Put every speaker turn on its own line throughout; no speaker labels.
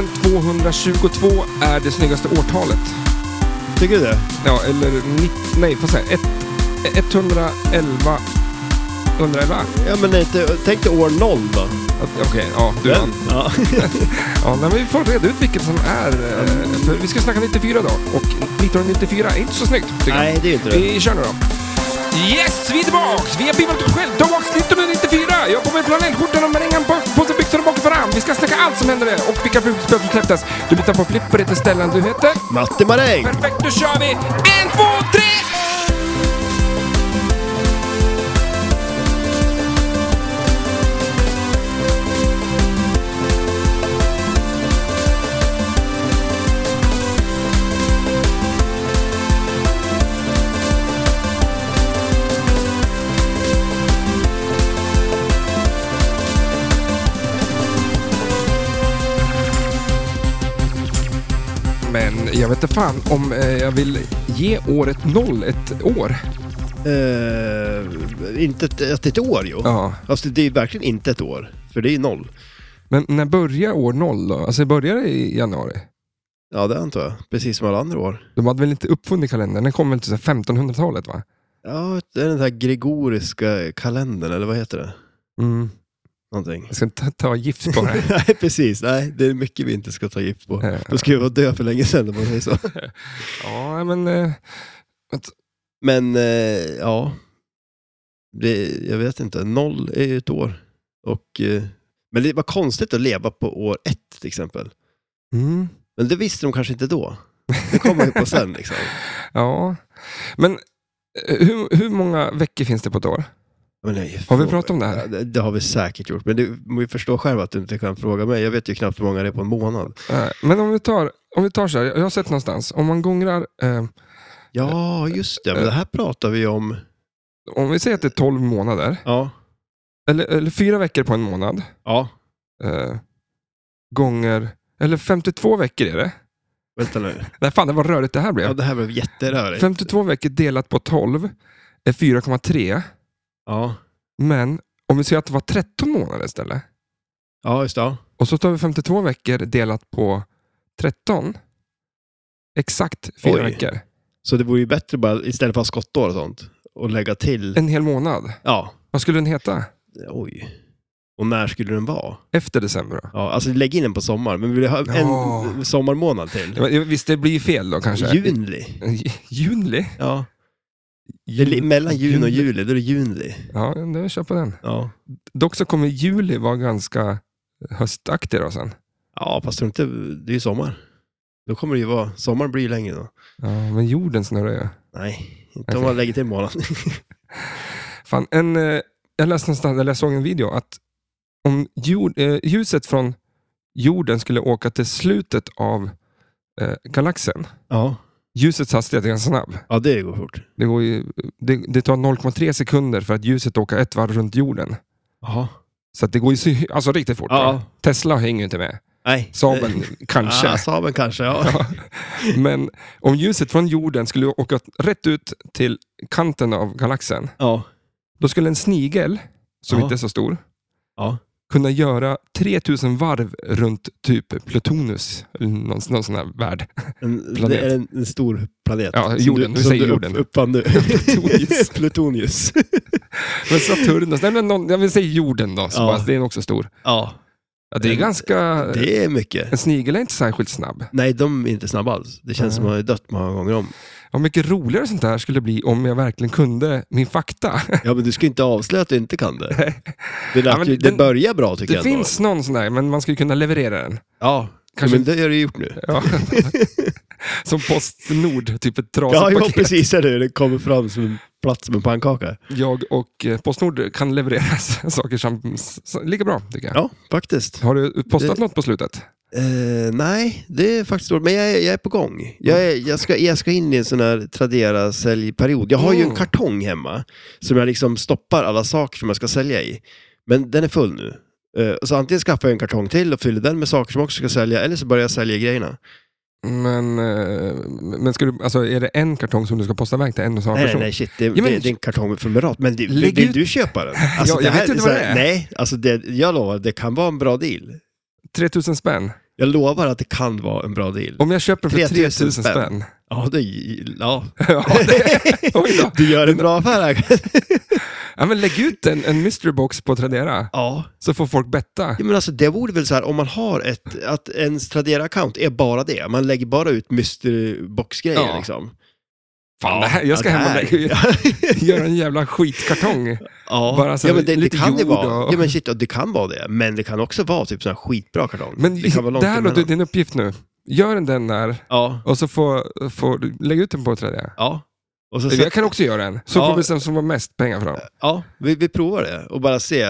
2222 är det snyggaste årtalet.
Tycker du det?
Ja, eller 90, nej, får säga, ett- 111... 111?
Ja, men inte, tänk dig år noll då.
Okej, ja, du vann.
Ja.
Ja, nej, men vi får reda ut vilket som är... eh, För vi ska snacka 94 då. Och 1994 är inte så snyggt, tycker
Nej, det är inte
jag.
det.
Vi kör nu då. Yes, vi är tillbaks! Vi har bivat oss själv. Tillbaks 1994! Jag har på mig flanellskjortan och marängan, påsen, byxor och bak och fram. Vi ska snacka allt som hände där och vilka flugspel som släpptes. Du litar på Flipper, heter Stellan, du heter?
Matti Maräng!
Perfekt, då kör vi! En, två, tre! Men jag vet inte fan om eh, jag vill ge året noll ett år.
Eh, inte ett, ett, ett år ju.
Ja.
Alltså det är verkligen inte ett år. För det är ju noll.
Men när börjar år noll då? Alltså börjar det i januari?
Ja, det antar jag. Precis som alla andra år.
De hade väl inte uppfunnit kalendern? Den kom väl till så här 1500-talet va?
Ja, det är den här gregoriska kalendern, eller vad heter det?
Mm.
Någonting.
Jag ska inte ta- ta gift på det här.
Nej, precis. Nej, det är mycket vi inte ska ta gift på.
Eh,
Då skulle jag vara död för länge sedan om man säger så.
ja, men... eh,
Men eh, ja, det, jag vet inte. Noll är ju ett år. Och, eh, men det var konstigt att leva på år ett till exempel.
Mm.
Men det visste de kanske inte då. Det kom man ju på sen liksom.
Ja. Men eh, hur, hur många veckor finns det på ett år?
Men nej,
Har vi pratat om det här?
Ja, det, det har vi säkert gjort, men du vi förstår själv att du inte kan fråga mig. Jag vet ju knappt hur många det är på en månad.
Eh, Men om vi tar, om vi tar så här, jag har sett någonstans, om man gångrar, eh,
Ja, just det. Men det här pratar vi om.
om vi säger att det är 12 månader,
Ja.
eller, eller fyra veckor på en månad,
Ja,
eh, gånger, eller 52 veckor är det.
vänta nu.
Nej fan, det var rörigt det här blev.
Ja, det här blev jätterörigt.
52 veckor delat på 12 är 4,3.
Ja.
Men om vi säger att det var 13 månader istället.
ja, just det. Ja.
Och så tar vi 52 veckor delat på 13. Exakt fyra
Oj.
veckor.
Så det vore ju bättre bara, istället för att ha skottår och sånt, och lägga till.
En hel månad.
Ja,
Vad skulle den heta?
oj. Och när skulle den vara?
Efter december då?
Ja, alltså lägg in den på sommar, men vill du ha en
Ja.
sommarmånad till?
Ja, men Visst, det blir ju fel då kanske.
Juni.
Juni?
Ja, det är li- mellan juni och juli, då är det juni.
Ja, då kör på den.
Ja,
Dock så kommer juli vara ganska eh, höstaktig då sen.
ja fast tror inte, det är ju sommar. Då kommer det ju vara, sommar blir ju längre då.
Ja, men jorden snurrar ju.
Nej, inte om
Okej.
man lägger till en månad.
Fan, en, eh, jag läste någonstans, eller jag såg en video att om jord, eh, ljuset från jorden skulle åka till slutet av eh, galaxen.
ja.
Ljusets hastighet är ganska snabb.
ja, det går fort.
Det, går ju, det, det tar 0,3 sekunder för att ljuset åker ett varv runt jorden.
Jaha.
Så att det går ju så- alltså riktigt fort.
Ja.
va? Tesla hänger ju inte med.
Nej. Ah.
Saben kanske.
Ja, Saben kanske, ja.
Ja. Men om ljuset från jorden skulle åka rätt ut till kanten av galaxen,
Ja.
då skulle en snigel, som
Ja.
inte är så stor,
Ja.
kunna göra 3000 varv runt typ Plutonus, eller någon, någon sån här värld.
En,
Planet.
det är en, en stor planet.
Ja,
Som
jorden. Vi
som
säger
upp-
jorden.
Uppfann nu.
Plutonius.
Plutonius.
Men Saturnus, nej men någon, jag vill säga jorden då, så
Ja.
bara, det är nog också stor.
ja,
Ja, det är
Eh,
ganska...
det är mycket.
En snigel är inte särskilt snabb.
Nej, de är inte snabba alls. Det känns som att man har dött många gånger om.
Vad mycket roligare sånt här skulle bli om jag verkligen kunde min fakta.
Ja, men du ska ju inte avslöja att du inte kan det. Det,
Ja,
ja,
men
ju,
den-
det börjar bra tycker
Det
jag
finns någon sån där, men man skulle kunna leverera den.
Ändå. Ja,
Kanske-
men det har du gjort nu.
Ja. Som Postnord, typ ett trasigt
Ja, ja
paket.
precis. Eller hur? Det kommer fram som en platt som en pannkaka.
Jag och eh, Postnord kan leverera saker som, som, lika bra, tycker jag.
Ja, faktiskt.
Har du postat
Det-
något på slutet?
Eh, nej, det är faktiskt dåligt. Men jag är, jag är på gång. Jag, är, jag, ska, jag ska in i en sån här Tradera-säljperiod. Jag har ju en
Mm.
kartong hemma som jag liksom stoppar alla saker som jag ska sälja i. Men den är full nu. Eh, så antingen skaffar jag en kartong till och fyller den med saker som jag också ska sälja, eller så börjar jag sälja grejerna.
Men, eh, men ska du, alltså, är det en kartong som du ska posta iväg till en och samma
Nej,
person?
nej, shit. Det,
men-
det, det är en kartong med Fumerat. Men det,
Lägg
vill
ut-
du köpa den? Alltså,
Ja,
det
jag
här
vet inte
så
vad
här-
det är.
Nej, alltså det, jag lovar, det kan vara en bra deal.
3000 spänn.
Jag lovar att det kan vara en bra deal.
Om jag köper för
3000
3000 spänn.
spänn. Ja, det, ja.
ja, det, oj då.
du gör en bra affär här.
Ja, men lägg ut en, en mystery box på Tradera,
Ja.
så får folk betta.
ja, men alltså det vore väl så här om man har ett, att ens Tradera-account är bara det. Man lägger bara ut mysterbox-grejer
Ja.
liksom.
Fan, det här, jag ska
ja,
hem och
det här-
lägga, göra en jävla skitkartong.
Ja,
Bara så
ja men det, det
lite
kan det
jord
vara.
och-
Ja, men shit, ja, det kan vara det. Men det kan också vara typ sån här skitbra kartong.
Men
det kan vara
det,
långt
här låter
emellan.
din uppgift nu. Gör en den där
Ja,
och så får, får du lägga ut den på Tradera.
ja. Och så,
Jag kan också göra en, så
Ja.
får vi sen som var mest pengar för dem.
ja, vi, vi provar det och bara se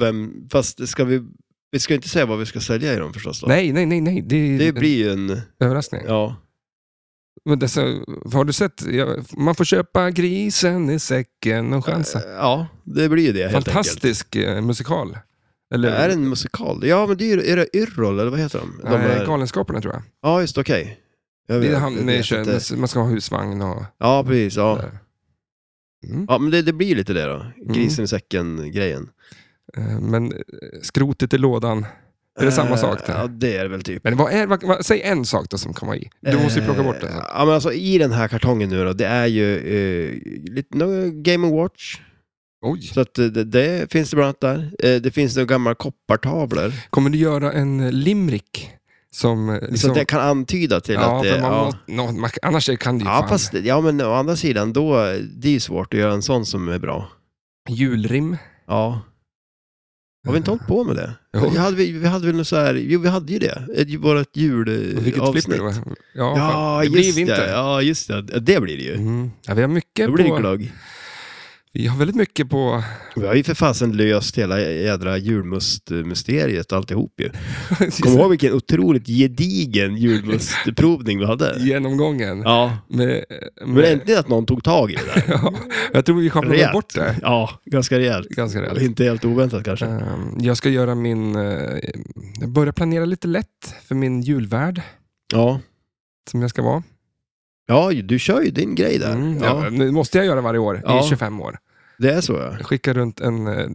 vem, fast ska vi, vi ska inte säga vad vi ska sälja i dem förstås då.
Nej, nej, nej, nej. Det är
Det
en
blir ju en,
överraskning.
ja.
Men dessa, har du sett? Ja, Man får köpa grisen i säcken och chansa.
Ja, det blir ju det helt enkelt.
Fantastisk eh, musikal. Eller
Är det en musikal? Ja, men det är ju, är det Yrrol eller vad heter de? de
nej,
här-
Galenskaparna tror jag.
Ja, just okej. Jag
Det är
vet-
han,
jag
nej,
vet
kör,
inte.
men man ska ha husvagn och...
Ja, precis. Ja,
där. Mm.
ja men det, det blir ju lite det då. Grisen i säcken-grejen.
Eh, Men eh, skrotet i lådan. Är det samma sak där?
Eh, Ja, det är det väl typ.
Men vad är, vad, vad, säg en sak då som kan vara i. Du måste ju plocka bort
Eh,
det.
Ja, men alltså i den här kartongen nu då, det är ju eh, lite, no, Game Watch.
Oj.
Så att eh, det, det finns det bland annat där. Eh, det finns några gamla koppartavlor.
Kommer du göra en eh, limrik som... eh,
Så
Liksom,
att det kan antyda till
ja,
att
för
det...
man,
ja.
Måste, nå- man, annars kan du ju
Ja,
fan.
fast, ja, men å andra sidan, då, det är ju svårt att göra en sån som är bra.
Julrim.
Ja. Har vi inte hållit på med det?
Jo.
Vi hade, vi vi hade väl något så här, jo vi hade ju det, Ett- vårt
Vilket flipper
julavsnitt.
det
Ja,
var. Ja, fan. det blir
just
vinter.
det. Ja, just det. Ja, Det blir det ju.
Mm. Ja, vi har mycket
Då blir det
på...
glögg.
Vi har väldigt mycket på...
Vi har ju för fasen löst hela jädra julmustmysteriet alltihop ju. Kommer du ihåg vilken otroligt gedigen julmustprovning vi hade?
genomgången.
Ja.
Med,
Men
med,
äntligen att någon tog tag i det där.
ja, jag tror vi sjabblade
Rejält.
bort det
Ja, ganska rejält.
ganska rejält.
Och Inte helt oväntat kanske.
Ehm, Jag ska göra min... eh, Jag börjar planera lite lätt för min julvärd
Ja.
som jag ska vara.
Ja, du kör ju din grej där.
Mm,
ja.
ja. Nu måste jag göra varje år
Ja.
i 25 år.
Det är så ja.
Jag skickar runt en... eh,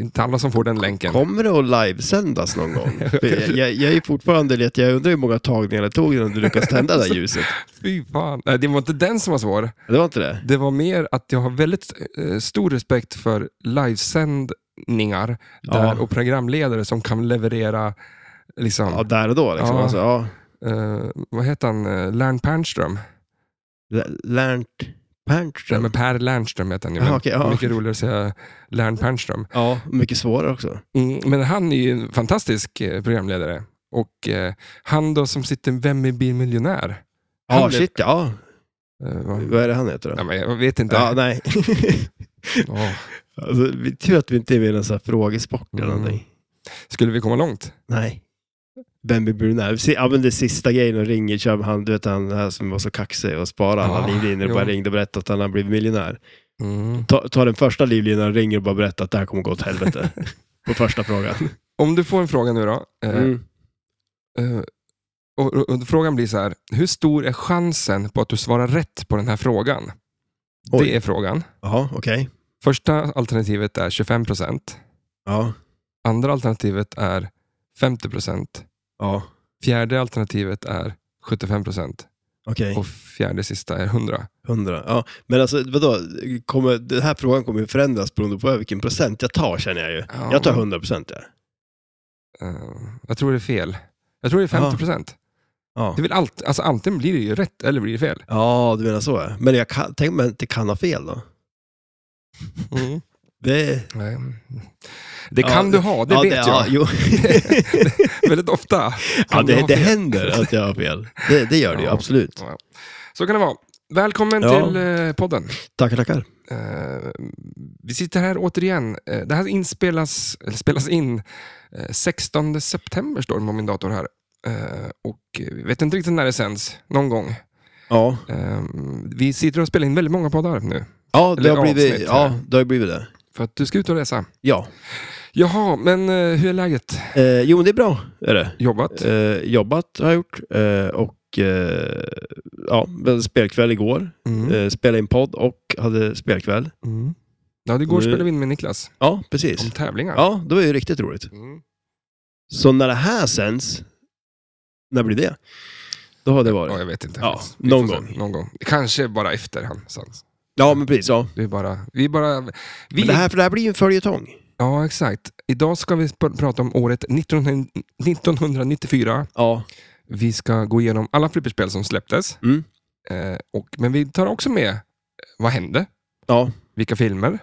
Inte alla som får den länken.
Kommer det att livesändas någon gång? För jag, jag, jag är fortfarande lite, jag undrar hur många tagningar det tog innan du lyckades tända det där ljuset.
Fy fan. Nej, det var inte den som var svår.
Det var inte det?
Det var mer att jag har väldigt eh, stor respekt för livesändningar där
Ja.
och programledare som kan leverera liksom,
Ja, där och då liksom.
Ja.
Alltså, ja.
eh, vad heter han, Eh, Lern Pernström?
L- Lernt
Nej,
Pernström.
men Per Lernström heter han ju.
Ja,
men
okej, ja.
Mycket roligare att säga Lern Pernström.
Ja, mycket svårare också.
Mm, men han är ju en fantastisk eh, programledare. Och eh, han då som sitter Vem blir miljonär?
Ja,
Han blev-
shit ja.
Eh, vad-
Vad är det han heter
ja,
då?
men jag vet inte.
Ja, nej.
Åh,
alltså, vi, tur att vi inte är med i någon sån här frågesport eller
Mm.
någonting.
skulle vi komma långt?
Nej. Bambi Brunel. Si- Ja, men det sista grejen och ringer, kör med han, du vet han här som var så kaxig och sparade alla
Ja,
livlinor och
jo.
bara ringde och berättade att han har blivit miljonär.
Mm.
Ta, ta den första livlinan och ringer och bara berätta att det här kommer gå åt helvete. På första frågan.
Om du får en fråga nu då. eh,
Mm.
Eh, och, och, och frågan blir så här, hur stor är chansen på att du svarar rätt på den här frågan?
Oj.
Det är frågan.
Jaha, okej.
Första alternativet är 25 procent.
Ja.
Andra alternativet är 50 procent.
Ja.
Fjärde alternativet är 75 procent.
Okej.
Och fjärde sista är 100.
Hundra. Ja. Men alltså, vadå? Kommer, den här frågan kommer ju förändras beroende på vilken procent jag tar, känner jag ju.
Ja,
Jag tar 100 procent, ja.
eh, jag tror det är fel. Jag tror det är 50 procent.
Ja.
Det vill allt, alltså antingen blir det ju rätt eller blir det fel.
ja, du menar så, ja. Men jag kan, tänk om jag inte kan ha fel då?
Mm.
Det,
Nej. Det
Ja,
kan du ha, Eh, det
ja,
vet
det,
jag.
Ja, jo.
Väldigt ofta.
ja,
kan du
det,
ha
det
fel.
händer att jag har fel. Det, det gör det ju,
Ja.
absolut.
Så kan det vara. Välkommen
Ja.
till eh, podden.
Tackar, tackar.
Eh, vi sitter här återigen. Eh, det här inspelas, eller spelas in eh, 16 september, står det på min dator här. Eh, och eh, vi vet inte riktigt när det sänds, någon gång.
Ja,
Eh, vi sitter och spelar in väldigt många poddar nu,
ja, det,
Eller
har blivit,
avsnitt här.
ja det har ju blivit det.
för att du ska ut och resa.
Ja.
Jaha, men eh, hur är läget?
Eh, jo, men det är bra, är det.
Jobbat?
Eh, jobbat har jag gjort eh, och Och eh, ja, vi hade spelkväll igår.
Mm.
Eh, spelade in podd och hade spelkväll.
Mm. Ja, det går
Nu-
spelade vi in med Niklas
Ja, precis.
om tävlingar.
Ja, det var ju riktigt roligt.
Mm.
Så när det här sänds, när blir det? Då har det
Ja,
varit.
jag vet inte.
Ja,
Vi får
någon
se.
gång.
någon gång. Kanske bara efter han sänds.
Ja, men precis. Ja.
Det är bara... Vi bara... Vi,
Men det, här, för det här blir ju en följetong.
Ja, exakt. Idag ska vi pr- prata om året 19, 1994.
Ja.
Vi ska gå igenom alla flipperspel som släpptes.
Mm.
Eh, och, men vi tar också med eh, vad hände,
Ja.
vilka filmer,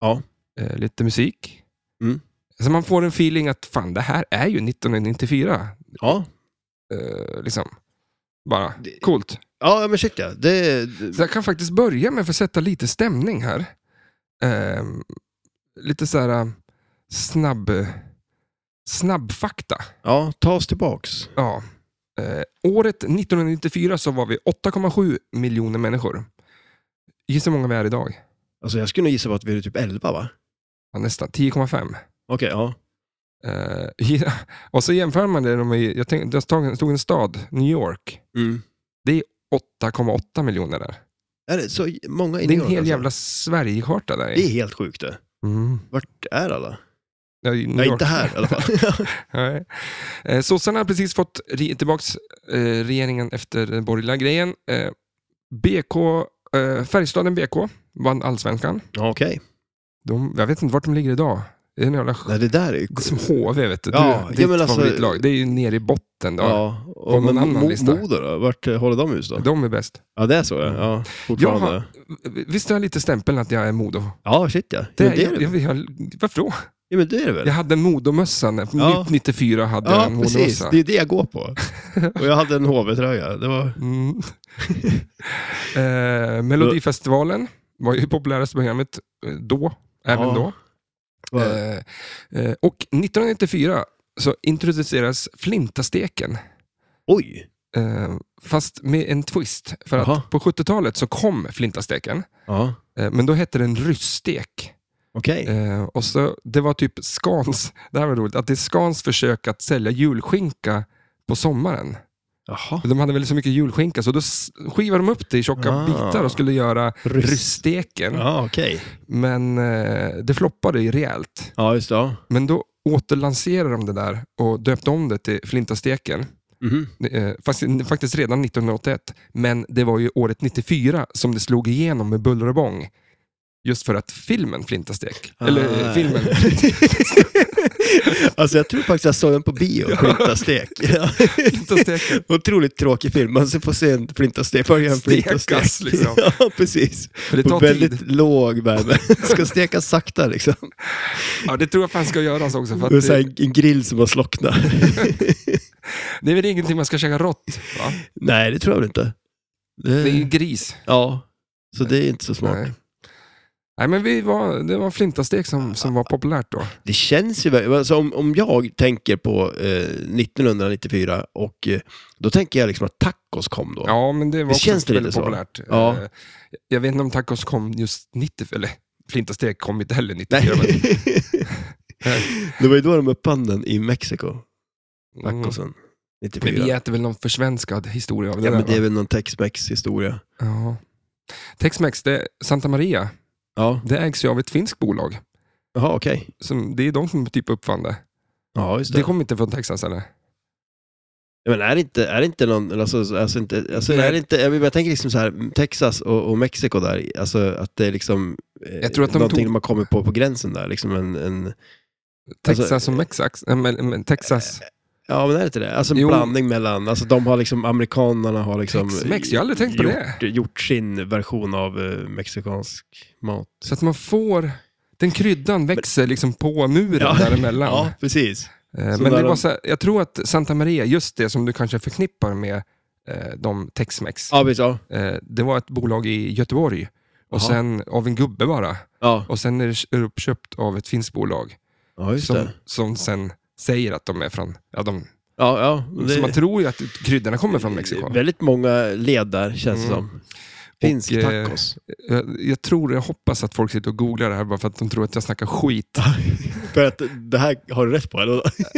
Ja.
eh, lite musik.
Mm.
Så man får en feeling att fan, det här är ju 1994.
Ja,
Eh, liksom. Bara
Det-
coolt.
ja men shit ja. Det,
Så jag kan faktiskt börja med för att sätta lite stämning här. Ehm, lite så här eh, snabb, snabbfakta.
ja, ta oss tillbaks.
Ja. Eh, året 1994 så var vi 8,7 miljoner människor. Gissa hur många vi är idag?
Alltså jag skulle nog gissa på att vi är typ 11 va?
Ja, nästan 10,5.
Okej, ja.
Eh, ja, och så jämför man det med, jag, tänkte, jag stod, stod en stad, New York,
Mm.
8,8 miljoner där.
Är det så många i
Det är en
New York,
hel
alltså?
jävla Sverigekarta där.
Det är helt sjukt det.
Mm.
Vart är alla?
Ja, i New
Nej,
York.
inte här i alla fall.
Nej. Eh, Sossarna har precis fått re- tillbaks eh, regeringen efter den borgerliga grejen. Eh, BK, eh, Färjestaden BK vann allsvenskan.
ja, okej.
De, jag vet inte vart de ligger idag. Det är en jävla sk-
Nej, det där är ju...
det är som HV, vet du.
Ja,
du
ja,
ditt
men alltså-
favoritlag. Det är ju nere i botten. Då.
Ja,
På
och
någon
men
annan
Mo-
lista.
Modo då? Vart eh, håller de hus då?
De är bäst.
Ja, det är så ja. ja fortfarande.
Jaha. Visst har jag lite stämpeln att jag är Modo?
Ja, shit ja.
Det,
ja, men det är det
jag,
väl?
jag, jag, varför då?
Ja, men det är det väl?
Jag hade en Modomössa. när-
Ja.
94 hade jag en
Ja, precis.
Modomössa.
Det är det jag går på. Och jag hade en HV-tröja. Det var...
Mm. eh, Melodifestivalen var ju populäraste programmet eh, då, även
Ja.
då.
var...
Eh, eh, och 1994 så introduceras flintasteken.
Oj!
Eh, fast med en twist. För att
Jaha.
på 70-talet så kom flintasteken.
Ja,
Eh, men då hette den ryssstek.
okej.
Eh, och så, det var typ Skans, det här var roligt, att det är Skans försök att sälja julskinka på sommaren.
Jaha.
De hade väl så mycket julskinka så då s- skivade de upp det i tjocka
Ah.
bitar och skulle göra
Ryss.
ryssteken.
Ja, okej.
Men eh, det floppade ju rejält.
Ja, just det. Ja.
Men då återlanserade de det där och döpte om det till flintasteken.
Mhm.
Eh, fast, faktiskt redan 1981. Men det var ju året 94 som det slog igenom med buller och bång. Just för att filmen Flintastek, eller eh,
Ah.
filmen,
alltså jag tror faktiskt jag såg den på bio, Flintastek. Ja.
Flintasteken.
Otroligt tråkig film. Man får se en flintastek, följa en
Stekas,
flintastek.
liksom.
Ja, precis.
För det
På
tar
väldigt
tid.
låg värme. Ska stekas sakta liksom.
Ja, det tror jag fan ska göras också. För
Och
att
så här
det,
en- en grill som har slocknat.
det är väl ingenting man ska käka rått? Va?
Nej, det tror jag väl inte. Det-
Det är ju gris.
Ja, så det är inte så smart.
Nej. Nej, men vi var, det var flintastek som, som var populärt då.
Det känns ju verkligen, alltså om, om jag tänker på eh, 1994 och eh, då tänker jag liksom att tacos kom då.
Ja, men det var
Det
också
känns det
väldigt
lite så.
populärt.
Ja.
Eh, Jag vet inte om tacos kom just 90, eller flintastek kom inte heller 90.
Nej.
men-
det var ju då de uppfann den i Mexiko,
Mm.
tacosen.
Men
94.
vi äter väl någon försvenskad historia av det
ja,
där,
men det är
va?
väl någon Tex-Mex historia.
Ja. Tex-Mex, det, Santa Maria,
Ja,
det ägs ju av ett finskt bolag.
jaha okej.
Som, det är de som typ uppfann det.
Ja, just det.
Det kom inte från Texas eller?
Ja, Men är det inte, är det inte någon, alltså, alltså, inte, alltså
Nej.
är det inte, jag, menar, jag tänker liksom så här, Texas och, och Mexiko där, alltså att det är liksom eh,
Jag tror att de
någonting
tog-
de har kommit på på gränsen där, liksom en, en Alltså- eh,
Texas och Mexax? äh, Men, men Texas.
Ja, men är det inte det? Alltså en
Jo.
blandning mellan, alltså de har liksom, amerikanerna har liksom
Tex-Mex, jag har aldrig tänkt på
gjort,
det.
gjort sin version av eh, mexikansk mat.
Så att man får, den kryddan växer liksom på muren däremellan.
ja, precis.
Eh,
Så
Men
när
det var
de-
så här, jag tror att Santa Maria, just det som du kanske förknippar med eh, de Tex-Mex,
Ja, precis. Ja.
eh, det var ett bolag i Göteborg. Och
Jaha.
sen av en gubbe bara.
Ja.
Och sen är det uppköpt av ett finskt bolag.
ja, just
som,
det.
som sen säger att de är från... Ja, de,
Ja, ja.
Så man
det
tror ju att kryddorna kommer från Mexiko.
Väldigt många led där, känns det
Mm.
som. Finsk
Och, eh,
tacos.
Jag, jag tror, jag hoppas att folk sitter och googlar det här bara för att de tror att jag snackar skit.
För att det här har du rätt på, eller?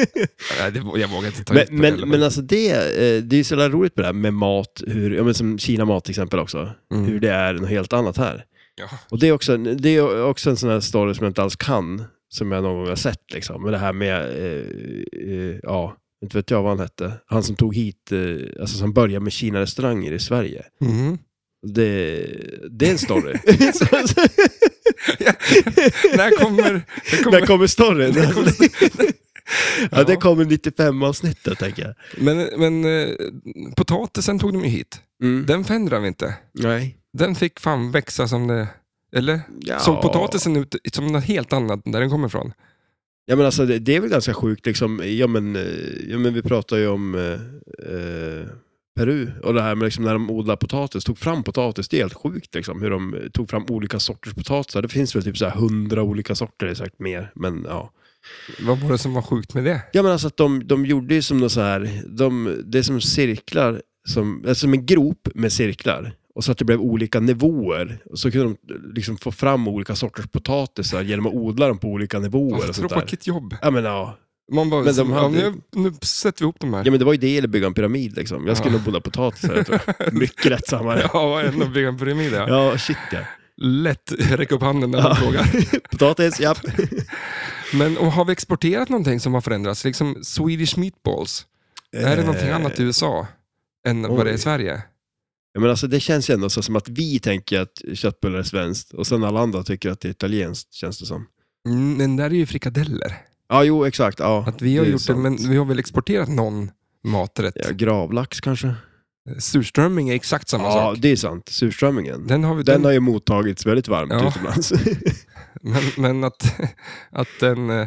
Nej, det, jag vågar inte ta ut på
Men,
det heller,
men, men alltså det, eh, det är ju så jävla roligt med det här med mat, hur, ja, men som Kina mat till exempel också,
Mm.
hur det är något helt annat här.
Ja.
Och det är, också, det är också en sån här story som jag inte alls kan, som jag någon gång har sett liksom. Men det här med, eh, eh, ja, inte vet jag vad han hette, han som tog hit, eh, alltså som började med Kina-restauranger i Sverige.
Mhm.
Det, det är en story. Så- så-
När kommer... När kommer
Där kommer storyn.
Där kommer
Ja, det kommer 95-avsnittet, tänker jag.
Men, men eh, potatisen tog de ju hit.
Mm.
Den förändrar vi inte.
Nej.
Den fick fan växa som det... Eller? Såg potatisen ut som något helt annat där den kommer ifrån?
Ja men alltså det, det är väl ganska sjukt liksom, ja men, eh, ja, men vi pratar ju om eh, eh, Peru och det här med liksom när de odlar potatis, tog fram potatis, det är helt sjukt liksom hur de eh, tog fram olika sorters potatisar. Det finns väl typ så här hundra olika sorter, det är säkert mer, men ja.
Vad var det som var sjukt med det?
Ja men alltså att de, de gjorde ju som något så här, de, det är som cirklar, som, alltså som en grop med cirklar. Och så att det blev olika nivåer. Och så kunde de liksom få fram olika sorters potatisar genom att odla dem på olika nivåer.
Vad
Och sånt Oh, där.
tråkigt jobb.
Ja men ja.
Man bara,
Men de
ja,
hade-
nu, nu sätter vi ihop de här.
Ja men det var ju det eller bygga en pyramid liksom. Jag skulle
Ja.
nog odla potatisar tror jag. Mycket lättsammare. Ja.
Ja, en att bygga en pyramid ja.
ja, shit ja.
Lätt, räck upp handen när man
Ja.
frågar.
Potatis, ja.
Men och har vi exporterat någonting som har förändrats? Liksom Swedish meatballs. Är det någonting
Eh,
annat i USA än vad det är i
oj.
Sverige?
Ja, men alltså, det känns ju ändå så som att vi tänker att köttbullar är svenskt och sen alla andra tycker att det är italienskt känns det som.
Mm, men där är ju frikadeller.
Ja, jo exakt. Ja,
Att vi har
det är
gjort det,
sant.
men vi har väl exporterat någon maträtt.
Ja, gravlax kanske?
Surströmming är exakt samma
Ja,
sak.
det är sant. Surströmmingen. Den,
Den har vi, den,
har ju mottagits väldigt varmt
Ja.
utomlands.
Men, men att, att den... eh,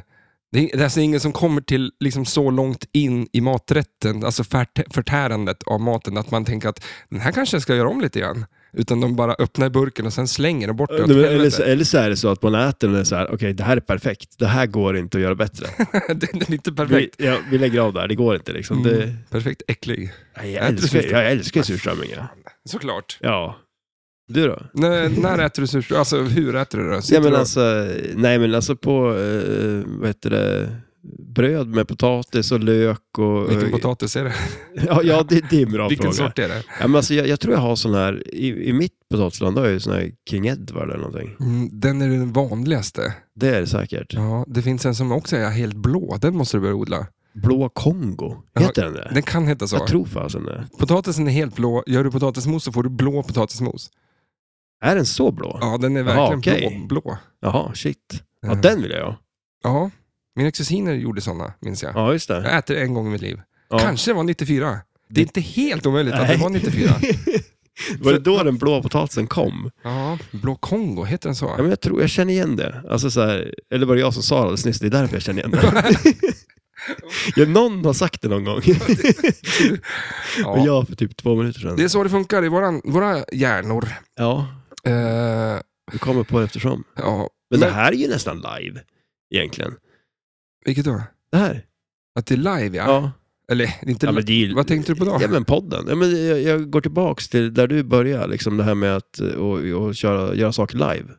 Det är, alltså ingen som kommer till liksom så långt in i maträtten, alltså färt- förtärandet av maten, att man tänker att den här kanske jag ska göra om lite grann. Utan de bara öppnar burken och sen slänger den bort det åt
eller, eller, så,
helvete.
eller så är det så att man äter den och är så här, okej det här är perfekt. Det här går inte att göra bättre.
Den är inte
Vi,
perfekt.
ja, vi lägger av där, det går inte liksom. Det,
Mm, perfekt äcklig. Äter
Nej, jag, älskar,
surströmming.
jag älskar ju surströmmingar.
Såklart.
Ja. Du då?
När, när äter du surströmming? Alltså hur äter du det?
Ja,
Sitter
men
du-
alltså, nej men alltså på, eh, vad heter det, bröd med potatis och lök och...
Vilken potatis är det?
Ja, ja det, det är en bra
Vilken
fråga.
sort är det?
Ja, men alltså, jag, jag tror jag har sån här, i, i mitt potatisland har jag ju sån här King Edward eller någonting.
Mm, den är den vanligaste.
Det är det säkert.
Ja, det finns en som också är helt blå. Den måste du börja odla.
Blå Kongo,
Ja,
heter den det?
Den kan heta så.
Jag tror fasen det.
Potatisen är helt blå. Gör du potatismos så får du blå potatismos.
Är den så blå?
Ja, den är
Jaha,
verkligen
okej.
blå. blå.
Jaha, shit. Ja,
Eh,
den vill jag ha.
Ja, mina kusiner gjorde sådana, minns jag.
Ja, just det.
Jag äter en gång i mitt liv.
Ja.
Kanske det var 94. Det är inte helt omöjligt att det
Nej.
var 94.
Var det då den blå potatisen kom?
Ja, Blå Kongo, heter den
Ja,
så?
men jag tror jag känner igen det. Alltså så här, eller var det jag som sa det alldeles nyss? Det är därför jag känner igen det. ja, någon har sagt det någon gång. Och
Ja.
jag för typ två minuter sedan.
Det är så det funkar i våran, våra hjärnor.
Ja,
Eh,
du kommer på det eftersom.
ja.
Men,
Men-
det här är ju nästan live, egentligen.
Vilket då?
Det här?
Att det är live, ja.
Ja.
Eller, inte live.
ja men det är ju...
Vad tänkte du på då?
Ja, men podden. Ja, men jag, jag går tillbaks till där du började, liksom det här med att eh, och, och köra, göra saker live.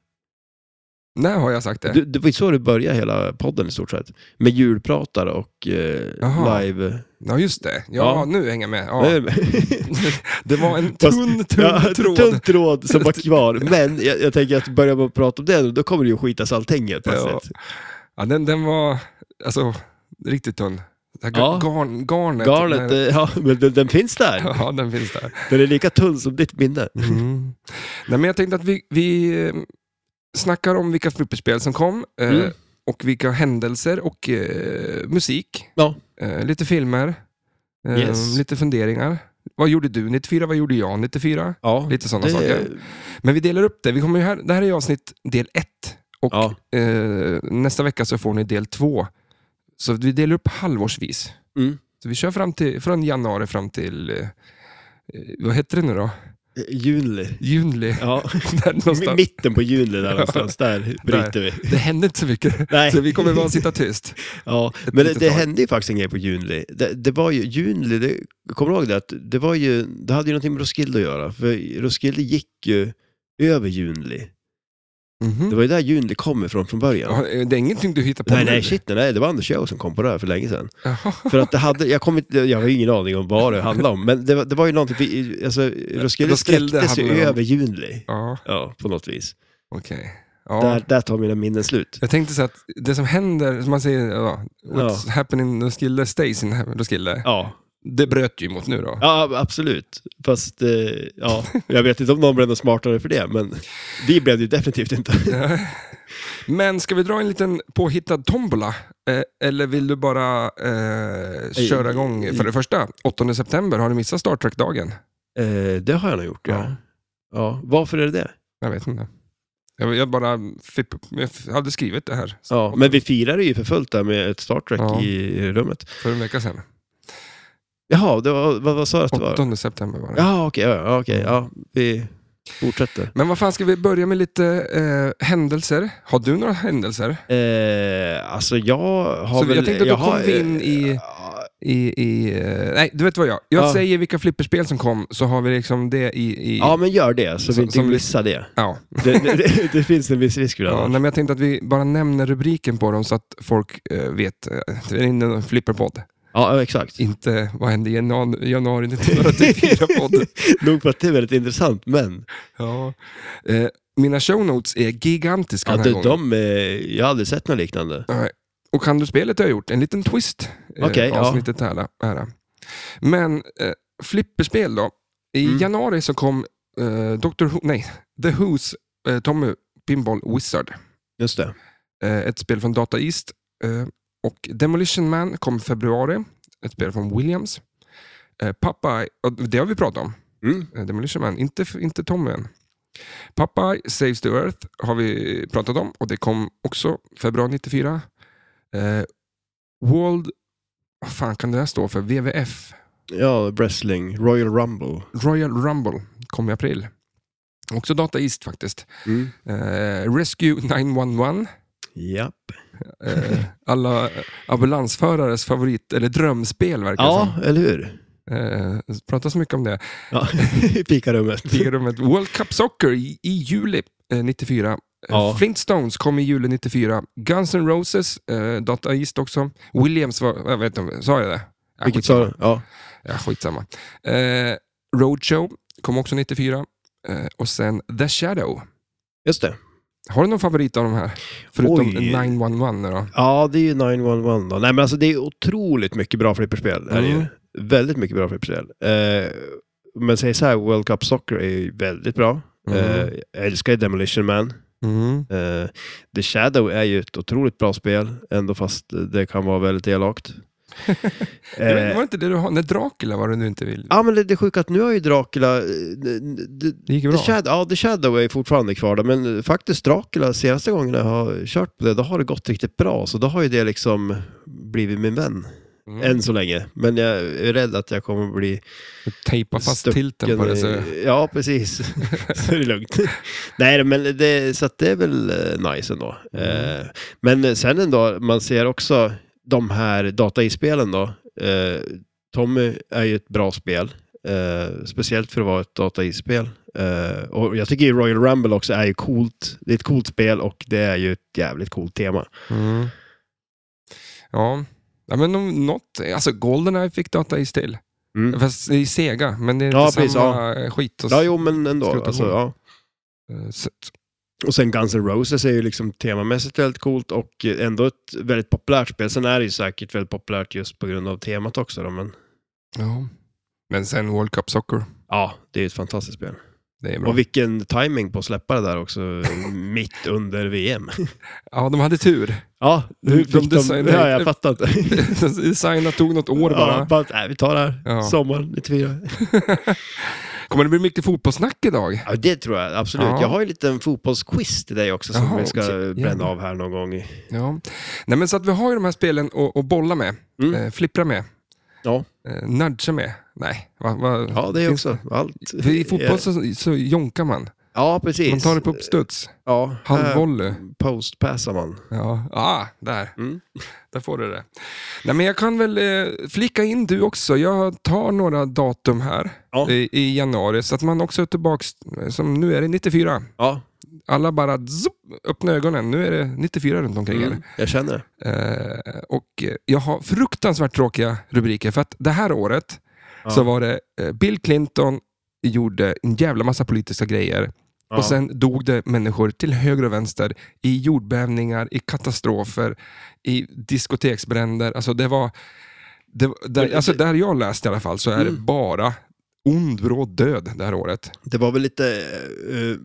När har jag sagt det?
Du, det var ju så du började hela podden i stort sett. Med julpratare och eh,
Jaha.
live...
Ja, just det. Ja,
Ja.
nu hänger jag med.
Vad är
Ja.
det med-
Det var en
Fast-
tunn, tunn tråd.
tunn tråd som var kvar. Men jag, jag tänker att börjar man prata om det nu, då kommer det ju skitas allting helt plötsligt.
Ja, den, den var alltså, riktigt tunn. Det här ga-
Ja.
garn, garnet.
Garnet,
när-
eh, ja, men den, den finns där.
Ja, den finns där.
Den är lika tunn som ditt minne. Mm.
Nej, men jag tänkte att vi, vi eh, snackar om vilka flipperspel som kom eh,
Mm.
och vilka händelser och eh, musik.
Ja.
Eh, lite filmer, eh,
Yes.
lite funderingar. Vad gjorde du 94? Vad gjorde jag 94?
Ja,
Lite sådana
det,
saker. Men vi delar upp det. Vi kommer ju här, det här är avsnitt del 1 och
Ja.
eh, nästa vecka så får ni del 2. Så vi delar upp halvårsvis.
Mm.
Så vi kör fram till, från januari fram till, eh, eh, vad heter det nu då?
Eh, Junli.
Junli.
Ja,
Där
M-
någonstans.
mitten på Junli där någonstans, där bryter vi.
Det hände inte så mycket.
Nej.
Så vi kommer bara sitta tyst.
Ja,
Ett
men det,
litet
det
tag.
hände ju faktiskt en grej på Junli. Det, det var ju, Junli, det, kommer du ihåg det? Att det, var ju, det hade ju någonting med Roskilde att göra, för Roskilde gick ju över Junli.
Mhm.
Det var ju där Junli kom ifrån från början.
Ja, eh, Det är ingenting du hittar på
nej,
nu.
nej, shit, nej, det var Anders Joe som kom på det här för länge sedan.
Jaha.
För att det hade, jag, kom inte, jag har ju ingen aning om vad det handlade om, men det, var- det var ju någonting, vi- alltså Roskilde
Roskilde
sträcktes ju
handlade om-
över Junli.
Ja,
Ja, på något vis.
okej. Ja.
Där, där tar mina minnen slut.
Jag tänkte så att det som händer, som man säger, ja, what's happening in Roskilde stays in Roskilde.
Ja,
Det bröt ju emot nu då.
Ja, absolut. Fast eh, ja, jag vet inte om någon blev något smartare för det, men vi blev det ju definitivt inte.
Men ska vi dra en liten påhittad tombola? Eh, eller vill du bara eh, köra igång? För det första, 8 september, har du missat Star Trek-dagen?
Eh, det har jag nog gjort, ja. ja. varför är det det?
Jag vet inte. Jag, jag bara fipp, jag f- hade skrivit det här
Ja, men vi firade ju för fullt där med ett Star Trek
Ja.
i rummet.
för en vecka sedan.
Jaha, det var, vad, vad sa du att det var?
8 september var det.
Ja, okej, ja, ja, okej, ja, vi fortsätter.
Men vad fan, ska vi börja med lite eh, händelser? Har du några händelser?
Eh, alltså jag har
Så
väl...
jag tänkte att då
har,
kom vi in i-
eh,
I, i, eh, nej, du vet vad jag... Jag
Ja.
säger vilka flipperspel som kom, så har vi liksom det i... i
Ja, men gör det, så vi
Som-
inte
som vi-
missar det.
ja.
Det, det. Det finns en viss risk för det.
Ja, nej,
annars.
men jag tänkte att vi bara nämner rubriken på dem så att folk eh, vet. eh, Det är en flipperpodd.
Ja, exakt.
Inte vad hände i janu- januari 1984-podd.
Nog för att det är väldigt intressant, men
ja. eh, mina show notes är gigantiska
Ja,
den här
du,
gången.
de, eh, jag har aldrig sett något liknande.
Nej. Och kan du spelet har jag gjort en liten twist eh,
Okej, ja.
avsnittet här, då- här. då. Men eh, flipperspel då. I
Mm.
januari så kom eh, Dr. Who, nej, The Who's eh, Tommy Pinball Wizard.
Just det.
Eh, ett spel från Data East. Eh, och Demolition Man kom i februari. Ett spel från Williams. Eh, Popeye, och det har vi pratat om.
Mm.
Eh, Demolition Man, inte, inte Tommy än. Popeye Saves the Earth har vi pratat om och det kom också februari 94. Eh, World... Vad fan kan det här stå för? WWF?
Ja, wrestling, Royal Rumble.
Royal Rumble kom i april. Också Data East faktiskt.
Mm.
Eh, Rescue 911.
Japp.
Eh, alla ambulansförares favorit, eller drömspel verkar det
Ja, eller hur?
som. Eh, det pratas mycket om det.
Ja. I fikarummet.
Fikarummet. World Cup Soccer i, i juli eh, 94. Eh,
Ja.
Flintstones kom i juli 94. Guns N' Roses, eh, Data East också. Williams var, jag vet inte, sa jag det? Ja,
Vilket
skitsamma.
sa du? Ja.
Ja, skitsamma. Eh, Roadshow kom också 94. Eh, och sen The Shadow.
Just det.
Har du någon favorit av de här? Förutom
Oj.
911 nu då?
Ja, det är ju 911 då. Nej, men alltså det är otroligt mycket bra flipperspel. är det ju.
Mm.
Väldigt mycket bra flipperspel. Eh, men säg så här, World Cup Soccer är ju väldigt bra. Eh,
Mm.
jag älskar ju Demolition Man.
Mm.
Eh, The Shadow är ju ett otroligt bra spel, ändå fast det kan vara väldigt elakt.
Det var-
Eh,
var
Ah,
det inte det du har? Nej, Dracula var det du inte ville.
Ja, men det, det är sjukt att nu har ju Dracula... eh, n- n- d-
Det gick ju
The
bra.
Shadow, ja, The Shadow är fortfarande kvar där, men eh, faktiskt Dracula, senaste gången jag har kört på det, då har det gått riktigt bra. Så då har ju det liksom blivit min vän,
Mm.
än så länge. Men jag är rädd att jag kommer bli...
Tejpa fast
stucken
tilten på det. Så...
i- eh, Ja, precis. så är det lugnt. Nej, men det, så att det är väl eh, nice ändå.
Mm.
Eh, Men sen ändå, man ser också de här dataispelen då. Eh, Tommy är ju ett bra spel. Eh, speciellt för att vara ett dataispel. Eh, och jag tycker ju Royal Rumble också är ju coolt. Det är ett coolt spel och det är ju ett jävligt coolt tema.
Mm. Ja. ja, men om något. Alltså Goldeneye fick Data East till.
Mm.
Fast det är Sega, men det är inte
Ja, precis,
samma skit. Och... eh,
Ja, jo, men ändå.
Skruta
Alltså,
på.
ja.
Så...
Och sen Guns N' Roses är ju liksom temamässigt väldigt coolt och ändå ett väldigt populärt spel. Sen är det ju säkert väldigt populärt just på grund av temat också då, men
Ja. Men sen World Cup Soccer.
ja, det är ju ett fantastiskt spel.
Det är bra.
Och vilken timing på att släppa det där också mitt under VM.
Ja, de hade tur.
Ja,
De
nu fick de...
designar-
Ja, jag fattar inte.
Designa tog något år
Ja,
bara.
bara, nej, vi tar det här.
Ja.
Sommaren 94.
Kommer det bli mycket fotbollssnack idag?
Ja, det tror jag absolut.
Ja.
Jag har ju en liten fotbollsquiz till dig också som
Jaha,
vi ska
okej.
bränna
Jävlar.
av här någon gång. i-
Ja. Nej, men så att vi har ju de här spelen att, att bolla med,
Mm.
eh, flippra med,
Ja.
eh, nudga med. Nej, va, va,
Ja, Eh. det är
finns-
också allt.
För I fotboll så, så jonkar man.
Ja, precis.
Man tar det på uppstuds.
Ja, här
Halvvolley.
postpassar man.
Ja, ah, där.
Eh. Mm.
Där får du det. Nej, men jag kan väl eh, flicka in du också. Jag tar några datum här
Ja.
i, i januari så att man också är tillbaka. Som nu är det 94.
Ja,
Alla bara zup, öppna ögonen. Nu är det 94 runt omkring er.
mm. jag känner det.
Eh, och eh, jag har fruktansvärt tråkiga rubriker för att det här året
Ja.
så var det eh, Bill Clinton gjorde en jävla massa politiska grejer
Ja.
och sen dog det människor till höger och vänster i jordbävningar, i katastrofer, i diskoteksbränder. Alltså det var, det, där,
Men-
alltså där jag läste i alla fall så är det
Mm.
bara ond, bråd död det här året.
Det var väl lite, eh,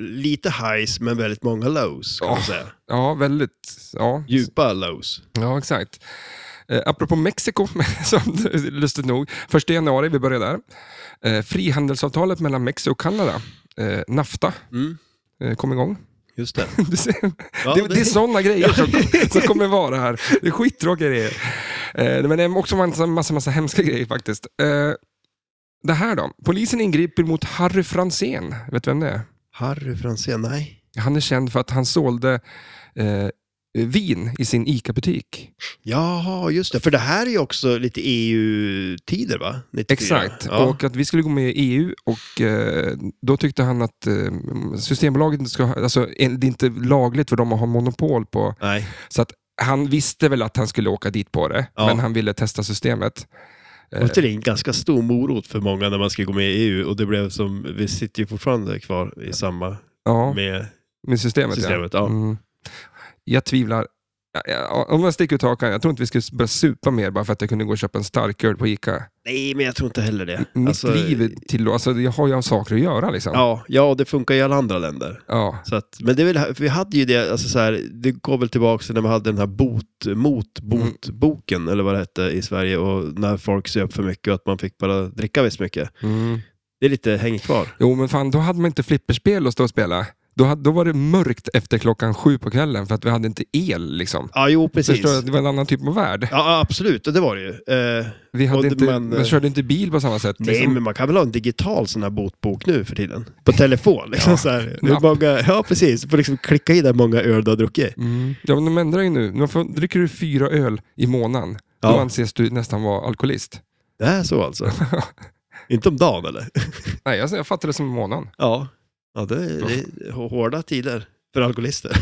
lite highs men väldigt många lows kan man
Ja.
säga.
Ja, väldigt. Ja,
Djupa lows.
ja exakt. Eh, apropå Mexiko, som, lustigt nog, första januari, vi börjar där. Eh, frihandelsavtalet mellan Mexiko och Kanada, eh, NAFTA,
Mm.
eh, kom igång.
Just det.
Du ser,
Ja,
det, det är sådana grejer som, som kommer vara här. Det är skittråkiga grejer. Eh, men det är också massa, massa, massa hemska grejer faktiskt. Eh, det här då. Polisen ingriper mot Harry Fransén. Vet du vem det är?
Harry Franzén, nej.
Han är känd för att han sålde eh, vin i sin ICA-butik.
Jaha, just det. För det här är ju också lite EU-tider va? 94.
Exakt,
Ja.
och att vi skulle gå med i EU och eh, då tyckte han att eh, Systembolaget inte ska, ha- alltså, en- det är inte lagligt för dem att ha monopol på
Nej.
Så att han visste väl att han skulle åka dit på det,
Ja.
men han ville testa systemet. Eh.
Och det är en ganska stor morot för många när man ska gå med i EU och det blev som, vi sitter ju fortfarande kvar i samma
Ja,
med
med systemet,
systemet.
ja.
Ja.
Mm. Jag tvivlar. Ja, ja, Om jag sticker ut hakan, jag tror inte vi skulle börja supa mer bara för att jag kunde gå och köpa en starköl på Ica.
Nej, men jag tror inte heller det.
Mitt
Alltså,
liv till, alltså, jag har ju saker att göra liksom.
Ja, ja, det funkar i alla andra länder.
Ja.
Så att, men det är väl, för vi hade ju det, alltså så här, det går väl tillbaka till när vi hade den här bot, mot, bot, boken eller vad det hette i Sverige och när folk söp för mycket och att man fick bara dricka visst mycket.
Mm.
Det är lite häng kvar.
Jo, men fan, då hade man inte flipperspel att stå och spela. Då, hade, då var det mörkt efter klockan sju på kvällen för att vi hade inte el. Liksom.
Ja, jo precis.
Förstår du?
Ja,
Det var en annan typ av värld.
ja, absolut, och det var det ju. Eh,
Vi
Och
hade
det-
inte,
men,
man
eh,
körde inte bil på samma sätt. Liksom.
nej, men man kan väl ha en digital sån här botbok nu för tiden? På telefon, liksom
Ja,
så här.
en
Hur
app.
många, ja, precis. Du får liksom klicka i där många öl du har druckit.
Mm. Ja, men de ändrar ju nu. Nu får, dricker du fyra öl i månaden, då
Ja.
anses du nästan vara alkoholist.
Det är så alltså. Inte om dagen eller?
Nej, jag, jag fattar det som månaden.
Ja. Ja, det är, det är hårda tider för alkoholister.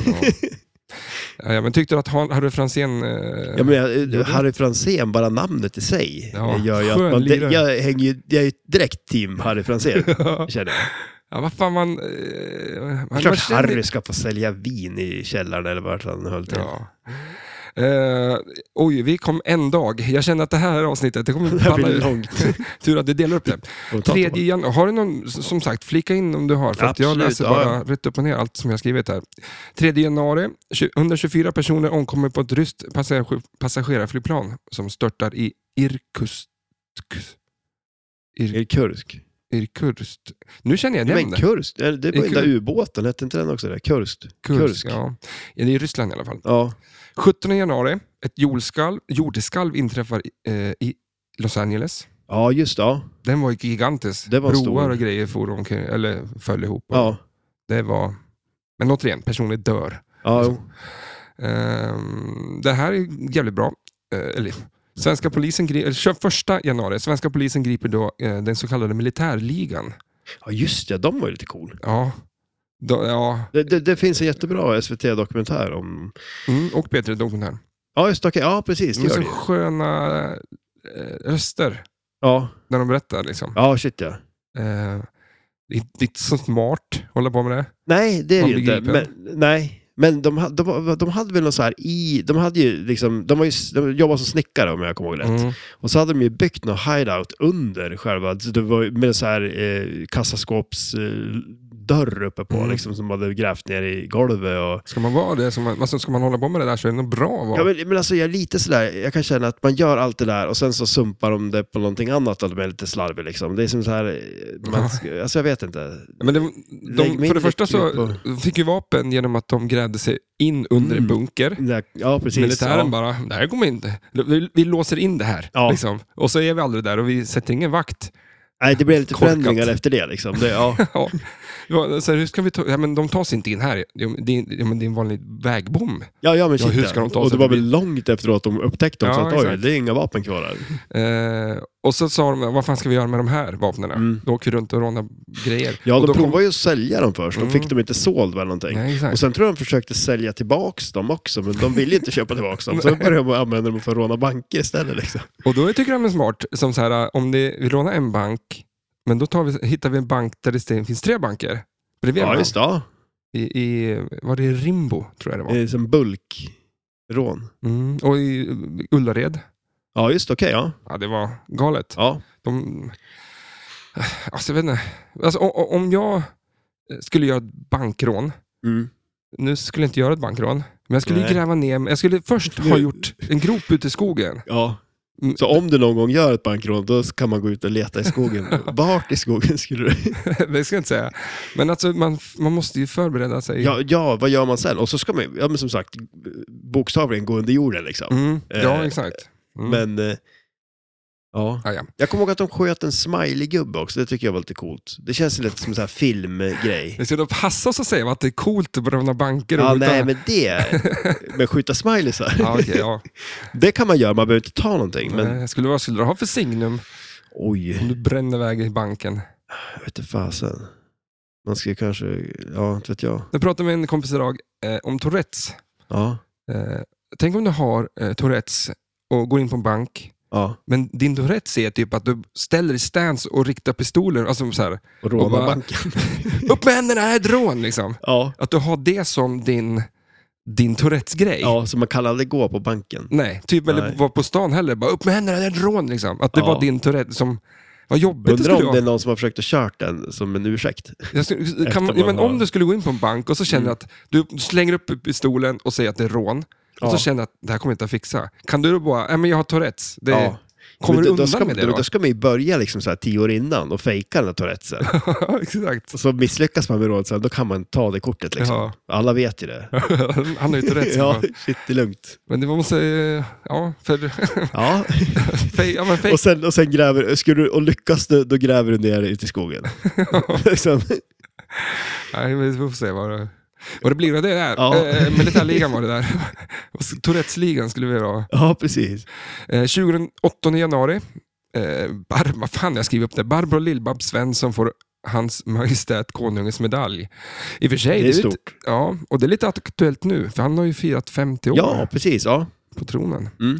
Ja. ja, men tyckte du att Han- Harry Franzén... Eh,
Ja, men jag,
det.
Harry Franzén, bara namnet i sig, eh,
Ja,
gör ju
skön
att man, det,
lirare.
jag, hänger ju, jag är ju direkt team Harry Franzén, känner jag.
ja, vad fan man... Eh,
Det
man-
är
man
klart
känner-
Harry ska få sälja vin i källaren eller vart han höll till.
Ja. Eh, oj, vi kom en dag. Jag känner att det här avsnittet, det kommer
Det här
balla
blir
ur.
långt.
Tur att du delar upp det.
Och ta
Tredje
tillbaka.
januari. Har du någon, som sagt, flika in om du har. För att jag
Absolut,
läser
ja,
bara
ja.
rätt upp och ner allt som jag har skrivit här. 3 januari, 20 124 personer omkommer på ett ryskt passager, passagerarflygplan som störtar i Irkutsk.
Är det Kursk?
Irkutsk. Nu känner jag
Ja,
igen
men
det.
Kursk, det det var
Det är
den där
kul.
ubåten, hette inte den också det? Kursk? Kursk.
Ja. Ja, det är i Ryssland i alla fall.
Ja.
17 januari, ett jordskalv, jordskalv inträffar i, eh, i Los Angeles.
ja, just det. Ja.
Den var ju gigantisk.
Det var
Broar
stor.
och grejer for omkring, eller föll ihop. och-
ja.
Det var... Men återigen, personer dör.
ja
Liksom.
jo.
Ehm, det här är jävligt bra. Eh, eller, svenska polisen griper... 21 januari, svenska polisen griper då eh, den så kallade militärligan.
ja, just det. De var ju lite cool.
Ja. Då, ja.
Det, det, det finns en jättebra SVT-dokumentär om...
Mm, och Peter Dogen här.
Ja, just det. okej. Ja, precis. Det
De är
gör
så
det ju.
sköna eh, röster
Ja.
när de berättar. Liksom.
ja, shit ja.
Eh, det, är- det är inte så smart att hålla på med det.
Nej, det är det ju inte.
Handbegripen.
Men, nej. Men de, ha- de, var- de hade väl något så här i... De hade ju liksom... De, var ju, de jobbade som snickare om jag kommer ihåg rätt.
Mm.
Och så hade de ju byggt alltså någon hideout under själva... Det var ju med så här eh, kassaskåps... Eh, dörr uppe på
Mm.
liksom, som de hade grävt ner i golvet. Och...
Ska man vara det, som, alltså, ska man hålla på med det där så är det nog bra att vara.
Ja, men, men alltså jag är lite sådär, jag kan känna att man gör allt det där och sen så sumpar de det på någonting annat och de är lite slarvig liksom. Det är som så här, eh, man, ska- alltså jag vet inte.
Men det,
Lägg
de,
mig
för det första
lite
så fick ju vapen genom att de grävde sig in under en
Mm.
bunker.
Nej, Ja, precis.
Militären
ja.
bara, det här kommer inte. Vi, vi låser in det här.
Ja.
Liksom. Och så är vi aldrig där och vi sätter ingen vakt.
Nej, det blev lite
Korkat.
förändringar efter det liksom. Det, ja.
Ja. Ja, så här, hur ska vi ta, ja, men de tar sig inte in här. Jo, men Det är, ja, men det är en vanlig vägbom.
Ja, ja men
Ja,
shit
hur ska de ta
Och
sig
det var
förbi?
väl långt efteråt de upptäckte
Ja,
dem, så att oj,
exakt.
det är inga vapen kvar här.
Eh, och så sa de, vad fan ska vi göra med de här vapnen?
Mm.
Då åker vi runt och rånar grejer.
Ja,
och
de
då kom-
provade ju att sälja dem först, de
Mm.
fick dem inte såld eller någonting.
Nej, exakt.
Och sen tror jag de försökte sälja tillbaks dem också, men de ville inte köpa tillbaks dem. Så då började de använda dem för att råna banker istället. Liksom.
Och då tycker de är smart, som så här, äh, om det, vi lånar en bank, men då tar vi, hittar vi en bank där det finns tre banker. Bredvid
Ja,
varandra.
just det. Ja.
I, i, var det Rimbo, tror jag det
Det
var.
är som bulkrån.
Mm. Och i Ullared.
Ja, just det, okej. ja.
Ja, det var galet.
ja.
De, alltså, jag vet inte. Alltså, o- o- om jag skulle göra ett bankrån,
Mm.
nu skulle jag inte göra ett bankrån, men jag skulle ju
Nej.
gräva ner Jag skulle först ha gjort en grop ute i skogen.
ja.
Mm.
Så om du någon gång gör ett bankrån, då kan man gå ut och leta i skogen. Vart i skogen skulle du...
det ska jag inte säga. Men alltså, man, man måste ju förbereda sig.
Ja, ja, vad gör man sen? Och så ska man ju, ja, men som sagt, bokstavligen gå under jorden liksom.
Mm, ja
Eh,
exakt. Mm.
Men, eh, ja.
Ja, ja.
Jag kommer ihåg att de sköt en smiley-gubbe också, det tycker jag var lite coolt. Det känns lite som en sån här filmgrej.
Vi ska då passa oss att säga att det är coolt att bränna banker. och
Ja,
skjuta-
nej, men det... Men skjuta smileysar,
ja, okej, ja.
det kan man göra, man behöver inte ta någonting. Men
Eh, Skulle, vad skulle du ha för signum
oj,
om du bränner iväg i banken?
jag vet inte fasen. Man ska ju kanske, ja, inte vet jag.
Jag pratade med en kompis idag eh, om Tourettes.
Ja,
Eh, tänk om du har eh, Tourettes och går in på en bank,
ja.
men din Tourettes är typ att du ställer dig i stance och riktar pistolen, alltså så här,
Och råna
Och bara-
banken.
upp med händerna, här är ett rån liksom.
ja.
Att du har det som din, din Tourettes-grej.
ja, så man kan aldrig gå på banken.
Nej, typ eller
Nej.
var på stan heller. Bara upp med händerna, det är ett rån liksom. Att det
Ja.
var din Tourette som... Vad jobbigt det
Undrar
skulle
om det är
vara.
någon som har försökt att kört den som en ursäkt.
Jag skulle, kan, man-
man
ja, men
har-
om du skulle gå in på en bank och så känner
Mm.
att du slänger upp pistolen och säger att det är rån. Och så
Ja.
känner att det här kommer jag inte att fixa. Kan du då bara, nej men jag har Tourettes. Det, Kommer
Men
du
då,
undan
då ska,
med det då?
Då ska man ju börja liksom så här tio år innan och fejka den här tourettesen.
Exakt.
Och så misslyckas man med rådet sen, då kan man ta det kortet liksom.
Ja.
Alla vet ju det.
Han har ju Tourettes.
ja,
bara.
shit, det är lugnt.
Men det var måste, eh, ja, för...
Ja.
för ja, men för,
Och sen, och sen gräver, ska du, och lyckas du, då gräver du ner ut i skogen. liksom.
nej, men vi får se vad det... Och det blir det där.
Ja.
Eh, militärligan var det där. Tourettes-ligan skulle vi vilja ha.
Ja, precis.
Eh, 28 januari. Eh, Bar- vad fan, jag skriver upp det. Barbro Lill-Babs Svensson får Hans Majestät Konungens medalj. I och för sig,
Det är
lite-
stort.
Ja, och det är lite aktuellt nu, för han har ju firat 50 år
Ja, precis. Ja.
på tronen.
Mm.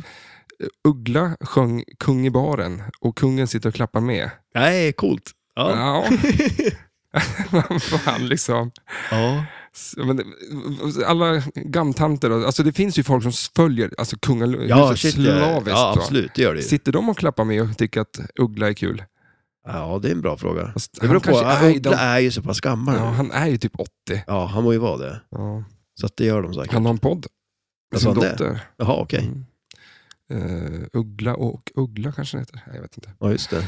Eh, Uggla sjöng Kung i baren och kungen sitter och klappar med.
Nej, coolt. Ja.
Ja. fan, liksom.
ja.
S- Men, det- alla gamtanter, och- alltså det finns ju folk som följer alltså kungahuset
Ja, shit, ja,
slaviskt.
ja,
va?
absolut, det gör det ju.
Sitter de och klappar med och tycker att Uggla är kul?
Ja, det är en bra fråga.
Fast
Det beror
han
på,
kanske
är,
är i
Uggla
de-
är ju så pass gammal
Ja,
ja,
han är ju typ 80.
ja, han må ju vara det.
Ja.
Så att det gör de säkert.
Han har en podd med
Vad
sin
sa han det?
dotter.
Jaha, okej.
Mm. Eh, Uggla och Uggla kanske den heter. Nej, Jag vet inte.
Ja, just det.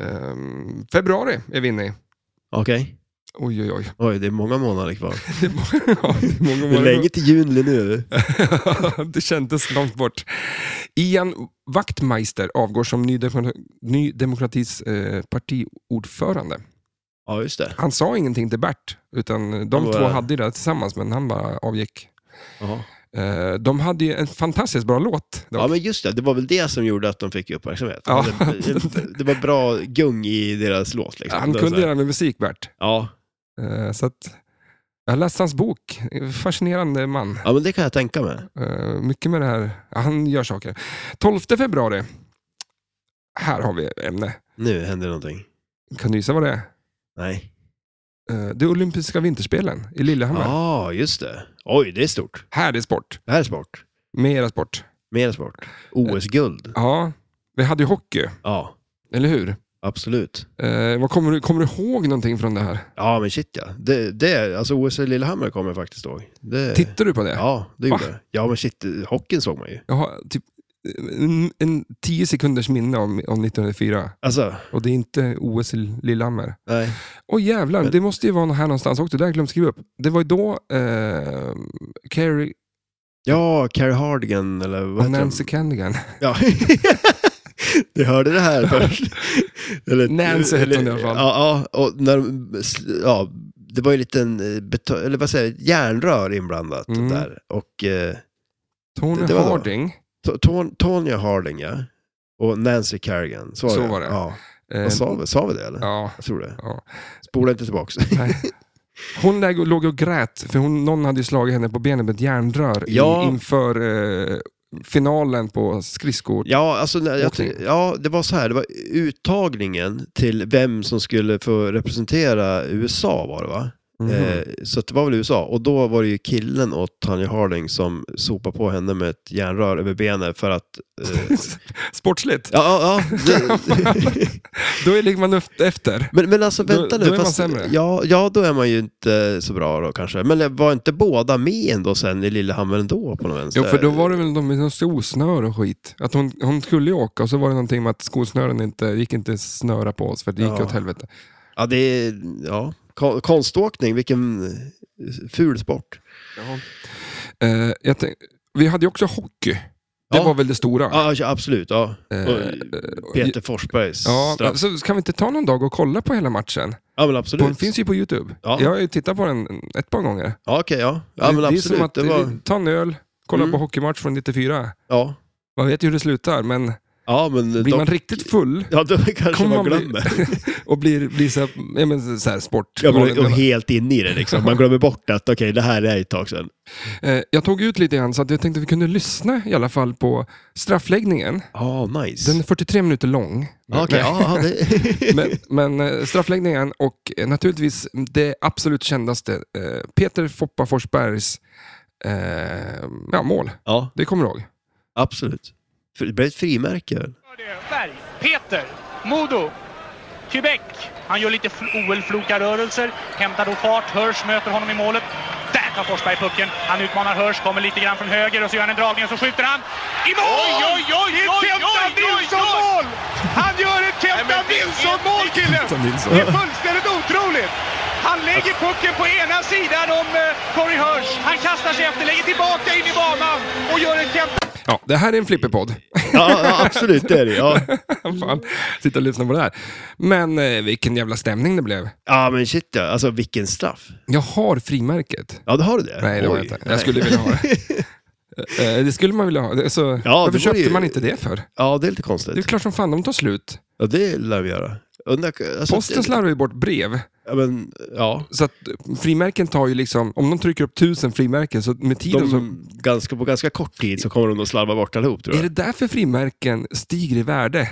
Ehm, februari är vi inne i.
Okej.
Oj, oj, oj.
Oj, det är många månader kvar.
Det är många, ja, det är många
Hur länge till juni nu?
det kändes långt bort. Ian Wachtmeister avgår som Ny, Demo- ny Demokratis eh, partiordförande.
Ja, just det.
Han sa ingenting till Bert, utan de
Han
två
bara-
hade ju det här tillsammans, men han bara avgick.
Ja.
Eh, de hade ju en fantastiskt bra låt. dock.
ja, men just det. Det var väl det som gjorde att de fick uppmärksamhet.
Ja.
Det, det var bra gung i deras låt. Liksom.
Han
Det var
kunde
så här-
göra med musik, Bert.
Ja.
Eh, Så att, jag läste hans bok. Fascinerande man.
ja, men det kan jag tänka mig.
Eh, Mycket med det här. Ja, Han gör saker. 12 februari. Här har vi ämne.
Nu händer någonting.
Kan du gissa vad det är?
Nej.
Eh, Det är olympiska vinterspelen i
Ja,
Lillehammer.
ah, just det. Oj, det är stort.
Här är sport.
Det här är sport.
Mera sport.
Mer sport. OS-guld.
Ja, vi hade ju hockey,
Ja.
eller hur?
Absolut.
Eh, vad kommer, du, kommer du ihåg någonting från det här?
Ja, men shit ja. Det, det, alltså OS i Lillehammer kommer jag faktiskt ihåg. Det,
Tittar du på det?
Ja, det gjorde jag. Ja, men shit, hockeyn såg man ju.
Jag har typ en, en tio sekunders minne om, om 1904
Alltså,
och det är inte OS i Lillehammer.
nej.
Åh jävlar,
Men-
det måste ju vara här någonstans också. Det har jag glömt skriva upp. Det var ju då eh, Carrie
Ja, Carrie Hardigan eller vad
och
heter
Nancy
hon?
Canigan.
Ja. Du hörde det här först. Eller,
Nancy hette hon i alla fall.
Ja, ja, och när, de- ja, det var ju en liten eh, beto- eller vad säger, jag, järnrör inblandat
Mm.
där. Och eh,
Tony
Det- det var då.
Harding.
To- Ton- Tonya Harding, ja. Och Nancy Kerrigan. Så var
Så
det.
var det.
Ja.
Eh,
Vad sa, vi? sa vi det eller?
ja,
Jag tror det.
Ja.
Spola inte tillbaka.
nej. Hon läg- låg och grät för hon, någon hade ju slagit henne på benet med ett järnrör i-
Ja.
inför eh, finalen på skridskor.
Ja, alltså, när jag,
Åkning.
ja, det var så här. Det var uttagningen till vem som skulle få representera USA var det va?
Mhm.
Eh, så att det var väl USA. Och då var det ju killen åt Tanya Harding som sopade på henne med ett järnrör över benen för att... Eh,
Sportsligt.
ja, ja, ja. Det,
Då ligger man upp- efter.
men, men alltså
Då-
vänta
då
nu.
är man sämre.
ja, ja, då är man ju inte så bra då kanske. Men var inte båda med ändå sen i Lillehammer ändå på något vänster?
Jo, för då var det väl de med någon skosnöre och skit. Att hon, hon skulle ju åka och så var det någonting med att skosnören inte gick inte att snöra på oss för det gick
Ja.
åt helvete.
Ja, det är... Ja. Kon- Konståkning, vilken ful sport.
Eh, jag tänk, vi hade ju också hockey. Det
Ja.
var väl det stora.
Ja, ja, absolut. Ja.
Eh,
Och Peter Forsbergs
Ja,
straff.
så kan vi inte ta någon dag och kolla på hela matchen?
Ja, men
På, den
absolut.
finns ju på YouTube.
Ja.
Jag har ju tittat på den ett par gånger.
Ja, okej, ja. Ja,
det,
men
det är som
absolut.
att
Det var...
vi tar en öl, kolla
Mm.
på hockeymatch från 94.
Ja.
Man vet ju hur det slutar, men
Ja, men...
blir
de-
man riktigt full
Ja, då kanske
Kommer
man
man bli-
glömmer.
och blir, blir så, här, ja, men, så här sport...
Ja, men, och helt inne i det liksom. Man glömmer bort att okej, det här är ett tag sedan.
Eh, Jag tog ut lite grann så att jag tänkte att vi kunde lyssna i alla fall på straffläggningen.
Ja, nice.
Den är 43 minuter lång.
Ja, Okej,
Men-
ja, ja, det...
Men, men eh, straffläggningen och eh, naturligtvis det absolut kändaste, eh, Peter Foppa Forsbergs eh, ja, mål.
ja,
Det kommer du ihåg?
absolut. För- Det blev ett frimärke. väl?
Berg, Peter, Modo, Quebec. Han gör lite fl- OL-flokarörelser, hämtar då fart. Hörs möter honom i målet. Där tar Forsberg pucken. Han utmanar Hörs, kommer lite grann från höger och så gör han en dragning och så skjuter han. I mål! Oj, oj, oj, oj, oj,
Nilsson-mål! Han gör ett Kenta Nilsson-mål, killen!
Som Nilsson.
Det är fullständigt otroligt! Han lägger pucken på ena sidan om eh, Corey Hirsch.
Han kastar sig efter, lägger tillbaka.
Tillbaka in i banan och gör ett Kenta
Ja, det här är en flipperpodd.
Ja, ja, absolut, det är det. Ja,
Fan,
Mm.
sitta och lyssna på det här. Men eh, vilken jävla stämning det blev.
ja men shit ja. Alltså, vilken straff.
Jag har frimärket.
Ja, då har du det?
Nej, det har
Oj.
jag inte.
Nej.
Jag skulle vilja ha det. Eh, Det skulle man vilja ha. Så, varför
det
köpte
vore ju-
man inte det för?
Ja, det är lite
Det är
konstigt.
klart som fan de tar slut.
Ja, det lär vi göra. Undrar- alltså,
Posten slarvar ju bort brev.
Ja, men, ja.
Så att frimärken tar ju liksom, om de trycker upp tusen frimärken så med tiden
De,
så...
ganska, på ganska kort tid så kommer de att slarva bort allihop, tror
Är
jag.
det därför frimärken stiger i värde?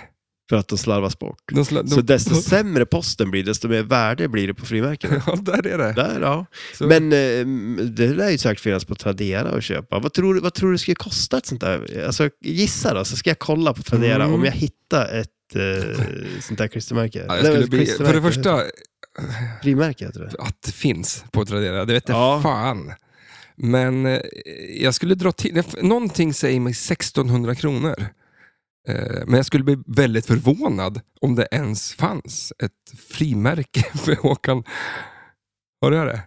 För att de slarvas bort.
De sla, de,
Så desto sämre posten blir, desto mer värde blir det på frimärkena.
Ja, där är det.
Där, ja.
Så,
Men eh, det lär ju säkert finnas på Tradera att köpa. Vad tror, du- vad tror du skulle kosta ett sånt där? Alltså, gissa då, så ska jag kolla på Tradera
Mm.
om jag hittar ett eh, sånt där liksom. klistermärke.
ja, jag
Nej,
skulle
men
bli, för
klistermärke,
det första,
Frimärke heter det.
att det finns på Tradera, det vet jag
Ja.
fan. Men eh, jag skulle dra till, jag- någonting säger mig 1600 kronor. Eh, Men jag skulle bli väldigt förvånad om det ens fanns ett frimärke för Håkan. Har du det?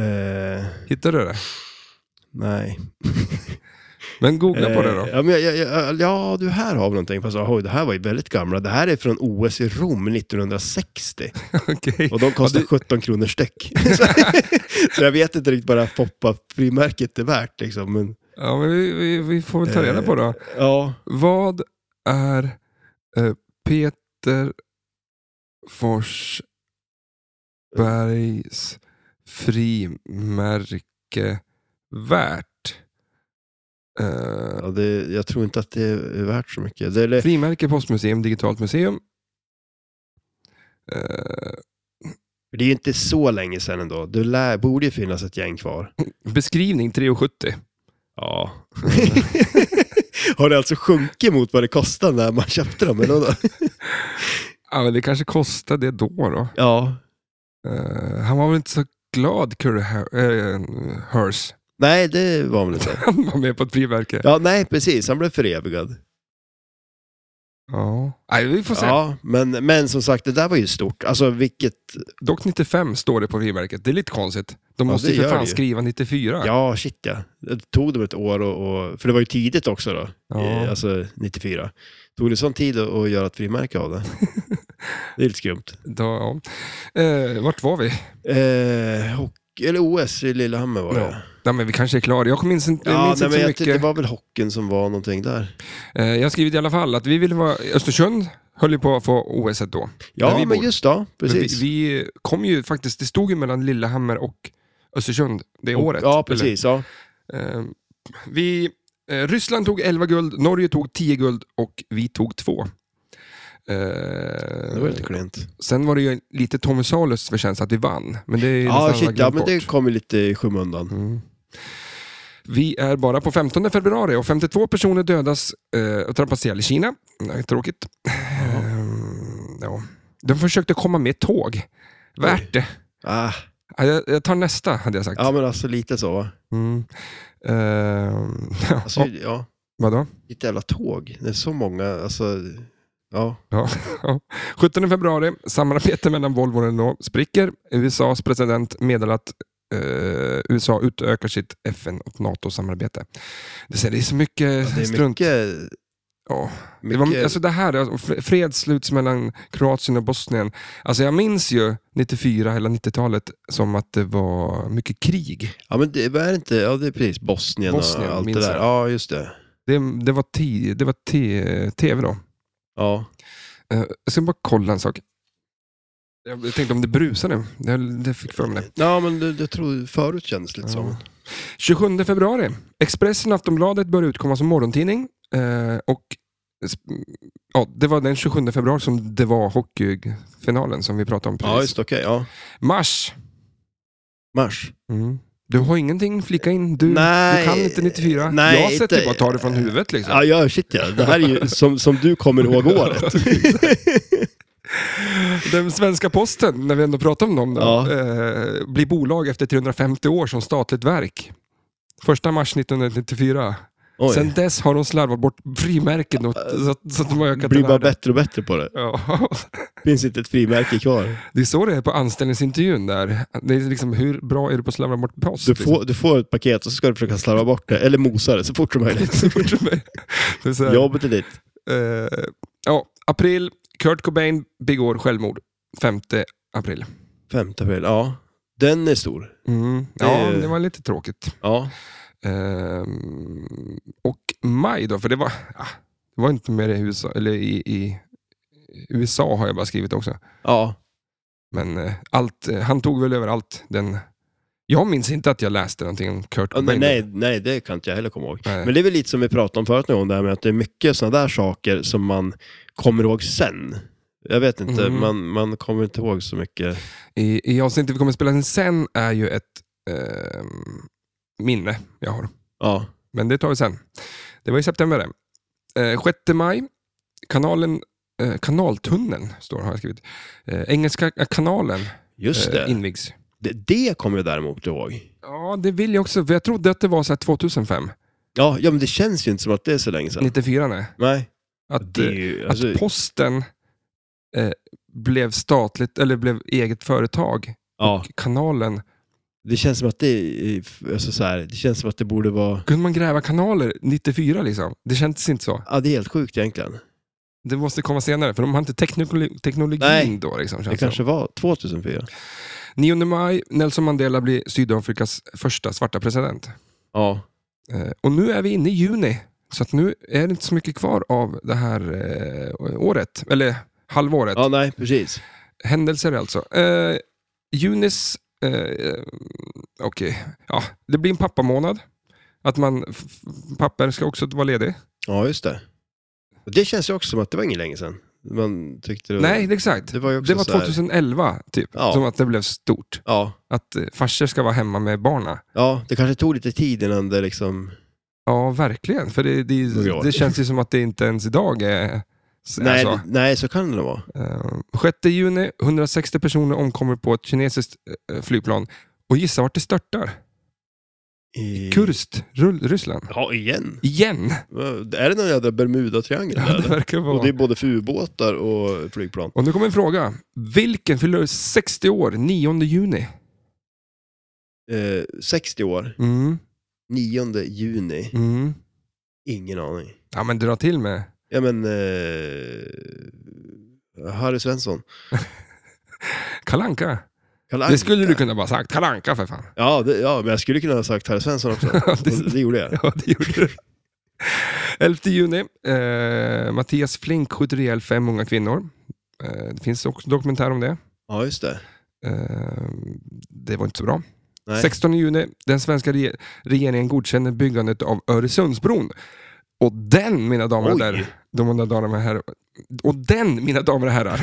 Eh,
Hittade du det?
nej.
Men googla på det då.
Eh, Ja, men jag, jag, jag, ja, du här har vi någonting. Fast, oj, det här var ju väldigt gamla. Det här är från OS i Rom 1960.
Okej.
Och de kostar
Ja,
17 kronor styck. så, jag vet inte riktigt vad det här pop-up-frimärket är värt. Liksom, men,
Ja, men vi, vi, vi får väl ta reda på
Eh.
då.
ja.
Vad är eh, Peter Forsbergs frimärke värt? Eh,
Ja, det, jag tror inte att det är värt så mycket. Det, eller,
frimärke, postmuseum, digitalt museum. Eh,
det är ju inte så länge sedan ändå. Det lär, borde ju finnas ett gäng kvar.
beskrivning 3,70.
Ja. Har det alltså sjunkit mot vad det kostade när man köpte dem? Eller? vadå?
Ja, men det kanske kostade det då. då.
Ja.
Eh, han var väl inte så glad, Curry Her- eh, Hurst.
Nej, det var han väl inte.
Han var med på ett frimärke. Ja.
Ja, nej, precis. Han blev förevigad.
Nej, vi får se.
Ja, men, men som sagt, det där var ju stort. Alltså vilket...
Dock 95 står det på frimärket. Det är lite konstigt. De
Ja,
måste
det
ju för
gör
fan
det ju.
skriva 94.
Ja, shit ja. Det tog dem ett år och, och... För det var ju tidigt också då.
Ja.
Eh, Alltså 94. Tog det sån tid att, att göra ett frimärke av det? det är lite skumt.
Då, ja. Eh, vart var vi?
Eh, hockey, eller OS i Lillehammer var det.
Ja. Nej, men vi kanske är klara. Jag minns inte, jag
Ja,
minns
nej,
inte
men
så
jag,
mycket.
tyckte det var väl hockeyn som var någonting där.
Eh, jag har skrivit i alla fall att vi ville vara... Östersund höll ju på att få OS et då. Där
Ja,
vi
men
bor.
just då,
Men
precis.
Vi, vi kom ju faktiskt... Det stod ju mellan Lillehammer och Östersund det året.
Ja,
eller?
precis. Ja.
Eh, vi, eh, Ryssland tog 11 guld, Norge tog 10 guld och vi tog 2.
Det var lite klent.
Sen var det ju lite Tommy Salus förtjänst att vi vann. Men det är ju nästan
Ja,
alla
shit, ja,
glömt
men det
bort.
kom ju lite i skymundan.
Mm. Vi är bara på 15 februari och 52 personer dödas eh, och trampas ihjäl i Kina. Nej, tråkigt. Ehm, ja. De försökte komma med tåg. Värt det.
Ah,
Ja, Jag, jag tar nästa, hade jag sagt.
ja, men alltså lite så. va?
Mm. Ehm,
Alltså,
ja,
ja,
vadå?
ett jävla tåg. Det är så många, alltså. Ja,
Ja, ja. 17 februari, samarbete mellan Volvo och Renault spricker. USAs president meddelar att eh, USA utökar sitt FN och NATO-samarbete. Det är det är så mycket
det är
strunt.
mycket...
Ja. Det,
mycket
var, alltså det här, alltså, fre- fred sluts mellan Kroatien och Bosnien. Alltså jag minns ju 94, hela 90-talet, som att det var mycket krig.
Ja, men det var det inte, ja det är precis Bosnien,
Bosnien,
och allt det
minns
där.
jag.
Ja, just det.
Det, det var, ti, det var te, tv då.
Ja,
Eh, Jag ska bara kolla en sak. Jag tänkte om det brusade. Det, det fick för mig det.
ja men det, det tror förut kändes det lite
Ja.
som.
27 februari. Expressen och Aftonbladet börjar utkomma som morgontidning. Eh, och, ja, det var den 27 februari som det var hockeyfinalen som vi pratade om precis.
Ja, just det, okej. ja.
Mars.
Mars.
Mm. Du har ingenting flika in. Du, du
Nej.
kan inte 94.
Nej,
jag sätter
inte-
bara tar det från huvudet liksom.
Ja, ja, shit ja. Det här är ju som, som du kommer ihåg året.
Den svenska posten, när vi ändå pratar om dem, då,
Ja.
eh, blir bolag efter 350 år som statligt verk. Första mars 1994.
Oj.
Sen dess har de slarvat bort frimärken och, så, att- så att de har ökat i
blir bara
värde.
bättre och bättre på det.
Ja,
Finns inte ett frimärke kvar.
det är så det är på anställningsintervjun där. Det är liksom, hur bra är du på att slarva bort post? liksom?
Du får, du får ett paket och så ska du försöka slarva bort det, eller mosa det så fort som möjligt.
liksom. Så fort som möjligt. Det är så här,
Jobbet är ditt.
eh, ja, april, Kurt Cobain begår självmord. 5 april.
5 april, ja. Den är stor.
Mm. Ja,
Det-
det var lite tråkigt.
Ja.
Ehm, och maj då, för det var, ah, det var inte med det i USA, eller i, i USA har jag bara skrivit också.
Ja.
Men eh, allt, eh, han tog väl över allt. Den, jag minns inte att jag läste någonting om Kurt
Ja,
Cobain.
men nej, nej, det kan inte jag heller komma ihåg.
Nej.
Men det är väl lite som vi pratade om förut, nu, om det här med att det är mycket sådana där saker som man kommer ihåg sen. Jag vet inte,
Mm.
man, man kommer inte ihåg så mycket.
I, I avsnittet vi kommer att spela in sen är ju ett ehm, minne jag har.
Ja.
Men det tar vi sen. Det var i september det. Eh, 6 maj, kanalen, eh, kanaltunneln står har jag skrivit. Eh, Engelska kanalen
Just
eh,
det.
invigs.
Det, det kommer jag däremot ihåg.
Ja, det vill jag också. För jag trodde att det var så här 2005.
Ja, ja, men det känns ju inte som att det är så länge sedan.
94, nej.
Nej.
Att,
Det är
eh,
ju,
att
alltså,
posten eh, blev statligt, eller blev eget företag.
ja,
Kanalen.
det känns som att det, är- alltså, så här, det känns som att det borde vara...
Kunde man gräva kanaler 94 liksom? Det kändes inte så.
Ja, det är helt sjukt egentligen.
Det måste komma senare, för de har inte teknolo- teknologin
Nej.
då. Liksom,
Det
känns det
kanske var 2004.
som. 9 maj, Nelson Mandela blir Sydafrikas första svarta president.
Ja.
Eh, och nu är vi inne i juni, så att nu är det inte så mycket kvar av det här eh, året. Eller halvåret.
ja, nej, precis.
Händelser alltså. Eh, Junis, eh, eh, okej, ja, det blir en pappamånad. Att man, f- f- papper ska också vara ledig.
Ja, just det. Och det känns ju också som att det var inget länge sedan. Man tyckte det var...
Nej, det är exakt.
det var ju också
Det var
så här-
2011, typ,
Ja.
som att det blev stort.
Ja.
Att eh, farsor ska vara hemma med barna.
ja, det kanske tog lite tid innan det liksom...
Ja, verkligen. För det,
Några
det,
år.
det känns ju som att det inte ens idag är S-
Nej,
Alltså,
d- nej, så kan det vara.
eh, 6 juni, 160 personer omkommer på ett kinesiskt eh, flygplan. Och gissa vart det störtar?
I...
Kurst, Rull, Ryssland.
Ja, igen.
Igen!
Vad- Är det någon jävla Bermuda-triangel
Ja,
där?
det
eller?
verkar vara.
Och det är både för ubåtar och flygplan.
Och nu kommer en fråga. Vilken fyller 60 år 9 juni?
Eh, 60 år,
Mm,
9 juni.
mm.
Ingen aning.
Ja, men dra till med.
Ja men... Eh, Harry Svensson.
Kalanka.
Kalle
Det skulle
Anka.
du kunna bara sagt. Kalanka för fan.
Ja, det, ja, men jag skulle kunna ha sagt Harry Svensson också. Och
Det-
det, gjorde jag.
Ja, det gjorde du. 11 juni. Eh, Mattias Flink skjuter ihjäl fem unga kvinnor. Eh, det finns också en dokumentär om det.
Ja, just det.
Eh, det var inte så bra.
Nej.
16 juni. Den svenska re- regeringen godkänner byggandet av Öresundsbron. Och den, mina damer och
Oj.
herrar, de mina damer och herrar, och den, mina damer och herrar,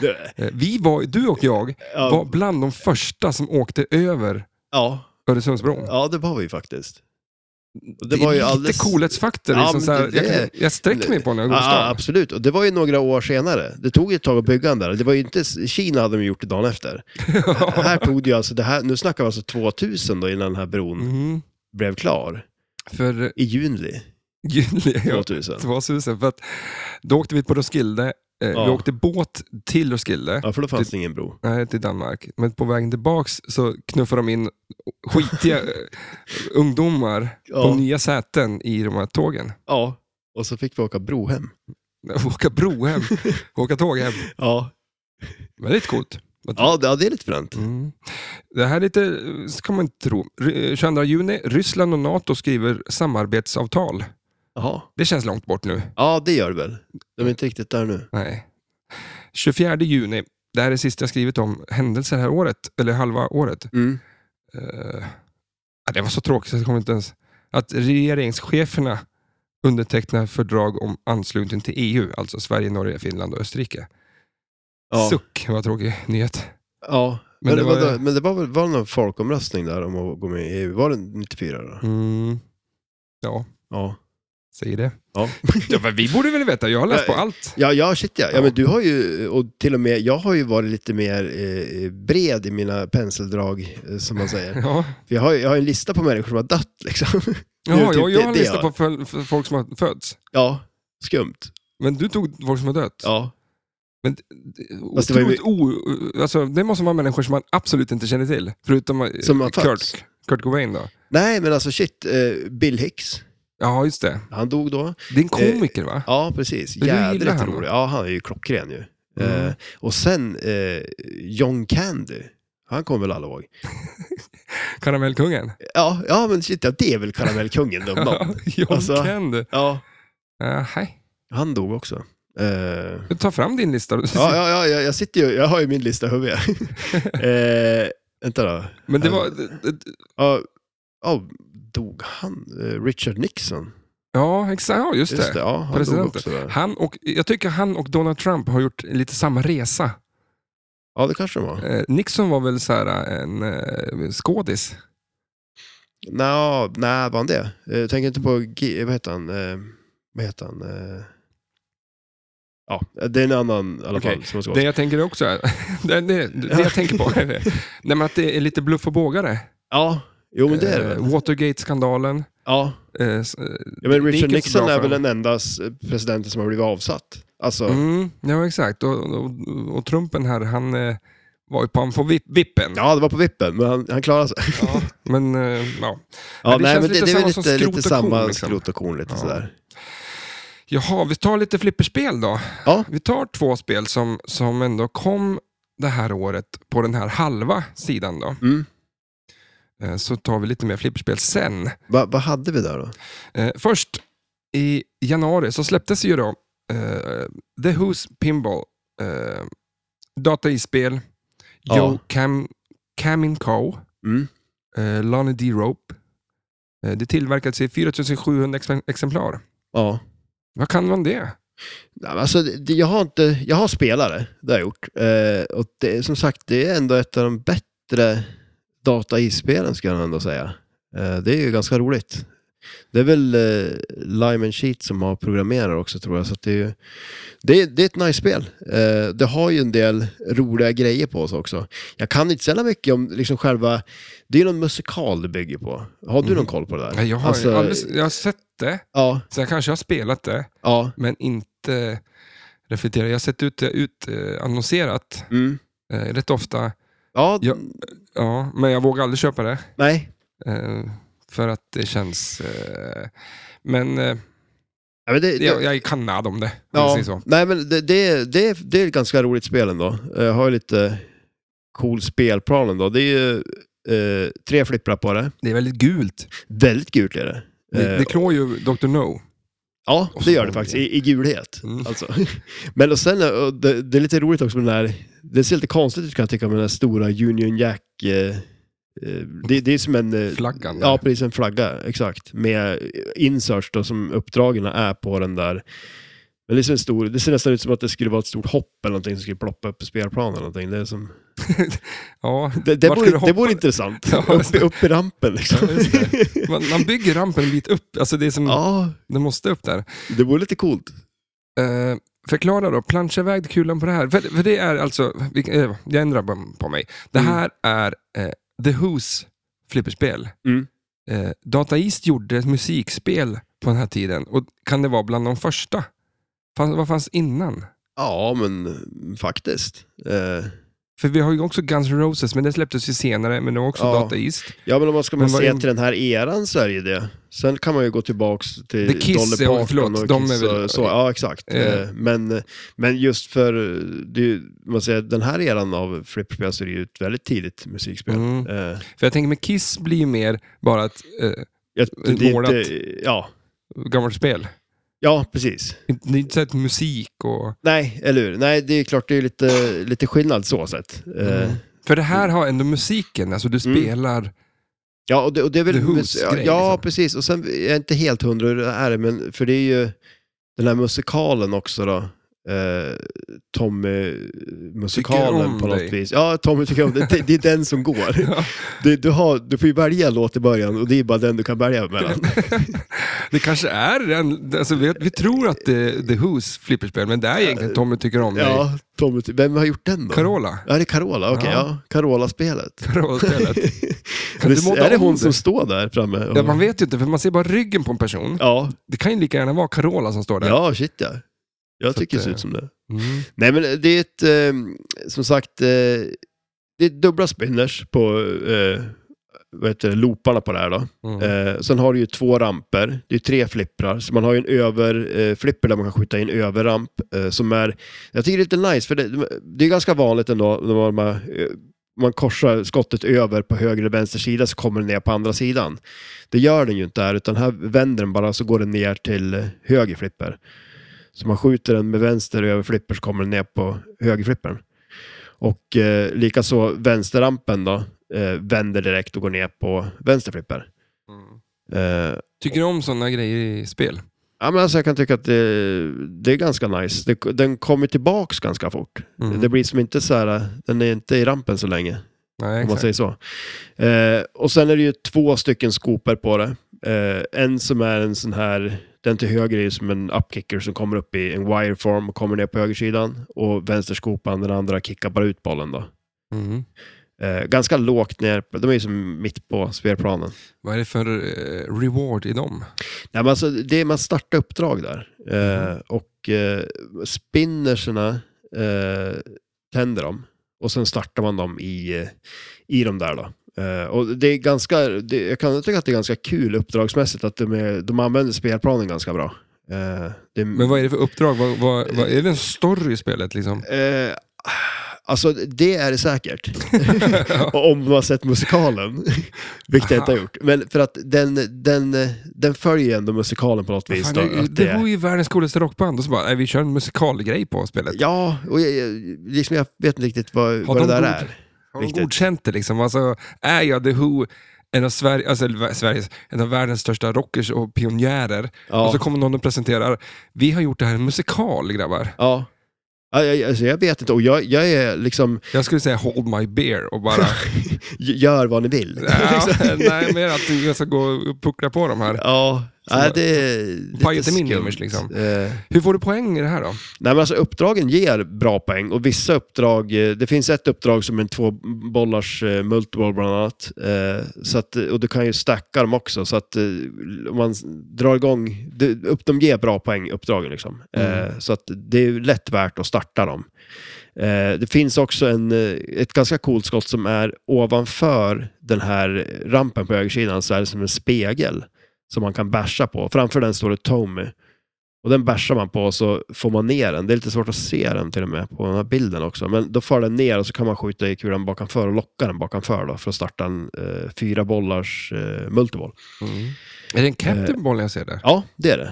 Det-
eh, vi var, du och jag var
ja,
bland de första som åkte över
ja,
Öresundsbron.
ja, det var vi faktiskt. Och
Det, är
var ju
lite
alldeles-
coolhetsfaktor.
Ja,
liksom
men
så här,
det-
jag, kan, jag sträcker mig på när jag går i
Ja,
stan.
absolut. Och det var ju några år senare. Det tog ju ett tag att bygga den där. Det var ju inte... Kina hade de gjort det dagen efter. här tog det ju alltså... Det här, nu snackar vi alltså 2000 då innan den här bron
Mm.
blev klar.
För eh,
I juni
juli ja,
2000.
2000. För att, då åkte vi på Roskilde. Eh, Vi
Ja.
åkte båt till Roskilde,
Ja, för då fanns det ingen bro.
nej, till Danmark. Men på vägen tillbaks så knuffade de in skitiga eh, ungdomar på
Ja.
nya säten i de här tågen.
Ja. Och så fick vi åka bro hem.
Åka bro hem, åka tåg hem.
Ja.
Men det är coolt.
Ja, det, ja, det är lite fränt.
Mm. Det här är lite, eh, så kan man inte tro. Ry- 22 juni, Ryssland och NATO skriver samarbetsavtal.
Jaha.
Det känns långt bort nu.
Ja, det gör det väl. De är inte riktigt där nu.
Nej. 24 juni, det här är sista jag skrivit om händelser det här året, eller halva året.
Mm.
Eh, ja, det var så tråkigt så jag kommer inte ens... Att regeringscheferna undertecknar fördrag om anslutning till EU, alltså Sverige, Norge, Finland och Österrike.
Ja.
Suck, vad tråkig nyhet.
ja. Men,
det
det
var-
var, men det var väl var det någon folkomröstning där om att gå med i EU? Var det 94 då?
Mm. Ja,
Ja.
säg det.
Ja.
Ja, men vi borde väl veta, jag har läst på allt.
ja, ja, shit ja.
Ja.
ja. men du har ju, och till och med, jag har ju varit lite mer eh, bred i mina penseldrag, eh, som man säger.
Ja,
För jag har ju jag har ju en lista på människor som har dött liksom.
ja
Det är
jag,
typ
jag
det-
har
det
listat
jag-
på föl- för folk som har fötts.
Ja, skumt.
Men du tog folk som har dött.
Ja.
Men d- d-
Fast det var ju-
otroligt o... Alltså, det måste vara människor som man absolut inte känner till. Förutom eh,
Som har fötts.
Kurt, Kurt Cobain då.
Nej, men alltså shit, eh, Bill Hicks,
Ja, just det.
han dog då.
Det är en komiker va?
Eh, Ja, precis.
Men du gillar
Jädrigt
han, va?
rolig. Ja, han är ju klockren ju.
Mm.
Eh, och sen eh, John Candy. Han kommer väl alla ihåg?
Karamellkungen.
Ja, ja men shit, ja, det är väl Karamellkungen de
Ja,
namn.
John
Alltså-
Candy.
Ja,
Ja, hej.
han dog också. Eh,
Ta fram din lista.
ja, ja, ja, jag, jag sitter ju, jag har ju min lista i huvudet. eh, vänta då.
Men det var... d- d- d-
Ja, ja, dog han? Eh, Richard Nixon?
Ja, exakt. Ja, just,
Just det,
det.
ja, han dog
Presidenten.
också. Där.
Han och, jag tycker han och Donald Trump har gjort lite samma resa.
Ja, det kanske det var.
Eh, Nixon var väl så här eh, en eh, skådis?
Nå, nej, var han det? Eh, tänker inte på, G- vad heter han? Eh, vad heter han? Eh, ja, det är en annan i alla
Okej,
fall som ska
Det jag tänker också är, det, det, det jag tänker på är det. Nej, men att det är lite bluff och bågare.
Ja, jo men det är det väl.
Eh, Watergate-skandalen.
Ja,
Eh, s- eh,
ja men
det gick
Richard
inte så bra
Nixon är
för
väl
honom.
den enda s- presidenten som har blivit avsatt. Alltså,
Mm, ja, exakt. Och, och, och Trumpen här, han eh, var ju på han på vip, vippen.
ja det var på vippen, men han, han klarade sig.
Ja, Men, eh, ja.
Ja,
det
nej,
känns
men det,
lite
det är väl
samma som skrot
lite, lite
och korn,
samma
liksom.
skrot och korn lite
Ja.
sådär.
Jaha, vi tar lite flipperspel då.
Ja.
Vi tar två spel som, som ändå kom det här året på den här halva sidan då.
Mm.
Eh, Så tar vi lite mer flipperspel sen.
Va, vad hade vi där då?
Eh, först i januari så släpptes ju då eh, The Who's Pinball, eh, dataisspel, Joe
Ja.
Cam, Camin Co,
Mm.
eh, Lonnie D. Rope. Eh, det tillverkades i 4700 ex- exemplar.
Ja.
Vad kan man det?
Nej, men Alltså, det, jag, har inte, jag har spelare, det har jag gjort. Eh, och det, som sagt, det är ändå ett av de bättre data i spelen, ska jag ändå säga. Eh, det är ju ganska roligt. Det är väl eh, Lyman Sheet som har programmerat också tror jag. Så att det, är, ju- det, är- det är ett nice spel. Eh, det har ju en del roliga grejer på sig också. Jag kan inte säga mycket om liksom själva... Det är någon musikal det bygger på. Har du någon koll på det där?
Nej, Mm. Jag har,
Alltså,
alldeles, jag har sett det,
ja,
sen kanske jag har spelat det,
ja.
men inte reflekterat. Jag har sett ut det ut, eh, annonserat
Mm.
eh, rätt ofta,
Ja,
Ja. ja, men jag vågar aldrig köpa det.
nej.
Eh, för att det känns... Eh, men eh,
Ja, men det, det,
jag, jag kan nad om det. om jag
Ja,
säger så.
nej men det, det, det, det är ett ganska roligt spel ändå. Jag har ju lite cool spelplan ändå. Det är ju eh, tre flipprar på det.
Det är väldigt gult.
Väldigt gult är det.
Det,
Eh,
det klår ju Dr. No.
ja,
och så
det gör det
kommer
faktiskt.
det.
I, i gulhet.
Mm.
Alltså. Men och sen, eh, och det, det är lite roligt också med den här, det ser lite konstigt ut kan jag tycka med den här stora Union Jack. Eh, eh, det, det är som en... eh,
Flaggan.
Ja, precis. En flagga, exakt. Med inserts då, som uppdragen är på den där. Men det, är som en stor, det ser nästan ut som att det skulle vara ett stort hopp eller någonting som skulle ploppa upp på spelplanen. Eller någonting. Det, är som,
ja.
det, det,
Vart ska du
vore, det
hoppa?
vore intressant.
Ja, just
upp, upp i rampen liksom.
Ja, just det. Mm. Man, man bygger rampen en bit upp. Alltså det är som,
ja,
det måste upp där.
det vore lite coolt.
Eh, förklara då, plancha iväg kulan på det här. För, för det är alltså, vilka- eh, jag ändrar bara på mig. Det
Mm.
här är eh, The Who's flipperspel.
Mm.
Eh, Data East gjorde ett musikspel på den här tiden och kan det vara bland de första? Fann, vad fanns innan?
Ja, men eh, faktiskt. Eh,
För vi har ju också Guns N' Roses, men det släpptes ju senare, men det var också
Ja.
Data East.
ja, men om man ska
Men
man
vad
se
in-
till den här eran så är det ju det. Sen kan man ju gå tillbaks till
The Kiss,
Dolly
ja,
Parton
förlåt,
och
de är
Kiss
väl-
och så. Ja, exakt.
Eh.
Eh, Men, men just för eh, det, är ju- man säger, den här eran av flipperspel så är det ju ett väldigt tidigt musikspel.
Mm.
Eh,
För jag tänker mig Kiss blir ju mer bara ett eh,
jag- det, det är
Målat.
inte, ja,
gammalt spel.
ja, precis.
Inte- Det är inte så att musik och...
Nej, eller hur? Nej, det är klart det är lite, lite skillnad så sett. Eh,
Mm. För det här har ändå musiken, alltså du
Mm.
spelar...
Ja, och det, och det är väl...
The Who's
ja,
grej,
ja
liksom.
precis. Och sen är jag inte helt hundra hur det är, men för det är ju den här musikalen också då. Eh,
Tycker
Tommy-musikalen
om
på något
dig.
vis. Ja, Tommy tycker om det. Det, det är den som går.
Ja.
Du, du, har, du får ju välja en låt i början och det är bara den du kan välja mellan.
Det kanske är den, alltså vi, vi tror att det, det är Who's flipperspel, men det är egentligen Tommy tycker om dig.
Ja, Tommy, ty- vem har gjort den då?
Carola.
Ja, det är Carola. Okej,
Ja.
ja. Carola-spelet.
Carola-spelet. Kan du
Visst
modda
är det
om
hon
det?
som står där framme?
Ja, man vet ju inte, för man ser bara ryggen på en person.
ja.
Det kan ju lika gärna vara Carola som står där.
ja shit ja. Jag
Så
tycker
att,
det ser
eh,
ut som det.
Mm.
Nej men det är ett, eh, som sagt, eh, det är dubbla spinners på eh, vad heter det, looparna på det här då.
Mm.
Eh, sen har du ju två ramper, det är tre flipprar, så man har ju en överflipper eh, flipper där man kan skjuta in överramp eh, som är, jag tycker det är lite nice för det, det är ganska vanligt ändå när man, man, eh, man korsar skottet över på höger eller vänster sida så kommer den ner på andra sidan. Det gör den ju inte här utan här vänder den bara så går den ner till eh, höger flipper. Så man skjuter den med vänster över flipper så kommer den ner på höger flippern. Och eh, likaså vänsterrampen då eh, vänder direkt och går ner på vänster flipper.
Mm.
Eh,
Tycker du om sådana grejer i spel?
Ja, men alltså jag kan tycka att det, det är ganska nice. Det, den kommer tillbaks ganska fort.
Mm.
Det blir som inte så här, den är inte i rampen så länge,
Nej,
om man
exakt.
säger så. Eh, och sen är det ju två stycken skopor på det. Eh, en som är en sån här, den till höger är ju som en upkicker som kommer upp i en wireform och kommer ner på högersidan. Och vänsterskopan, den andra kickar bara ut bollen då.
Mm.
Eh, ganska lågt ner, de är ju som mitt på spelplanen.
Vad är det för eh, reward i dem?
Nej, men alltså, det är, man startar uppdrag där. Eh,
Mhm.
och eh, spinnerserna eh, tänder de. Och sen startar man dem i, eh, i de där då. Eh, och det är ganska, det, jag kan tycka att det är ganska kul uppdragsmässigt att de, är, de använder spelplanen ganska bra. Eh, det,
Men vad är det för uppdrag? Vad, vad, vad, är det en story i spelet liksom?
eh, Alltså det är det säkert. Och om man har sett musikalen. Vilket jag inte har gjort. Men för att den, den, den följer ändå musikalen på något vis.
Fan,
då,
det,
att
det vore ju världens coolaste rockband och så bara, nej, vi kör en musikalgrej på spelet.
Ja, och jag, jag, liksom jag vet inte riktigt vad, vad
de
det där
god-
är.
Har de
Riktigt.
godkänt det liksom? Alltså, är jag The Who, en av, Sverige, alltså, eller Sveriges, en av världens största rockers och pionjärer,
Ja,
och så kommer någon och presenterar, vi har gjort det här i en musikal grabbar.
ja. Ja, jag- Alltså, jag vet inte, och jag, jag är liksom,
Jag skulle säga hold my beer och bara...
gör vad ni vill.
ja,
Liksom.
nej, mer att jag ska gå och puckla på de här.
Ja,
Så-
nej, det är lite
Pajar inte min
skumt.
image, liksom.
Eh,
Hur får du poäng i det här då?
Nej, men alltså uppdragen ger bra poäng och vissa uppdrag, eh, det finns ett uppdrag som är en två bollars eh, multiball bland annat. Eh, Så att, eh, och du kan ju stacka dem också, så att eh, om man s- drar igång, det, upp, de ger bra poäng uppdragen liksom. Eh, Så att det är ju lätt värt att starta dem. Eh, Det finns också en, eh, ett ganska coolt skott som är ovanför den här rampen på högersidan så är det som en spegel som man kan basha på. Framför den står det Tommy. Och den bärsar man på och så får man ner den. Det är lite svårt att se den till och med på den här bilden också. Men då för den ner och så kan man skjuta i kulan bakanför och locka den bakanför då för att starta en eh, fyra bollars eh, multiboll.
Är det en
Eh.
captain ball jag ser där?
Ja, det är det.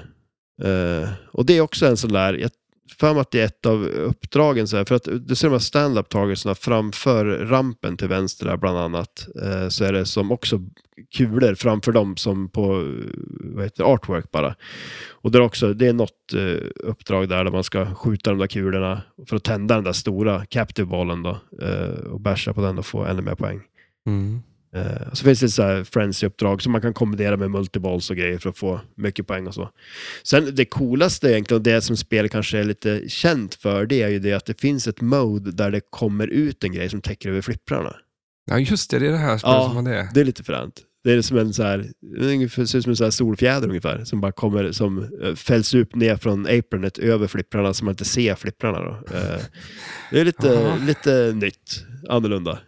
Eh, och det är också en sån där, jag för mig att det är ett av uppdragen så här, för att du ser de här stand-up targetsna framför rampen till vänster där bland annat, eh, så är det som också kulor framför dem som på, eh, vad heter det, artwork bara. Och det är också, det är något eh, uppdrag där, där man ska skjuta de där kulorna för att tända den där stora captive ballen då, eh, och basha på den och få ännu mer poäng.
Mm.
Eh, och så finns det så här frenzy-uppdrag som man kan kombinera med multiballs och grejer för att få mycket poäng och så. Sen det coolaste egentligen, och det som spelet kanske är lite känt för, det är ju det att det finns ett mode där det kommer ut en grej som täcker över flipprarna.
Ja, just det. Det är det här spelet
Ja.
som man är.
Det är lite fränt. Det är som en så här, ungefär- ser ut som en så här solfjäder ungefär, som bara kommer, som eh, fälls upp ner från apronet över flipprarna så man inte ser flipprarna då. Eh, Det är
Jaha.
lite, lite nytt, annorlunda.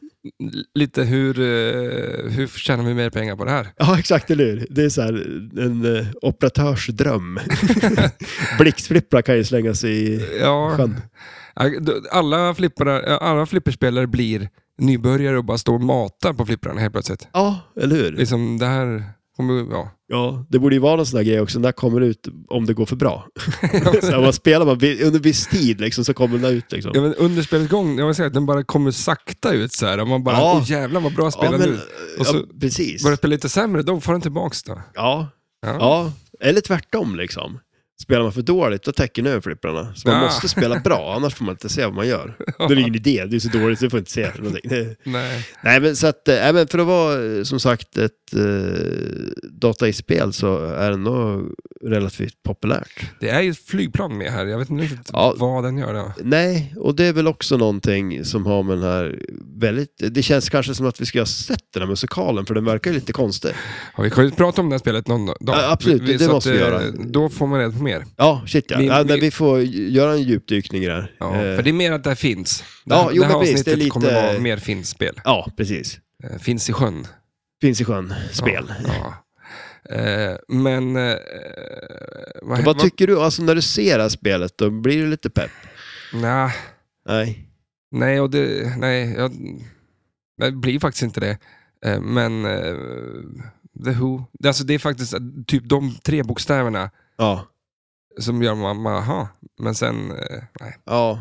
L- Lite hur, eh, hur tjänar vi mer pengar på det här?
Ja, exakt, eller hur? Det är så här en eh, operatörsdröm. Blixtflipprar kan ju slängas i
Ja,
sjön.
Ja, d- alla, flipprar, alla flipperspelare blir nybörjare och bara står och matar på flipprarna helt plötsligt.
Ja, eller hur?
Liksom det här kommer... Ja.
Ja, det borde ju vara någon sån där grej också, när kommer det ut om det går för bra. så här, man spelar man vi- under viss tid liksom, så kommer den där ut. Liksom.
Ja, men under spelets gång, jag vill säga att den bara kommer sakta ut så här. Och man bara,
Ja.
åh jävlar vad bra spelar
men, eh,
nu. Och så-
ja, precis.
Börjar spela lite sämre, då får den tillbaks då.
Ja,
Ja.
ja, eller tvärtom liksom. Spelar man för dåligt, då täcker den över flipprarna. Så man
Ja.
måste spela bra, annars får man inte se vad man gör. Då är det ingen idé, det är så dåligt så du får inte se någonting. Det-
Nej.
Nej, men så att, eh, nej, men för att vara eh, som sagt ett eh, data i spel så är det nog relativt populärt.
Det är ju ett flygplan med här, jag vet inte riktigt
Ja.
vad den gör. Då.
Nej, och det är väl också någonting som har med den här väldigt... Det känns kanske som att vi ska ha sett den här musikalen för den verkar ju lite konstig.
Ja, vi kan ju prata om det här spelet någon dag.
Ja, absolut, det- det
så
måste vi
eh,
göra.
Då får man reda på mer.
Ja, shit ja.
Min-
ja nej,
min-
vi får göra en djupdykning i det här.
Ja,
Eh,
för det är mer att det här finns. Det
Ja,
här,
jo,
det här
men visst,
avsnittet
det är lite-
kommer vara mer finspel.
ja precis.
Eh, Finns i sjön.
Finns i sjön, spel.
Ja. ja. Eh, men... Eh, vad,
Vad tycker du? Alltså när du ser det här spelet, då blir du lite pepp?
Nej,
Nej.
nej, och det, nej, jag, det blir faktiskt inte det. Eh, men eh, The Who, det- alltså det är faktiskt eh, typ de tre bokstäverna
Ja.
som gör man, man aha, men sen, eh, nej.
Ja.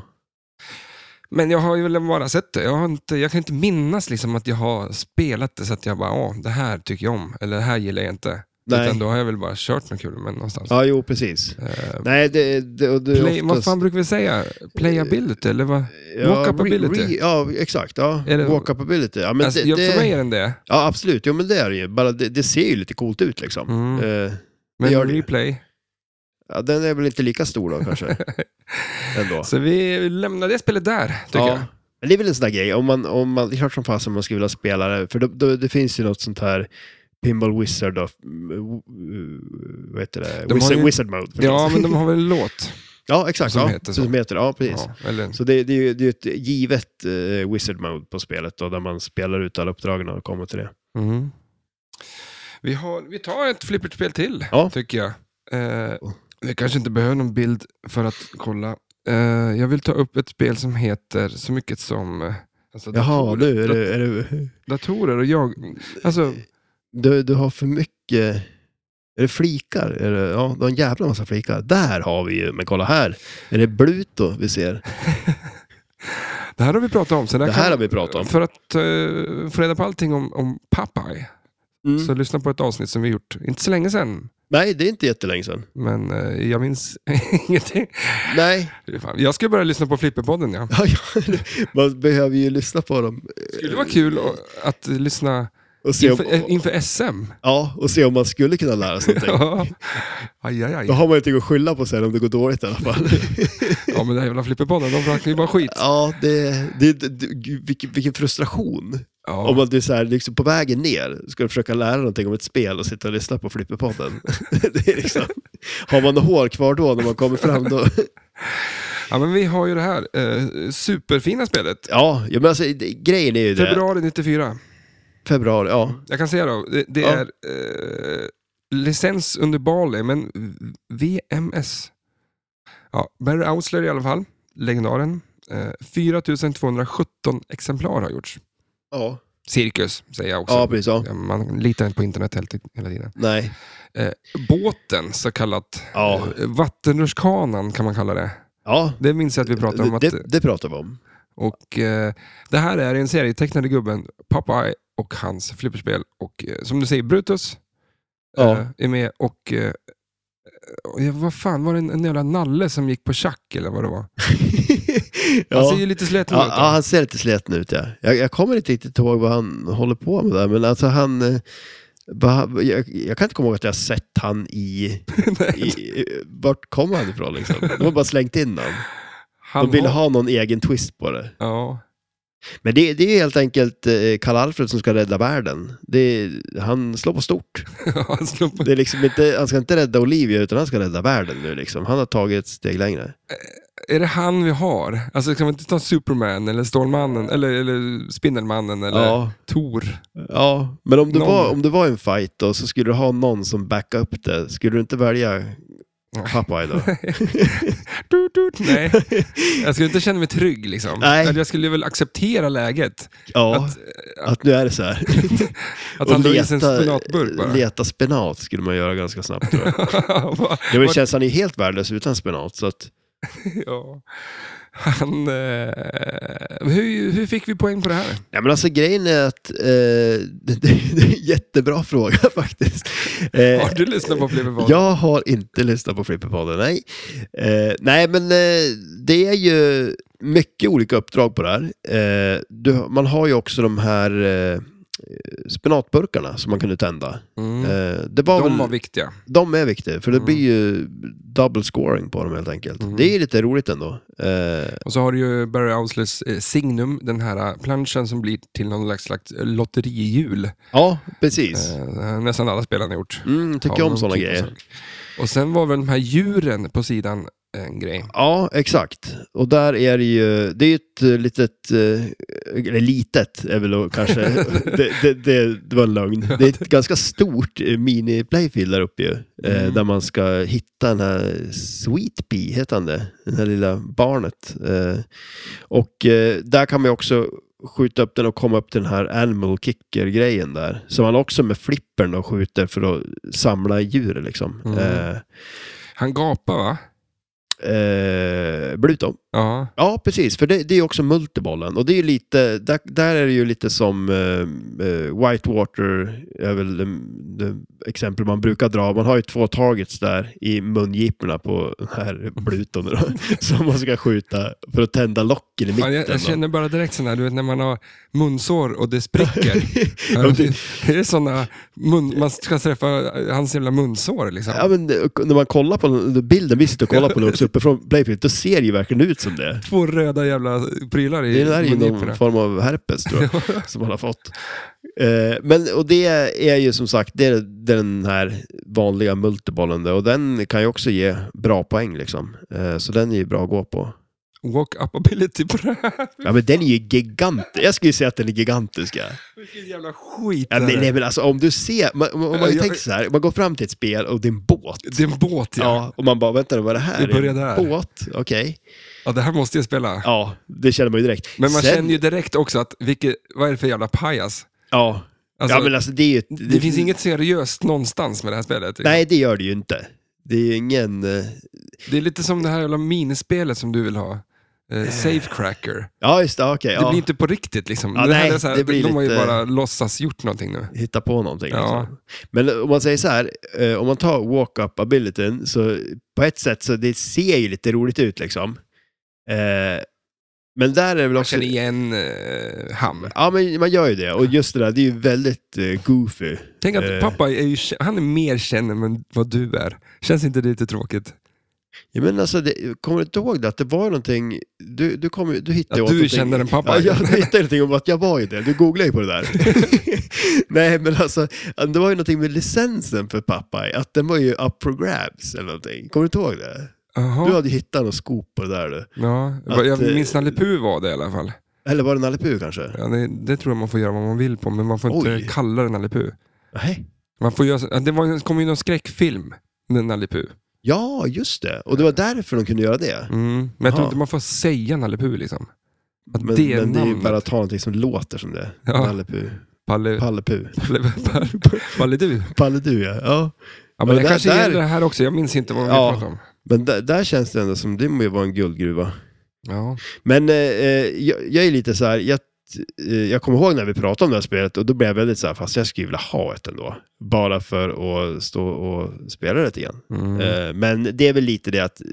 Men jag har ju väl bara sett det. Jag, har inte, jag kan inte minnas liksom att jag har spelat det så att jag bara, åh, det här tycker jag om, eller det här gillar jag inte.
Nej.
Utan då har jag väl bara kört något kul med någonstans.
Ja, jo precis.
Eh,
Nej, det, det, och det är
Play, vad
oftast...
fan brukar vi säga? Playability, eller vad?
Ja,
Walkability.
re- re- Ja, exakt. Ja.
Är det-
Walkability. Ja, men
alltså,
det,
ja,
det,
För mig är den det.
ja, absolut. Jo, men det är det ju. Bara det, det ser ju lite coolt ut liksom.
Mm.
Eh,
Men
gör det ju.
replay.
ja, den är väl inte lika stor då kanske. Ändå.
Så vi lämnar det spelet där, tycker
ja.
jag.
Men det är väl en sån där grej. Om man, om man, det är klart som fasen man skulle vilja spela det. För då, då, det finns ju något sånt här Pinball Wizard då. Mm, w- Vad heter det?
De har
Wizard,
ju-
Wizard Mode. förstås.
Ja, men de har väl en låt?
ja, exakt.
som
ja.
heter så.
Som heter, ja, precis.
Ja, eller,
Så det, det är ju det är ju ett givet eh, wizard mode på spelet då, där man spelar ut alla uppdragen och kommer till det.
mm. vi, har, vi tar ett flipperspel till,
Ja.
tycker jag. Eh, vi kanske inte behöver någon bild för att kolla. Eh, jag vill ta upp ett spel som heter så mycket som... eh, Alltså,
Jaha,
datorer,
nu är du, är du,
datorer och jag... Alltså,
du, du har för mycket... Är det flikar? Är det, ja, du har en jävla massa flikar. Där har vi ju, men kolla här. Är det Bluto vi ser?
det här har vi pratat om. Så
Det här har vi pratat om.
För att eh, få reda på allting om, om Popeye,
Mm.
så lyssna på ett avsnitt som vi gjort, inte så länge sedan,
Nej, det är inte jättelänge sedan.
Men eh, jag minns ingenting.
Nej,
Fan, Jag ska börja lyssna på Flipperpodden. Ja.
Ja, ja, man behöver ju lyssna på dem.
Det skulle vara kul att, att lyssna
Och se om,
inför, eh, inför SM.
ja, och se om man skulle kunna lära sig någonting.
Ja. Aj, aj, aj.
Då har man ingenting att skylla på sen om det går dåligt i alla fall.
Ja, men den här jävla flipperpodden, de pratar ju bara skit.
ja, det, det, det, gud, vilken, vilken frustration.
Ja.
Om man du är så här, liksom på vägen ner ska försöka lära någonting om ett spel och sitta och lyssna på Flipperpodden. det är liksom, har man hår kvar då när man kommer fram då?
ja, men vi har ju det här eh, superfina spelet.
ja, ja, men alltså, det, grejen är ju det.
Februari 94.
Februari, ja.
Jag kan säga då, det, det
Ja.
är eh, licens under Bali, men VMS. Ja, Barry Ausler i alla fall, legendaren. Eh, 4217 exemplar har gjorts.
Ja,
Cirkus, säger jag också.
ja precis. Ja.
Ja, Man litar inte på internet helt- hela tiden.
Nej.
Eh, båten, så kallat.
Ja.
Eh, Vattenrutschkanan kan man kalla det.
Ja,
Det minns jag att vi pratade om. Att,
det, det pratar vi om.
och, eh, det här är en serietecknade gubben, Popeye och hans flipperspel. Och eh, som du säger, Brutus
Ja.
eh, är med och... Eh, och jag- vad fan, var det en, en jävla nalle som gick på tjack eller vad det var?
ja.
Han ser ju lite släten
Ja,
ut.
ja, han ser lite sleten ut ja. Jag, jag kommer inte riktigt ihåg vad han håller på med där, men alltså han... eh, vad- Jag, jag kan inte komma ihåg att jag har sett han i... i i- vart kom han ifrån liksom? De har bara slängt in han.
Han
De ville
har-
ha någon egen twist på det.
Ja,
Men det, det är helt enkelt eh, Karl-Alfred som ska rädda världen. Det, är- han slår på stort.
han slår på
Det är liksom inte, han ska inte rädda Olivia, utan han ska rädda världen nu liksom. Han har tagit ett steg längre.
Är det han vi har? Alltså kan vi inte ta Superman eller Stålmannen eller, eller Spindelmannen eller
Ja.
Thor?
Ja, men om det,
Någon.
var, om det var en fight då, så skulle du ha någon som backade upp det. Skulle du inte välja Popeye då?
Du, du, nej, jag skulle inte känna mig trygg liksom.
Nej.
Eller Jag skulle väl acceptera läget.
Ja,
Att,
att, nu är det så här.
att han drar i sig en spenatburk bara.
leta spenat skulle man göra ganska snabbt tror jag.
Vad-
Det
vad-
var, känns han är helt värdelös utan spenat. Så att,
ja. Han... Eh, hur, hur fick vi poäng på det här?
ja, men alltså grejen är att eh, det, det, det är en jättebra fråga faktiskt. Eh,
Har du lyssnat på Flipper Pod?
jag har inte lyssnat på Flipperpodden, nej. Eh, nej, men eh, det är ju mycket olika uppdrag på det här. Eh, du, man har ju också de här eh, spenatburkarna som man kunde tända.
Mm.
Eh, det var
De
väl,
var viktiga.
de är viktiga, för det
Mm.
blir ju double scoring på dem helt enkelt.
Mm.
Det är lite roligt ändå. Eh,
Och så har du ju Barry Ouslers eh, Signum, den här eh, planschen som blir till någon slags, slags lotterihjul.
ja, precis.
Eh, nästan alla spelarna har gjort.
Mm, tycker
Ja,
jag om
någon
sådana
typ av
grejer.
sak. Och sen var väl de här djuren på sidan en grej.
Ja, exakt. Och där är det ju, det är ju ett eh, litet, eh, eller litet är väl då kanske, det, det, det, det var en lögn. Det är ett ganska stort eh, mini-playfield där uppe ju, eh,
Mm.
där man ska hitta den här Sweet Pea, heter han det, det här lilla barnet. Eh, och eh, där kan man ju också skjuta upp den och komma upp till den här animal kicker-grejen där. Som man också med flippern då skjuter för att samla djur liksom.
Mm.
Eh,
Han gapar va?
eh, Bluto.
Ja.
Ja, precis. För det, det är också multibollen. Och det är ju lite, där, där är det ju lite som eh, eh, Whitewater, är väl det, det exempel man brukar dra. Man har ju två targets där i mungiporna på den här Pluton då, som man ska skjuta för att tända locken i mitten.
Fan, jag,
då.
jag känner bara direkt sådana här, du vet när man har munsår och det spricker.
Ja,
Ja,
men
det,
det-
är det sådana, mun, man ska träffa eh, hans jävla munsår liksom.
Ja, men det- när man kollar på den- bilden, vi sitter och kollar på den också uppifrån Playfield, då ser det ju verkligen ut som det.
Två röda jävla prylar i
Det där är ju
mungiporna.
någon form av herpes tror jag, som han har fått. Eh, Men, och det är ju som sagt, det är den här vanliga multibollen där, och den kan ju också ge bra poäng liksom. Eh, Så den är ju bra att gå på.
Walk up ability på det här.
Ja men den är ju gigantisk, jag skulle ju säga att den är gigantisk. Ja.
Vilken jävla skit.
Ja,
det
nej,
är.
nej men alltså om du ser, man, om man
Ja, jag-
tänker så här, man går fram till ett spel och det är en båt.
Det är en båt ja. ja.
Ja, och man bara, vänta nu, vad är det här?
Vi börjar
Är det en
där.
Båt, okej.
det här måste jag spela.
Ja, det känner man ju direkt.
Men man
Sen-
känner ju direkt också att, vilket, vad är det för jävla pajas?
Ja,
Alltså,
ja men alltså det är ju...
det, finns inget seriöst någonstans med det här spelet.
Nej, det gör det ju inte. Det är ju ingen... eh,
Det är lite som det här jävla minispelet som du vill ha. eh, safecracker.
Ja, just det. Okej.
Det blir
ja.
inte på riktigt liksom.
Ja,
det här
nej,
är så här,
det blir
de har ju
lite-
bara låtsas gjort någonting nu.
Hitta på någonting.
Ja.
Liksom. Men om man säger så här, eh, om man tar walk-up abilityn, så på ett sätt så det ser ju lite roligt ut liksom. Eh, men där är det väl
Man
också...
känner igen eh, ham.
Ja, men man gör ju det. Och just det där, det är ju väldigt eh, goofy.
Tänk att
Eh.
pappa är ju, kä- han är mer känd än vad du är. Känns inte det lite tråkigt?
Ja, men alltså, det, kommer du inte ihåg det? Att det var någonting... Du, du, kom, ju- du hittade
Att
ju
du
åt någonting-
känner en pappa.
Ja, jag hittade någonting om att jag var ju det. Du googlade ju på det där. Nej, men alltså, det var ju någonting med licensen för pappa. Att den var ju up for grabs eller någonting. Kommer du inte ihåg det?
Jaha.
Du hade ju hittat någon skop på det där du.
Ja,
Att,
jag
eh,
minns Nalle Puh var det i alla fall.
Eller var det Nalle Puh kanske?
Ja, det, det tror jag man får göra vad man vill på, men man får
Oj.
inte kalla det Nalle Puh.
Nej.
Man får göra, så- ja, det var, ju- kom ju någon skräckfilm, den Nalle Puh.
Ja, just det. Och det var därför de kunde göra det.
Mm. Men jag tror
Jaha.
inte man får säga Nalle Puh liksom. Att
Men
det
det,
är
men det är ju
namnet.
bara att ta någonting som låter som det.
Ja.
Nalle Puh.
Palle,
Palle Puh.
palle, palle, palle du.
Palle du ja. ja.
Ja, men
Men
det
där-
kanske
där-
gäller det här också, jag minns inte vad vi
Ja.
pratade om.
Men där, där känns det ändå som det må ju vara en guldgruva.
Ja.
Men eh, eh, jag, jag är lite så här, jag, eh, jag kommer ihåg när vi pratade om det här spelet och då blev jag väldigt så här, fast jag skulle vilja ha ett ändå. Bara för att stå och spela det igen.
Mm.
Eh, men det är väl lite det att, eh,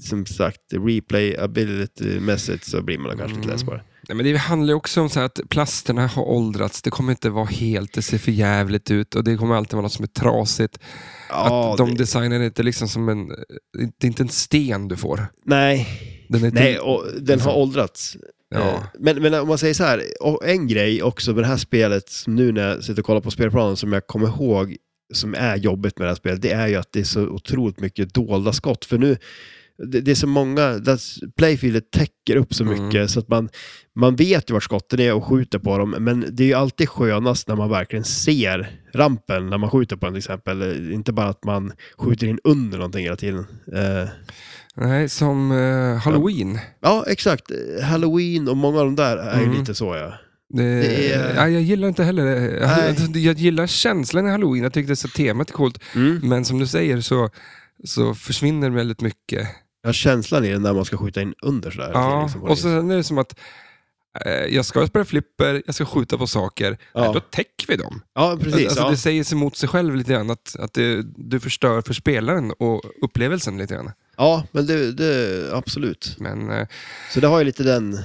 som sagt, replayability-mässigt så blir man kanske lite
Mm.
less på det.
Nej, men det handlar ju också om så här att plasterna har åldrats, det kommer inte vara helt, det ser för jävligt ut och det kommer alltid vara något som är trasigt.
Ja,
att de
det-
designar inte liksom som en, det är inte en sten du får.
Nej,
Den är inte-
nej och den har åldrats. Eh,
Ja.
Men, men om man säger så här, och en grej också med det här spelet, som nu när jag sitter och kollar på spelplanen, som jag kommer ihåg, som är jobbigt med det här spelet, det är ju att det är så otroligt mycket dolda skott. För nu, det, det är så många, där s- playfieldet täcker upp så
Mm.
mycket så att man, man vet ju vart skotten är och skjuter på dem, men det är ju alltid skönast när man verkligen ser rampen när man skjuter på den till exempel. Eh, Inte bara att man skjuter in under någonting hela tiden. Eh,
Nej, som eh, Halloween.
ja, exakt. Eh, Halloween och många av de där är ju
Mm.
lite så ja.
Det,
Det är-
ja, jag gillar inte heller det. Jag,
Nej.
jag gillar känslan i halloween, jag tyckte så temat är coolt.
Mm.
Men som du säger så, så försvinner väldigt mycket.
Ja, känslan i den när man ska skjuta in under sådär.
Ja,
liksom, på
och
något
så
vis.
sen är det som att eh, jag ska spela flipper, jag ska skjuta på saker.
Ja.
Nej, då täcker vi dem.
ja precis.
alltså,
ja.
Det säger sig mot sig själv lite grann, att, att det, du förstör för spelaren och upplevelsen lite grann.
ja, men det, det, absolut.
Men, eh,
Så det har ju lite den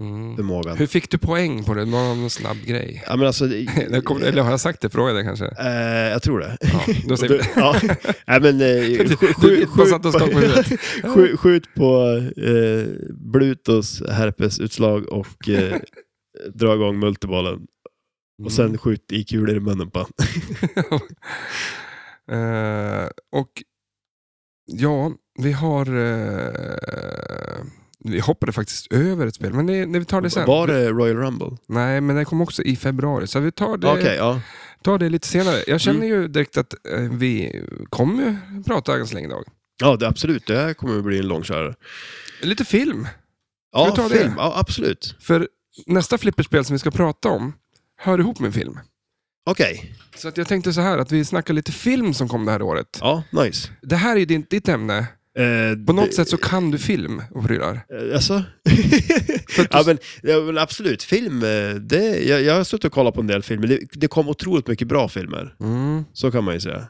mm.
förmågan.
Hur fick du poäng på det? Det var någon snabb grej.
Ja, men alltså, det-
Eller kom- Eller har jag sagt det? Fråga det kanske.
eh, jag tror det.
Ja, då säger vi det.
ja. Nej, men,
Du-
eh, skj-
du
skj-
vet vad satt och skakade på huvudet.
skjut, skjut på eh, Blutos herpesutslag och eh, dra igång multibollen.
Mm.
Och sen skjut i kulor i munnen på honom.
Eh, och ja, vi har... eh, vi hoppade faktiskt över ett spel, men det, det, vi tar det sen.
Var det Royal Rumble?
Nej, men det kom också i februari, så vi tar det,
Okej, Mm. ja.
tar det lite senare. Jag känner ju direkt att eh, vi kommer ju prata ganska länge idag.
Ja, det, absolut. Det här kommer att bli en långkörare.
Lite film,
Ja,
vi ta
film.
det?
Ja, absolut.
för nästa flipperspel som vi ska prata om hör ihop med film.
Okej.
Så att jag tänkte så här, att vi snackar lite film som kom det här året.
Ja, nice.
Det här är ju ditt, ditt ämne.
Eh,
På något
det-
sätt så kan du film och prylar.
eh, Alltså?
För att du-
ja, men, ja, men absolut. Film, eh, det, jag, jag har suttit och kollat på en del filmer. Det, det kom otroligt mycket bra filmer.
Mm.
Så kan man ju säga.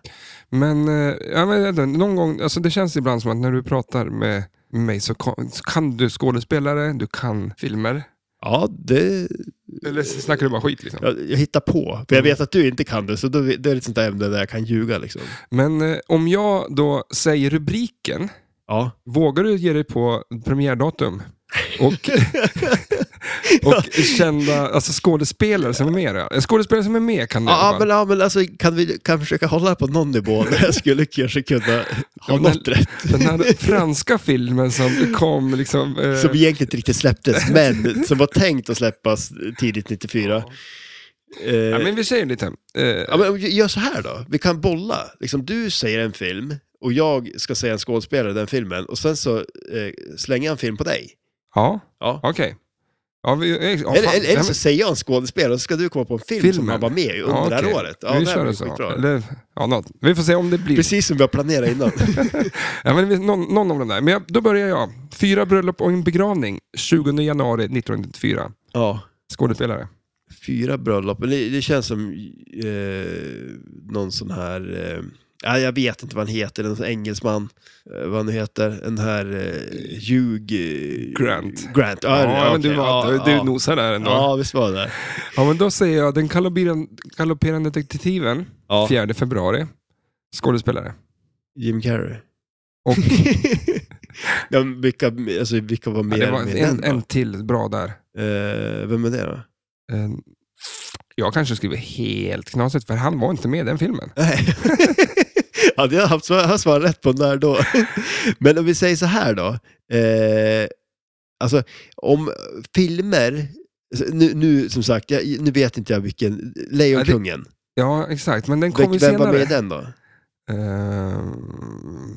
Men, eh, ja, men ändå, någon gång, alltså det känns ibland som att när du pratar med mig så kan, så kan du skådespelare, du kan filmer.
Ja, det...
Eller så snackar du bara skit liksom.
Jag, jag hittar på. För jag
Mm.
vet att du inte kan det, så då, det är ett sånt där ämne där jag kan ljuga liksom.
Men eh, om jag då säger rubriken,
Ja.
vågar du ge dig på premiärdatum? Och, och kända alltså skådespelare som är med? då? En skådespelare som är med kan du i alla
Ja,
fall.
men, ja, men alltså kan vi kan försöka hålla det på någon nivå där jag skulle kanske kunna ha
Ja, men-
något rätt.
Den här franska filmen som kom liksom... eh,
Som egentligen inte riktigt släpptes, men som var tänkt att släppas tidigt 94. Eh,
ja, men vi säger lite. Eh,
Ja, men gör så här då, vi kan bolla. Liksom, du säger en film och jag ska säga en skådespelare i den filmen och sen så eh, slänger jag en film på dig.
ja,
Ja.
okej. Ja, vi, eh, ja, fan,
Eller, eller,
det
eller
här
så
med
säger jag en skådespelare och så ska du komma på en film som
filmen.
han var med i under
Ja,
det här
okej.
året. Ja,
vi
det här
kör
blir
så.
skitbra.
Eller, ja, något. Vi får se om det blir.
Precis som vi har planerat innan.
Ja, men vi, någon, någon av dem där. Men jag, då börjar jag. Fyra bröllop och en begravning 20 januari 1994.
ja.
Skådespelare.
Fyra bröllop, men det, det känns som eh, någon sån här... Eh, ja, jag vet inte vad han heter, en sån engelsman. Eh, vad han nu heter, den här... Eh, Hugh... Eh,
Grant.
Grant, ja,
ja, men du,
okej,
var,
ja,
du
ja.
nosar där ändå. Ja.
Ja, visst var det där.
men då säger jag Den galopperan- galopperande detektiven,
Ja.
4 februari. Skådespelare.
Jim Carrey.
Och-
ja, men vilka, alltså, vilka var
Ja,
mer
det var
med
en,
den,
en
då?
till bra där.
eh, Vem är det då?
Eh, Jag kanske skriver helt knasigt, för han var inte med i den filmen.
Nej. Hade jag haft svar, haft svar rätt på när då? Men om vi säger så här då. Eh, alltså, om filmer... alltså, Nu, nu som sagt, jag, nu vet inte jag vilken. Lejonkungen.
Ja, exakt, men den kom ju
Vil- Vem var
senare.
med i den då?
Ehm,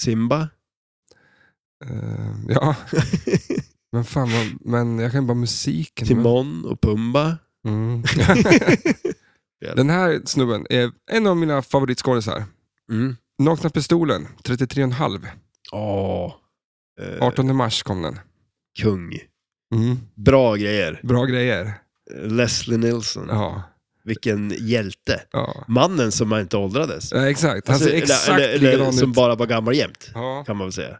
Simba?
ehm, ja, men fan vad, men jag kan bara musiken.
Timon och Pumba?
Mm. den här snubben är en av mina favoritskådisar.
Mm.
Nakna pistolen, 33,5.
Åh. Eh,
18 mars kom den.
Kung.
Mm.
Bra grejer.
Bra grejer.
Leslie Nielsen.
Ja,
Vilken hjälte.
ja.
Mannen som inte åldrades.
Ja, exakt. Han
Alltså,
ser exakt
eller, eller, eller,
likadan
som
ut.
bara var gammal jämt,
Ja.
kan man väl säga.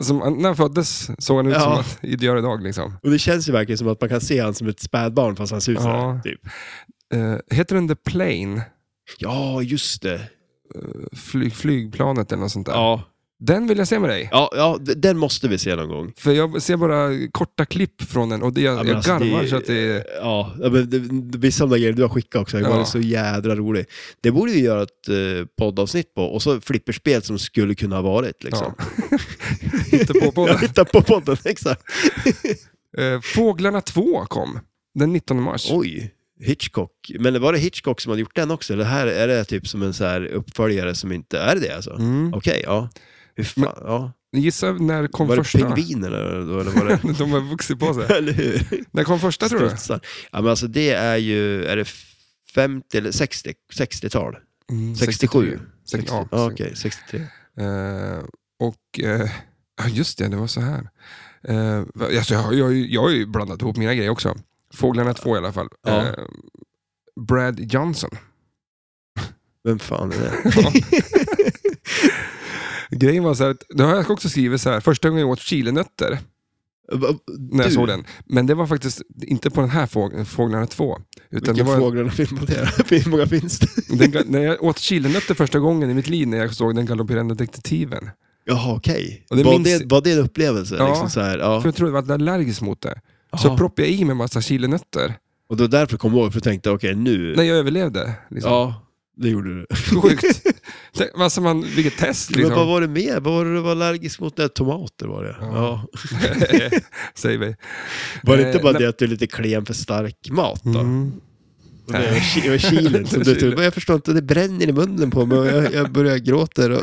Alltså, när han föddes såg han ut
Ja.
som att det gör idag. Liksom.
Och det känns ju verkligen som att man kan se han som ett spädbarn fast han ser ut
Ja.
sådär. Typ.
Eh, heter den The Plane?
Ja, just det.
Flyg, flygplanet eller något sånt där.
Ja.
Den vill jag se med dig.
Ja, ja, d- den måste vi se någon gång.
För jag ser bara korta klipp från den och det, jag,
men
jag
alltså,
garvar
det-
så att det är...
Ja, ja, men det, det blir samma grejer du har skickat också. Den
Ja.
var så jädra rolig. Det borde vi göra ett eh, poddavsnitt på. Och så flipperspel som skulle kunna ha varit. Liksom.
Ja. Inte på podden.
Jag hittar på podden, exakt.
Eh, Fåglarna 2 kom den 19 mars.
Oj, Hitchcock. Men var det Hitchcock som hade gjort den också? Eller här är det typ som en så här uppföljare som inte... Är det det alltså?
Mm.
Okej, ja. Hur fan, ja.
Gissa när kom
Var
första?
det pingviner då, eller var det...
De har vuxit på sig.
eller hur?
När kom första tror du?
Strutsar. Ja, men alltså det är ju, är det 50 eller 60, 60-tal?
Mm,
67?
60, ja,
ja, okej, 63.
Eh, och... Eh, ja, just det, det var så här. Eh, va- alltså, jag, har- jag, har ju- jag har ju blandat ihop mina grejer också. Fåglarna 2 i alla fall.
Ja.
Eh, Brad Johnson.
Vem fan är det?
Grejen var så här, att, det har jag också skrivit så här, första gången jag åt chilinötter
Va-
när jag
du?
såg den. Men det var faktiskt inte på den här fåg, Fåglarna 2. Utan det
Vilken
var,
fåglarna film var det? Hur många finns det?
den, ga- när jag åt chilinötter första gången i mitt liv när jag såg Den galopperande detektiven.
Jaha, okej.
Och det
Var,
minns-
det, var det en upplevelse?
Ja.
Liksom så här, ja.
För jag trodde jag var allergisk mot det. Så
Jaha.
proppade jag i mig massa chilinötter
Och då därför kom jag ihåg, för jag tänkte okej nu...
när jag överlevde. Liksom.
Ja, det gjorde du.
Sjukt. Tänk, Alltså man, vilket test
Men vad
liksom.
var det mer? Vad var det du var allergisk mot? Nej, tomater var det.
Ja.
Ja.
Säger vi.
Var det inte
Eh,
bara
nej.
det att du är lite klen för stark mat då?
Mm.
Och Det är chi- och chilen som du tog. Men Jag förstår inte, det bränner i munnen på mig och jag, jag börjar gråta. Och...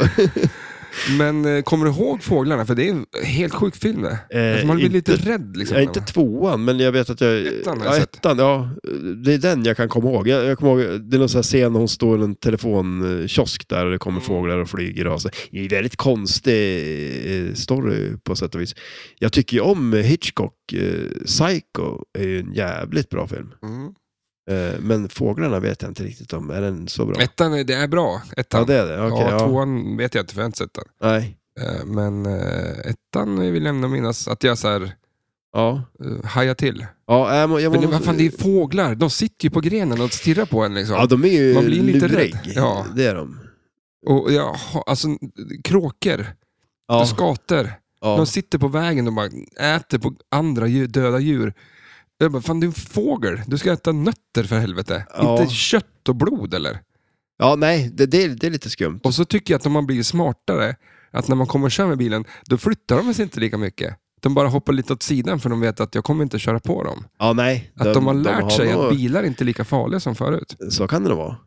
Men eh, kommer du ihåg Fåglarna? För det är en helt sjuk film det.
Eh,
alltså, man blir
inte-
lite rädd. Liksom,
Jag är inte tvåan, men jag vet att jag...
Ettan har jag
ja,
sett.
ettan, ja. Det är den jag kan komma ihåg. Jag, jag kommer ihåg det är någon sån här scen när hon står i en telefonkiosk där och det
Mm.
kommer fåglar och flyger och så. Det är en väldigt konstig eh, story på sätt och vis. Jag tycker ju om Hitchcock. eh, Psycho är ju en jävligt bra film.
Mm.
Eh, Men Fåglarna vet jag inte riktigt om. Är den så bra?
Ettan, är- det är bra. Ettan.
Ja, det är det. Okej,
ja,
ja.
tvåan vet jag inte för jag har inte sett den.
Nej.
Eh, Men eh, ettan vill jag ändå minnas att jag så här,
Ja.
eh, hajar till.
Ja, jag, må- jag,
Men det,
må-
vad fan, det är fåglar. De sitter ju på grenen och stirrar på en. Liksom.
Ja, de är ju
Man blir lite
lurig.
rädd. Ja.
Det är de.
Och jag, har- alltså, kråkor,
Ja,
skator.
ja.
De sitter på vägen och bara äter på andra djur, döda djur. Jag bara, fan du är en fågel. Du ska äta nötter för helvete.
Ja.
Inte kött och blod eller?
ja nej, det, det, är, det är lite skumt.
Och så tycker jag att de har blivit smartare. Att när man kommer och kör med bilen, då flyttar de sig inte lika mycket. De bara hoppar lite åt sidan för de vet att jag kommer inte köra på dem.
Ja, nej.
Att de, har lärt sig
nog-
att bilar inte är lika farliga som förut. Mm.
Så kan det nog vara.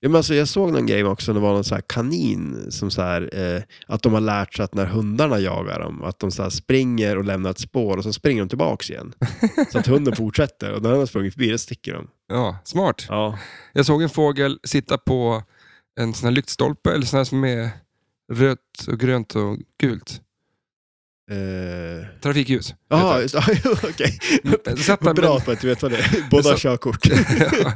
Ja, men alltså, jag såg någon grej också, det var någon så här kanin som så här, eh, att de har lärt sig att när hundarna jagar dem, att de så här springer och lämnar ett spår och så springer de tillbaks igen. så att hunden fortsätter och när den har sprungit förbi, då sticker de.
Ja, smart.
Ja.
Jag såg en fågel sitta på en sån här lyktstolpe, eller sån här som är rött och grönt och gult.
Eh,
Trafikljus.
Jaha, just- ja, jo, okej.
Satt där
Bra
med,
att man inte vet vad det är. Båda har
Så-
körkort.
ja.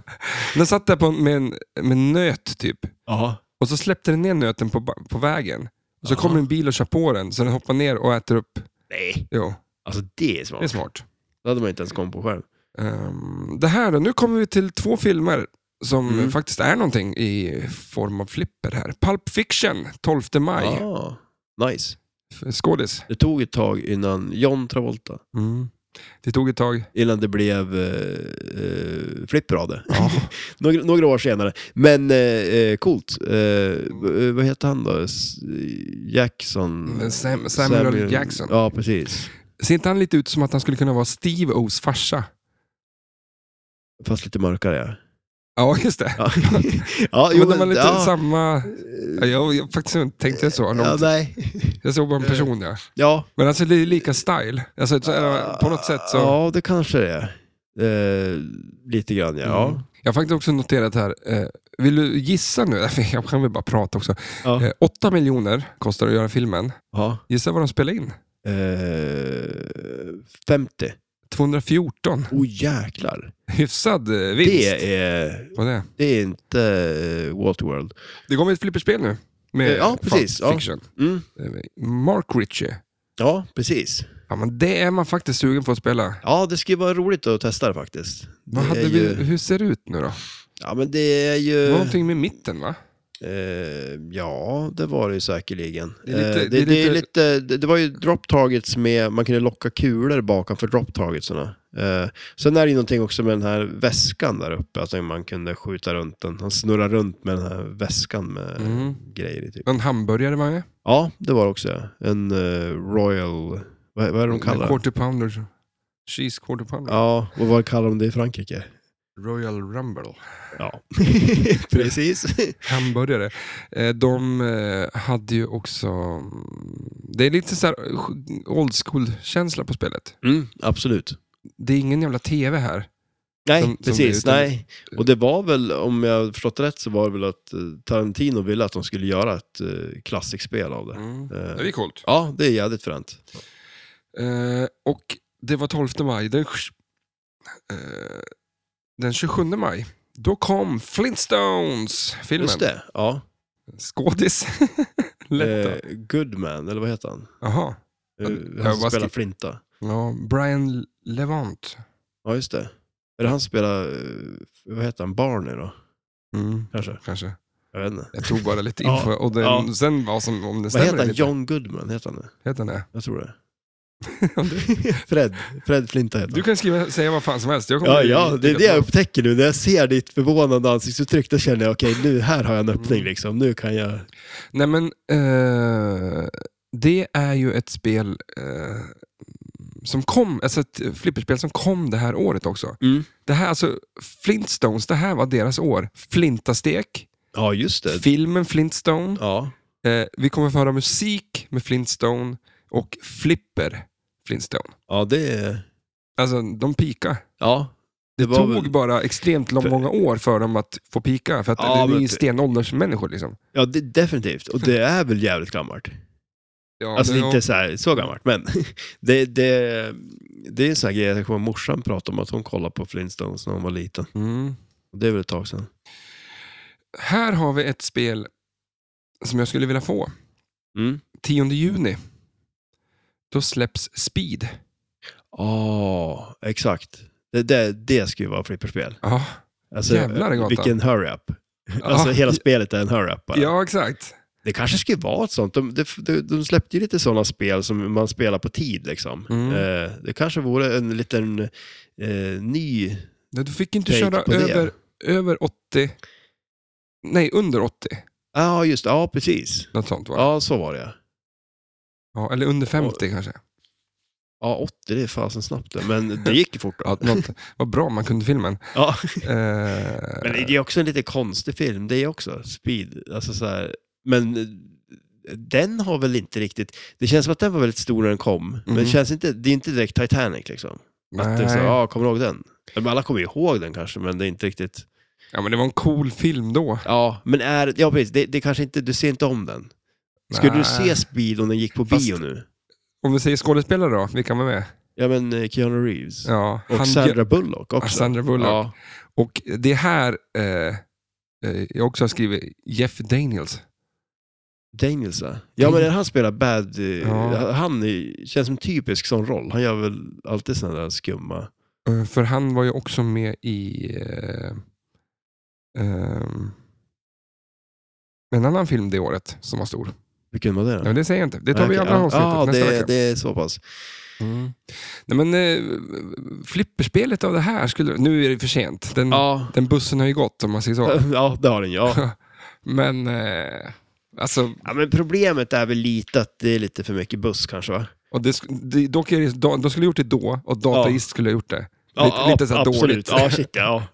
Den satt där på, en- med, en, med en nöt typ.
Ja.
Och så släppte den ner nöten på, ba- på vägen. Och så
Jaha.
kommer en bil och kör på den, så den hoppar ner och äter upp.
Nej.
Jo,
Alltså det är
det är
smart.
smart.
Det hade man inte ens kommit på själv.
Ehm, det här då, nu kommer vi till två filmer som
Mm.
faktiskt är någonting i form av flipper här. Pulp Fiction, 12 maj.
Ah, nice.
F- Skådis.
Det tog ett tag innan John Travolta,
Mm. Det tog ett tag.
innan det blev eh, eh, flipper av det.
Ja.
några, några år senare. Men eh, eh, coolt. Eh, v- eh, vad heter han då? S- Jackson?
Sam, Samuel, Jackson.
Mm. Ja, precis.
Ser inte han lite ut som att han skulle kunna vara Steve O's farsa?
Fast lite mörkare, ja.
Ja, just det.
Ja, ja jo,
men de har lite
ja.
samma... Ja, jag, jag faktiskt inte tänkte jag så.
Ja,
långt.
nej.
Jag såg bara en person, ja.
Ja.
Men alltså det är lika style. Alltså, så, eller, på något sätt så...
Ja, det kanske det är. Eh, lite grann, ja.
Mm. Jag har faktiskt också noterat här. Eh, vill du gissa nu? Jag kan väl bara prata också.
Ja.
Eh, 8 miljoner kostar det att göra filmen.
ja.
Gissa vad de spelade in?
Eh, 50.
214.
Åh oh, jäklar.
Hyfsad eh, vinst
Det är,
på det.
det är inte eh, Waterworld.
Det kommer ett flipperspel nu. Med
Eh, ja,
Pulp
precis, ja.
Fiction.
Mm.
Eh, Mark Ritchie.
Ja, precis.
Ja, men det är man faktiskt sugen på att spela.
Ja, det skulle vara roligt att testa det faktiskt.
Vad
Det är
hade vi,
ju- Eh.
Hur ser det ut nu då?
Ja, men det är
Det var
ju...
någonting med mitten va?
Eh, ja, det var det ju säkerligen.
Det är lite-
Eh,
det är
det, det, är
lite-
lite, det, det var ju drop targets med, man kunde locka kulor bakom för drop targetsarna. Eh, sen är det ju någonting också med den här väskan där uppe, alltså man kunde skjuta runt den. Han snurrar runt med den här väskan med
Mm.
grejer i. Typ.
En hamburgare var det.
Ja, det var det också. ja. En eh, Royal, vad, vad är det de kallar det?
Quarter pounder. Cheese quarter pounder.
Ja, och vad kallar de det i Frankrike?
Royal Rumble.
Ja, precis.
Hamburgare. Eh, De eh, hade ju också... Det är lite så här old school-känsla på spelet.
Mm, absolut.
Det är ingen jävla tv här.
Nej,
som- som
precis.
det är, utan-
nej. Och det var väl, om jag har förstått rätt, så var det väl att eh, Tarantino ville att de skulle göra ett eh, klassikspel av det.
Mm.
Eh,
Det är coolt.
Ja, det är jävligt fränt.
Eh, Och det var 12 maj. Den, sj- eh, den 27 maj, då kom Flintstones-filmen.
Just det, ja.
Skådis. Lätt då.
Eh, Goodman, eller vad heter han?
Jaha.
Eh,
jag
han
bara
som spelar
skri-
Flinta.
Ja, Brian Levant.
Ja, just det. Är det han som spelar, eh, vad heter han, Barney då?
Mm,
Kanske?
kanske.
Jag vet inte.
Jag tog bara lite
Ja,
info och den,
ja.
sen vad som, om det
Vad
stämmer.
heter han?
lite.
John Goodman, heter han det?
Heter han det?
Jag tror det. Fred, Fred Flinta heter
Du
han.
kan skriva, säga vad fan som helst. Jag kommer
Ja,
bli
ja, det är det jag
jättebra.
upptäcker nu. När jag ser ditt förvånande ansiktsuttryck, då känner jag okej, nu här har jag
Mm.
en öppning liksom. Nu kan jag...
Nej men, eh, det är ju ett spel eh, som kom, alltså ett flipperspel som kom det här året också.
Mm.
Det här, alltså Flintstones, det här var deras år. Flintastek,
Ja, just det.
filmen Flintstone,
Ja,
eh, vi kommer få höra musik med Flintstone och flipper Flintstone.
ja det...
Alltså de pika.
Ja. Det,
Det tog bara extremt lång,
För-
många år för dem att få pika, för att
Ja,
det är
men
ju
ty-
stenåldersmänniskor liksom.
Ja, det, definitivt. Och det är väl jävligt gammalt.
Ja,
Alltså
det-
inte så, här, så gammalt, men det, det, det är en sån här grej jag kommer ihåg morsan prata om att hon kollade på Flintstones när hon var liten.
Mm.
Och det är väl ett tag sedan.
Här har vi ett spel som jag skulle vilja få.
Mm.
10 juni. Då släpps Speed.
Ja, exakt. Det, det, det ska ju vara flipperspel.
Ja,
Alltså,
Jävlar i gatan.
vilken hurry-up. Alltså hela
ja,
spelet är en hurry-up bara.
ja, exakt.
Det kanske skulle vara ett sånt. De, de, de, de släppte ju lite sådana spel som man spelar på tid liksom.
Mm.
Eh, det kanske vore en liten eh, ny...
Nej, Du fick inte
Tänk
köra
på det.
över, över 80. Nej, under 80.
Ja, just det. Ja, precis.
Något sånt var det.
Ja, så var det.
ja, Eller under 50 kanske.
Ja, 80 det är fasen snabbt det, men det gick ju fort då.
Ja, något, vad bra man kunde filmen.
Ja.
Eh,
Men det är också en lite konstig film, det är också. Speed, alltså så här. Men eh, den har väl inte riktigt... Det känns som att den var väldigt stor när den kom, men det,
Mhm.
känns inte, det är inte direkt Titanic liksom. Att det är så,
nej.
här, ja, kommer du ihåg den? Ja, Men alla kommer ju ihåg den kanske, men det är inte riktigt...
Ja, men det var en cool film då.
Ja, men är, ja, precis, det, det kanske inte, du ser inte om den. Skulle du
Nej.
se Speed om den gick på
Fast-
bio nu?
Om vi säger skådespelare då, vilka var med?
Ja, men eh, Keanu Reeves.
Ja,
Och
han-
Sandra Bullock
Ja,
också.
Sandra Bullock.
Ja.
Och det här, eh, eh, jag också har skrivit Jeff Daniels.
Daniels va? Ja men han spelar bad, eh,
Ja.
han är, känns som typisk sån roll. Han gör väl alltid sådana där skumma...
Eh, För han var ju också med i eh, ehm, en annan film det året som var stor.
Vilken var det?
Nej, men det säger jag inte. Det tar vi i andra avsnittet
Ja,
nästa
det,
vecka.
det är så pass.
Mm. Nej, men, eh, flipperspelet av det här, skulle, nu är det för sent. Den,
Ja.
den bussen har ju gått om man säger så.
ja, det har den ja.
Men eh, alltså,
ja. men problemet är väl lite att det är lite för mycket buss kanske va?
och det, sk- det, dock är det, de de skulle ha gjort det då och Dataist skulle ha gjort det. Lite,
Ja,
lite så här
absolut.
dåligt.
Ja, shit ja.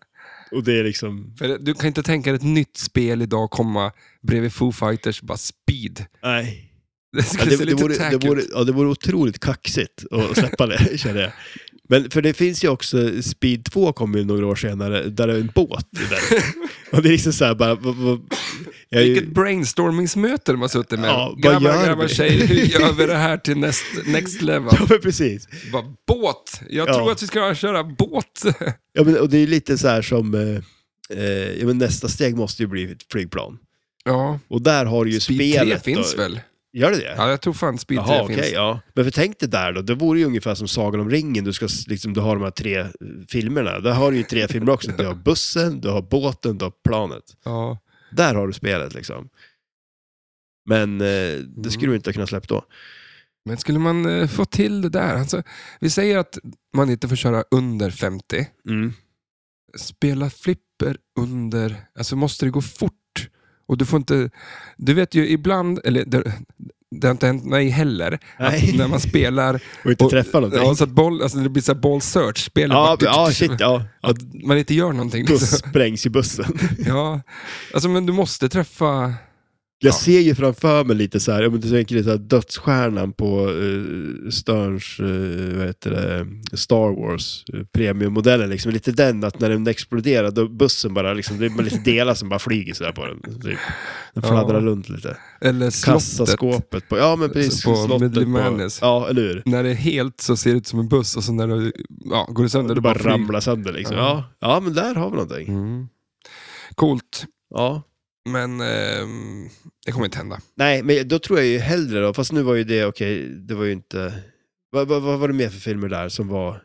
Och det är liksom...
För du kan inte tänka dig ett nytt spel idag komma bredvid Foo Fighters, bara speed.
Nej.
Det
Ja,
skulle
det,
se
det,
lite
vore, det,
tacky
vore,
ut.
ja, det vore otroligt kaxigt att släppa det, känner jag. Men för det finns ju också, Speed 2 kom ju några år senare, där det är en båt. Där. Och det är liksom såhär bara... vad- vad- jag är ju-
Vilket brainstormingsmöte de har suttit med.
Ja, vad
grabbar,
gör
grabbar,
vi?
tjejer, hur gör vi det här till next, next level?
Ja, men precis.
Bara, båt! Jag
Ja.
tror att vi ska köra båt.
Ja, men, och det är lite så här som... Eh, eh, ja, men nästa steg måste ju bli ett flygplan.
Ja,
Och där har du ju
Speed 3
spelet.
finns
då.
väl?
Gör det det?
Ja, jag tror fan Speed 3
Jaha, okej.
finns.
ja. Men för tänk dig där då, det vore ju ungefär som Sagan om ringen, du, ska, s- liksom, du har de här tre eh, filmerna. Där har du ju tre filmer också. Du har bussen, du har båten, du har planet.
Ja.
Där har du spelet liksom. Men eh, det skulle
Mm.
du inte kunna släppt då.
Men skulle man eh, få till det där? Alltså, vi säger att man inte får köra under 50. spela flipper under, alltså måste det gå fort. Och du får inte, du vet ju ibland, eller det, det har inte hänt mig heller,
Nej.
att när man spelar,
Och inte
Och-
träffa någonting.
ja, så att boll, alltså det blir så här ball search, spelar
Ja,
bara-
ja, shit, ja.
att man inte gör någonting.
Då
Liksom.
sprängs ju bussen.
Ja, alltså men du måste träffa,
Jag
Ja.
ser ju framför mig lite så här, om du tänker lite så här dödsstjärnan på uh, Sterns, eh, vad heter det, Star Wars eh, premiummodellen. Liksom. Lite den att när den exploderar, då bussen bara, liksom, det är bara lite delar som bara flyger så där på den. Typ. Den
Ja.
fladdrar runt lite.
eller slottet.
Kassaskåpet på, ja men precis,
På
slottet
Medley
på,
Madness.
ja eller hur.
När det är helt så ser det ut som en buss och så när det ja, går det sönder,
Det
det
bara
bara, flyger.
ramlar sönder liksom. Ja.
Ja.
ja, men där har vi någonting.
Mm. Coolt,
Ja.
men ehm, det kommer inte hända.
Nej, men då tror jag ju hellre då, fast nu var ju det okej, det var ju inte... Vad, vad, vad var det mer för filmer där som var...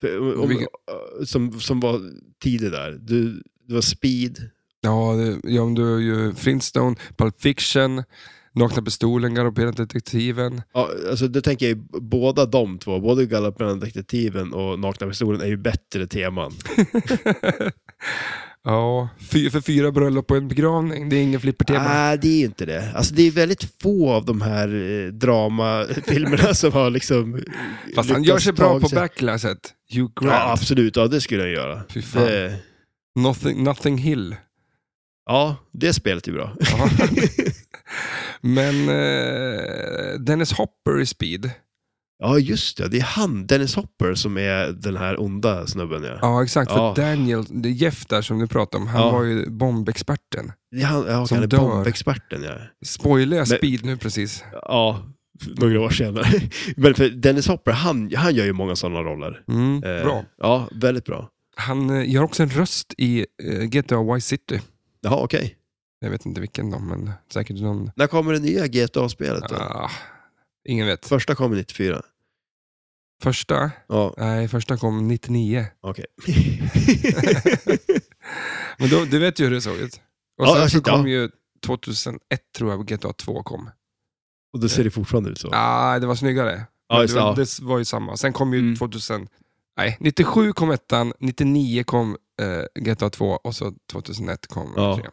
för- Om,
Vilken-
om, eh, som, som var tidig där? Du, det var Speed,
Ja, det, ja men du har ju Flintstone, Pulp Fiction, Nakna Pistolen, Galopperande Detektiven.
ja, alltså då tänker jag ju båda de två, både Galopperande Detektiven och Nakna Pistolen är ju bättre teman.
ja, fy, för fyra bröllop och en begravning. Det är ingen flippertema.
Nej, Ah, det är ju inte det. Alltså det är väldigt få av de här eh, dramafilmerna som har liksom...
Fast han
lyckats
gör sig bra
tag
på
sig-
backlasset. Hugh Grant,
Ja, absolut. Ja, det skulle jag göra.
Fy fan.
Det,
nothing, nothing Hill.
ja, det spelet är bra.
Ja. Men eh, Dennis Hopper i Speed.
Ja, just det. Det är han, Dennis Hopper, som är den här onda snubben. Ja.
Ja, exakt.
Ja.
För Daniel, det är Jeff där som du pratade om, han
Ja.
var ju bombexperten.
Det är han, ja,
Som
han är
dör.
bombexperten. Ja.
Spoilar jag
Men-
Speed nu precis?
ja, några år senare. Men för Dennis Hopper, han, han gör ju många sådana roller.
Mm,
Eh,
Bra.
Ja, väldigt bra.
Han eh, gör också en röst i eh, GTA Vice City.
Jaha, okej.
Jag vet inte vilken då, men säkert någon...
När kommer det nya GTA-spelet då?
Ah, ingen vet.
Första kommer 94.
Första?
Ja,
Nej, första kom 99.
okej.
Men då, du vet ju hur det såg ut. Och
Ja,
sen
jag
så
sitter-
kom
ja.
ju 2001 tror jag GTA 2 kom.
Och då ser det fortfarande ut så.
Ah, det var snyggare.
Ja,
Men
just
det, var,
det, ja.
det var ju samma. Sen kom ju
Mm.
2000... Nej, 97 kom ettan, 99 kom eh, GTA 2 och så 2001 kom
Ja.
trean.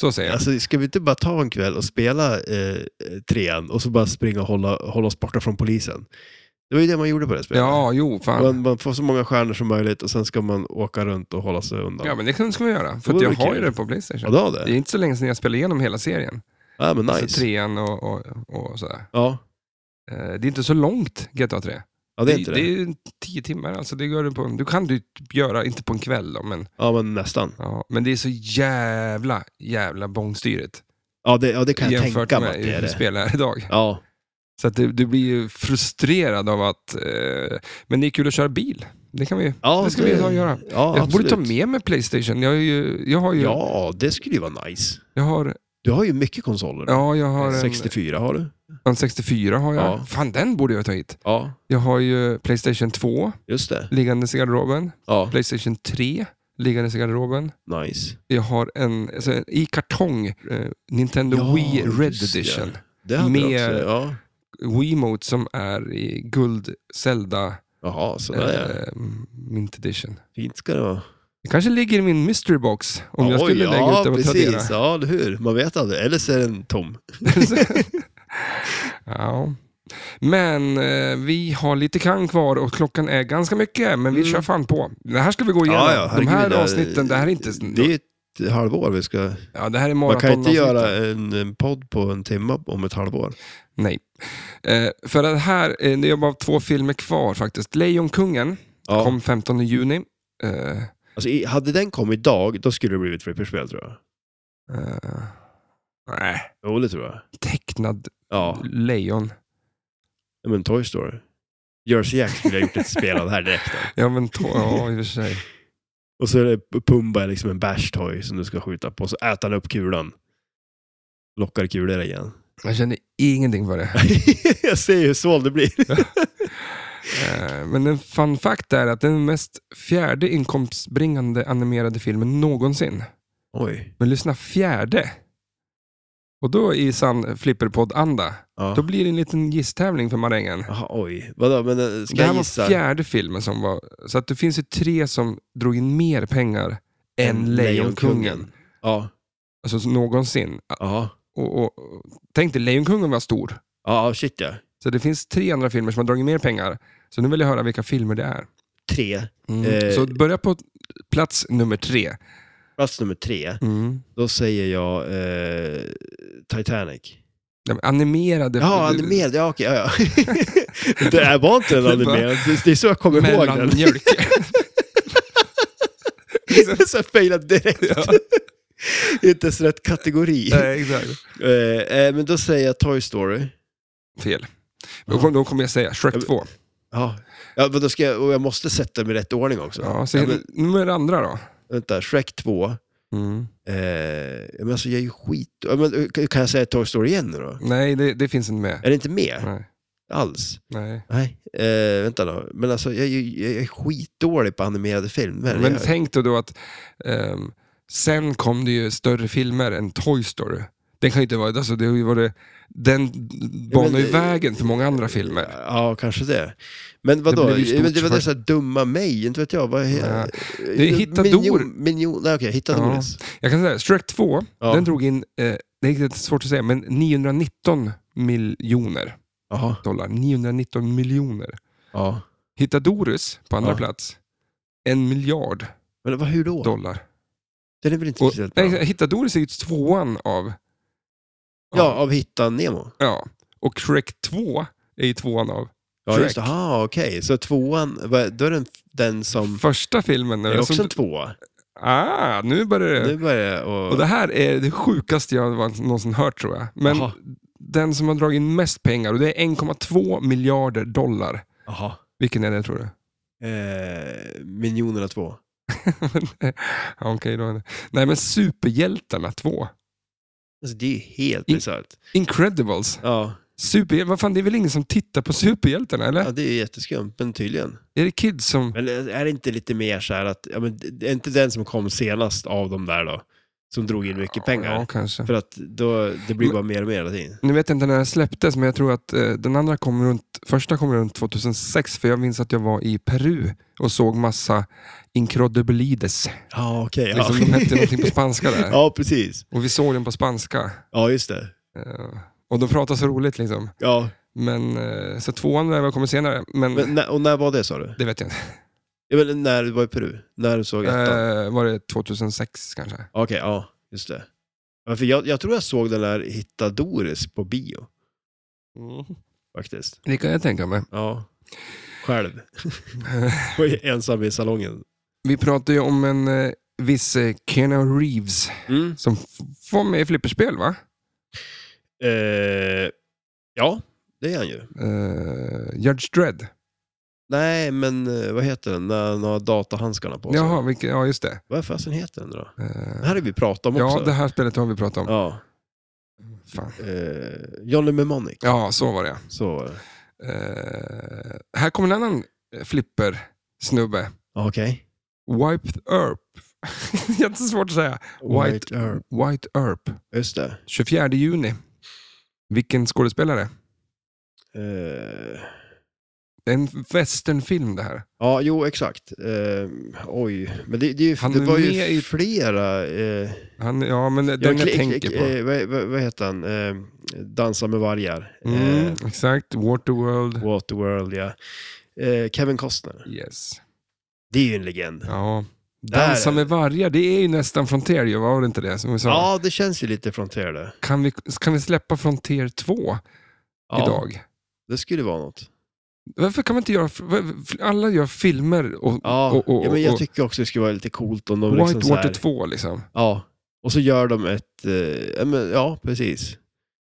Så säger jag.
Alltså, ska vi inte bara ta en kväll och spela eh, trean och så bara springa och hålla, hålla oss borta från polisen? Det var ju det man gjorde på det här spelet.
Ja, jo, fan.
Man, man får så många stjärnor som möjligt och sen ska man åka runt och hålla sig undan.
Ja,
Ja,
men det ska vi göra. För
Det
att jag
vore
har ju
kul.
det på Playstation.
du har
Det är
det?
inte så länge sedan jag spelade igenom hela serien.
Ja, men
Alltså
nice.
trean och, och, och sådär.
Ja.
Eh, Det är inte så långt GTA 3.
ja, det är inte
det
det.
är ju tio timmar, alltså det gör du på, du kan du göra, inte på en kväll då, men,
Ja, men nästan.
ja, men det är så jävla, jävla bångstyrigt.
Ja, det, ja, det kan jag
Jämfört
tänka mig
med
att det är
hur
det.
spel är idag.
Ja,
Så att du, du blir ju frustrerad av att, eh, men det är kul att köra bil. Det kan vi,
ja
det ska vi ta och göra.
Ja,
jag borde ta
absolut.
med mig Playstation. Jag, är ju, jag har ju, ja.
Ja, det skulle ju vara nice.
jag har,
Du har ju mycket konsoler.
ja, jag har en,
64 har du.
en 64 har jag.
Ja.
Fan, den borde jag ta hit.
Ja,
Jag har ju Playstation 2
just det.
liggandes i garderoben,
Ja,
Playstation 3 liggandes i garderoben.
nice.
Jag har en, alltså, en i kartong eh, Nintendo
Ja,
Wii Red
just det.
Edition.
Det hade jag
Mer-
också. Ja.
Wiimote som är i guld Zelda
Jaha, sådär ja.
eh, Mint Edition.
Fint ska det vara.
Det kanske ligger i min mystery box om jag skulle
Oj,
lägga ut det och
precis.
Tradera.
Ja, eller hur. Man vet aldrig. Eller så är den tom.
ja. Men eh, vi har lite kan kvar och klockan är ganska mycket, men vi
Mm.
kör fan på. Det här ska vi gå igenom. De
herregud,
här
det-
avsnitten, det här är inte...
Det är ett halvår vi ska...
ja, det här är
Man kan inte
maratonavsnitten.
göra en, en podd på en timme om ett halvår.
Nej. Eh, för det här, eh, det är bara två filmer kvar faktiskt. Lejonkungen
Ja.
kom 15 juni. Eh,
Alltså, i- hade den kommit idag, då skulle det blivit ett flipperspel tror jag.
eh, nej,
Jo, det tror jag.
tecknad
Ja,
lejon.
men Toy Story. Jersey Jack skulle ha gjort ett spel av det här direkt.
Ja, men to- ja, i och för sig.
Och så är det Pumba är liksom en bash-toy som du ska skjuta på, så äter han upp kulan. Lockar kulor igen.
Jag kände ingenting för det.
jag ser ju hur svål det blir.
Eh, men en fun fact är att det är den mest fjärde inkomstbringande animerade filmen någonsin.
Oj.
Men lyssna, fjärde! Och då i sann flipperpodd-anda,
Ja.
då blir det en liten gästtävling för marängen.
Aha, oj. Vadå, men eh, ska
Det här
jag
var
gissa?
fjärde filmen som var... Så att det finns ju tre som drog in mer pengar än
En
Lejonkungen.
Ja.
Alltså som någonsin.
Jaha.
Och, och, tänk dig, Lejonkungen var stor.
Ja, ja, shit ja.
Så det finns tre andra filmer som har dragit mer pengar. Så nu vill jag höra vilka filmer det är.
Tre.
Mm.
Eh.
Så börja på plats nummer tre.
Plats nummer tre.
Mm.
Då säger jag eh, Titanic.
Ja, men Animerade...
Ja, animerad. Ja, okej. Ja, ja. det här var inte en
Det var-
animerad. Det, det är så jag kommer ihåg den.
Mellanmjölk.
så jag failade direkt.
ja,
Inte ens rätt kategori.
nej, exakt.
Eh, eh, men då säger jag Toy Story.
Fel. Då kom- Då kommer jag säga
Ja,
Shrek
men-
2.
Ja, ja men då ska jag, och jag måste sätta dem i rätt ordning också.
Ja, så
Ja, men,
nummer andra då.
vänta, Shrek 2.
Mm.
Eh, men alltså jag är ju skit... Ja, men, eh, kan jag säga Toy Story igen nu då?
Nej, det, det finns inte med.
Är det inte med
Nej.
alls?
Nej.
Nej. Eh, vänta då. Men alltså jag är, ju, jag är skitdålig på animerade filmer.
Men
jag,
tänk då, då att ehm, sen kom det ju större filmer än Toy Story. Den kan ju inte vara, alltså det har ju varit, den banar ju
eh,
vägen för många andra filmer.
Ja, kanske det. Men vadå?
blev ju stort
Det, men det var
för-
det så här dumma mig, inte vet jag. Vad
Ja.
är
Det är Hittador.
Minion, minion, nej, okej, Hittadoris.
Jag kan säga, Shrek 2,
Ja.
den drog in, eh, det är lite svårt att säga, men 919 miljoner
Ja.
dollar. 919 miljoner.
ja.
Hitta Doris på andra
Ja.
plats, en miljard
Men vad, hur då?
dollar.
Den är väl inte
Och,
speciellt bra?
nej, Hitta Doris är ju tvåan av...
Ja, av Hitta Nemo.
ja. Och Shrek 2 är ju tvåan av
Ja,
Shrek.
just det. Aha, okej. Så tvåan, vad- då är den, den som...
Första filmen.
Det är också
som-
en tvåa.
Ah, nu börjar det.
Nu börjar jag och...
Och det här är det sjukaste jag någonsin hört tror jag. Men
Jaha.
den som har dragit in mest pengar, och det är 1,2 miljarder dollar.
Aha.
Vilken är det tror du?
Eh, Miljonerna två.
ja, okej då. är det- Nej, men Superhjältarna 2.
Alltså, det är ju helt
In-
bisarrt.
Incredibles.
Ja.
Superhjältar, vad fan, det är väl ingen som tittar på superhjältarna, eller?
ja, det är ju jätteskumt, men tydligen.
Är det kids som...
Men eh, är det inte lite mer så här att, ja, men det är inte den som kom senast av de där då, som drog in mycket pengar?
Ja, kanske.
För att då, det blir
Men-
bara mer och mer hela tiden.
Nu vet jag inte när den släpptes, men jag tror att eh, den andra kom runt, första kom runt 2006, för jag minns att jag var i Peru och såg massa Incredibilides.
Ja, okej.
Liksom, de hette någonting på spanska där.
ja, precis.
Och vi såg den på spanska.
Ja, just det.
Eh, Och de pratade så roligt liksom.
Ja,
Men, eh, så tvåan lär väl komma senare, men,
Men, när, och när var det sa du?
det vet jag inte.
Ja, men, när du var i Peru? När du såg ettan?
Eh, var det 2006 kanske?
Okej, ja, just det. Ja, för jag, jag tror jag såg den där Hitta Doris på bio, Mm. faktiskt.
Det kan jag tänka mig.
Ja. Själv. Var ju ensam i salongen.
Vi pratade ju om en eh, viss eh, Keanu Reeves
Mm.
som f- var med i flipperspel va?
Eh, ja, det är han ju.
Eh, Judge Dredd.
Nej, men eh, vad heter den? När han har datahandskarna på sig.
Jaha, vilken, ja just det.
Vad fasen heter den då? Den
Eh,
här har vi pratat om
ja,
också.
det här spelet har vi pratat om.
Ja.
Fan.
Eh, Johnny Mnemonic.
Ja, så var det.
Så var det.
Eh, här kommer en annan eh, flipper-snubbe.
Ja, Okej.
Wiped Earp. Jättesvårt att säga. White,
White Earp.
White Earp.
Just det.
24 juni. Vilken skådespelare?
Eh,
En westernfilm det här.
ja, jo, exakt. Eh, oj, men det, det, är ju-
Han
det
är
var ju
med i-
flera... Eh,
Han, ja, men den jag,
kli-
tänker
kli-
på.
eh, vad, vad, vad heter han? Eh, Dansa med vargar.
Mm,
Eh,
exakt, Waterworld.
Waterworld, ja. Eh, Kevin Costner.
Yes.
Det är ju en legend.
Ja.
Där
Dansa
är-
med vargar, det är ju nästan Frontier, ju, var det inte det? Som vi sa.
Ja, det känns ju lite Frontier det.
Kan, vi, kan vi släppa Frontier 2
Ja,
idag?
Det skulle vara något.
Varför kan man inte göra... Alla gör filmer och...
Ja,
och, och,
ja men jag
och-
tycker också det skulle vara lite coolt om de liksom så
Whitewater
här,
2 liksom.
Ja, och så gör de ett... Eh, ja, men, ja, precis.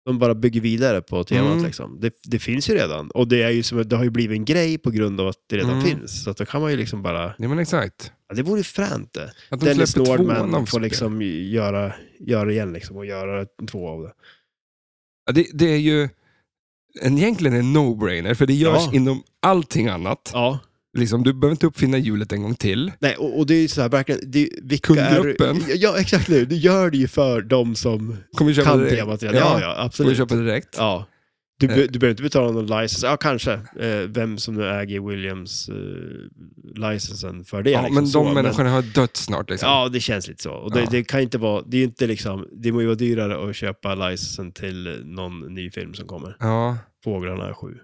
De bara bygger vidare på temat
Mm.
liksom. Det, det finns ju redan. Och det, är ju som, det har ju blivit en grej på grund av att det redan
Mm.
finns. Så att då kan man ju liksom bara...
Ja men exakt.
Ja, det vore ju fränt det.
Att de
Dennis
släpper tvåan av
Nordman får
spel.
liksom göra, göra igen liksom och göra två av det.
Ja, det, det är ju en, egentligen en no-brainer, för det görs
Ja.
inom allting annat.
Ja.
Liksom, du behöver inte uppfinna hjulet en gång till.
Nej, och, och det är ju så här verkligen... Det, vilka
Kundgruppen.
Är, ja, exakt nu. Du gör det ju för de som
Kommer köpa
kan
det direkt.
temat redan. Ja, ja,
Kommer
absolut.
köpa det direkt.
Ja. Du,
Eh.
be- du behöver inte betala någon license. Ja, kanske. Eh, vem som nu äger Williams eh, licensen för det.
Ja,
liksom
men de
så,
människorna har dött snart. Liksom.
Ja, det känns lite så. Och det,
Ja.
det kan inte vara... Det är ju inte liksom... Det må ju vara dyrare att köpa licensen till någon ny film som kommer.
Ja.
Fåglarna är sju.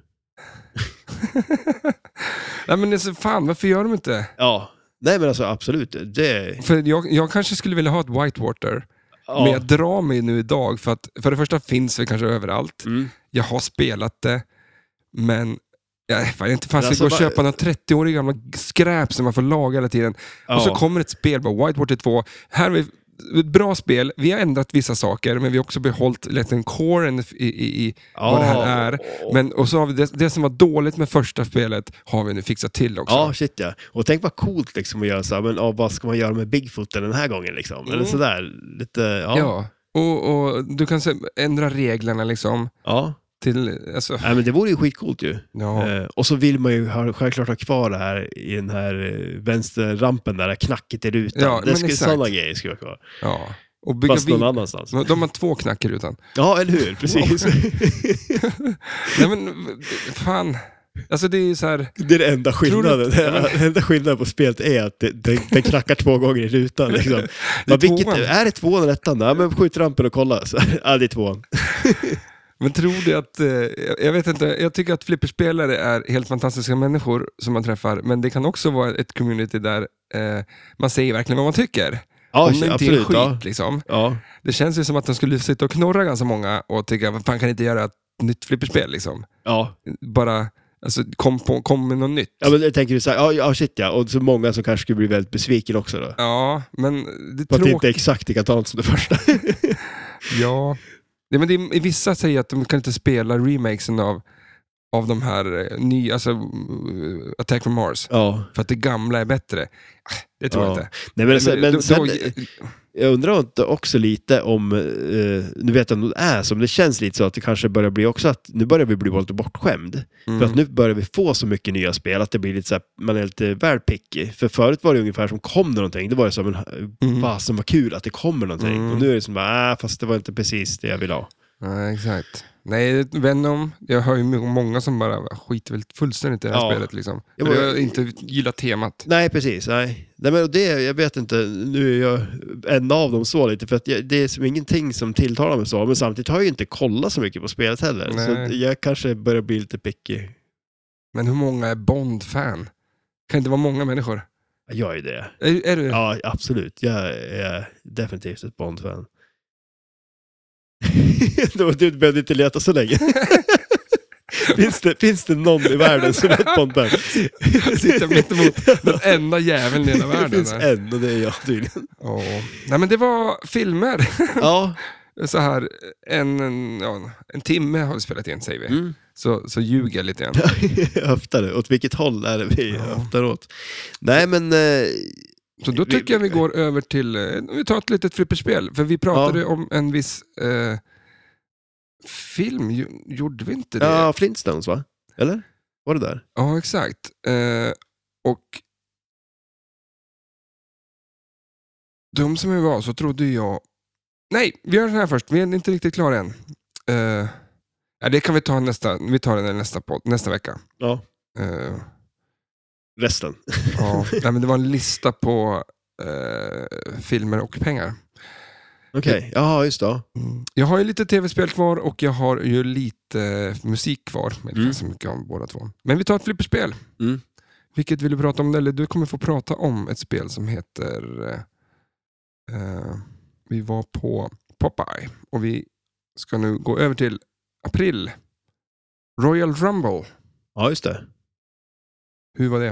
Nej, men alltså, fan, varför gör de inte?
Ja. Nej, men alltså absolut. Det...
För jag, jag kanske skulle vilja ha ett Whitewater,
Ja.
men jag drar mig nu idag för att för det första finns det kanske överallt.
Mm.
Jag har spelat det, men jag fan, inte fan
Men
ska
alltså,
gå och
va-
köpa några 30-åriga gamla skräp som man får laga hela tiden.
Ja.
Och så kommer ett spel, bara Whitewater 2. Här har vi ett bra spel, vi har ändrat vissa saker, men vi har också behållit liksom coren i, i, i vad det här är. Men, och så har vi det, det som var dåligt med första spelet har vi nu fixat till också.
Ja, shit ja. Och tänk vad coolt liksom att göra så här, men ja, vad ska man göra med Bigfooten den här gången liksom? Eller
Mm.
sådär, lite, ja. Ja.
Ja. Och, och du kan se, ändra reglerna liksom till... Alltså,
Nej, men det vore ju skitcoolt ju.
ja.
Eh, och så vill man ju ha, självklart ha kvar det här i den här eh, vänsterrampen där, där knacket i rutan.
Ja, men
det skulle,
exakt.
sådana grejer skulle vara kvar.
ja. Och bygga
Fast någon
vid-
annanstans.
de har två knack i rutan.
Ja, eller hur? Precis.
Nej men, fan. Alltså det är ju så här...
det är den enda skillnaden.
Tror du- Ja,
Den enda skillnaden på spelet är att det- den, den knackar två gånger i rutan. Liksom. Men vilket,
tvåan.
är det tvåan eller ettan? Ja, men skjut rampen och kolla. Så, ja, det är tvåan.
Men tror du att, eh, jag- jag vet inte, jag tycker att flipperspelare är helt fantastiska människor som man träffar, men det kan också vara ett community där eh, man säger verkligen vad man tycker.
Ja,
Om det inte är
absolut.
skit
Ja.
liksom.
Ja.
Det känns ju som att de skulle sitta och knorra ganska många och tycka, vad fan kan ni inte göra ett nytt flipperspel liksom?
Ja.
Bara, alltså kom, på, kom med något nytt.
Ja, men jag tänker du så här, ja, ja shit ja, och så många som kanske skulle bli väldigt besviken också då.
Ja, men det
För
är
att det inte
tråkigt.
är exakt likadant som det första.
Ja. Nej, men det är, vissa säger att de kan inte spela remakesen av, av de här eh, nya, alltså eh, Attack from Mars.
ja.
För att det gamla är bättre. Ah, Det tror
Ja.
jag inte.
Nej, men, alltså, men
då-
sen,
då-
jag undrar inte också lite om, eh, nu vet jag inte om det är så, men det känns lite så att det kanske börjar bli också att nu börjar vi bli lite bortskämd.
mm.
För att nu börjar vi få så mycket nya spel att det blir lite så här, man är lite väl picky. För förut var det ungefär som kom det någonting, det var det så här, men
Mm.
fasen vad kul att det ah, kommer någonting.
Mm.
Och nu är det som bara, äh, fast det var inte precis det jag ville ha.
Nej, exakt. Nej, Venom, jag hör ju många som bara skiter väl fullständigt i det här
Ja.
spelet. Liksom.
Jag
Eller
bara-
jag inte gillar temat.
Nej, precis. Nej. Nej, men det, jag vet inte, nu är jag en av dem så lite, för att jag, det är som ingenting som tilltalar mig så, men samtidigt har jag ju inte kollat så mycket på spelet heller,
Nej.
så att jag kanske börjar bli lite picky.
Men hur många är Bond-fan? Kan inte vara många människor?
Jag är det.
Är, är du?
Ja, absolut. Jag är definitivt ett Bond-fan. Då- du behövde inte leta så länge. finns, det, finns det någon i världen som är ett Bond-fan?
Sitter jag mitt emot den enda jäveln i hela
Det
världen.
finns
här.
en och det är jag tydligen.
Ja. Nej, men det var filmer.
Ja.
Så här, en, en, ja, en timme har vi spelat in, säger vi.
Mm.
Så, så ljuger jag lite grann.
höftar du? Åt vilket håll är det vi
Ja.
höftar åt? Nej, men... Eh,
Så då
Vi-
tycker jag vi går över till, eh, vi tar ett litet flipperspel, för vi pratade om en viss eh, film, Gj- gjorde vi inte det?
ja, Flintstones, va? Eller? Var det där?
Ja, exakt. Eh, och dum som jag var så trodde jag... Nej, vi gör så här först. Vi är inte riktigt klara än. Eh, ja, det kan vi ta nästa, vi tar den i nästa, podd, nästa vecka.
Ja.
Eh,
Resten.
ja. Nej, men det var en lista på eh, filmer och pengar.
Okej, jaha, just det. ja.
Mm. Jag har ju lite tv-spel kvar och jag har ju lite eh, musik kvar. Men inte
Mm.
så mycket om båda två. Men vi tar ett flipperspel.
Mm.
Vilket vill du prata om? Eller du kommer få prata om ett spel som heter... eh, eh, vi var på Popeye och vi ska nu gå över till april. Royal Rumble.
Ja, just det.
Hur var det?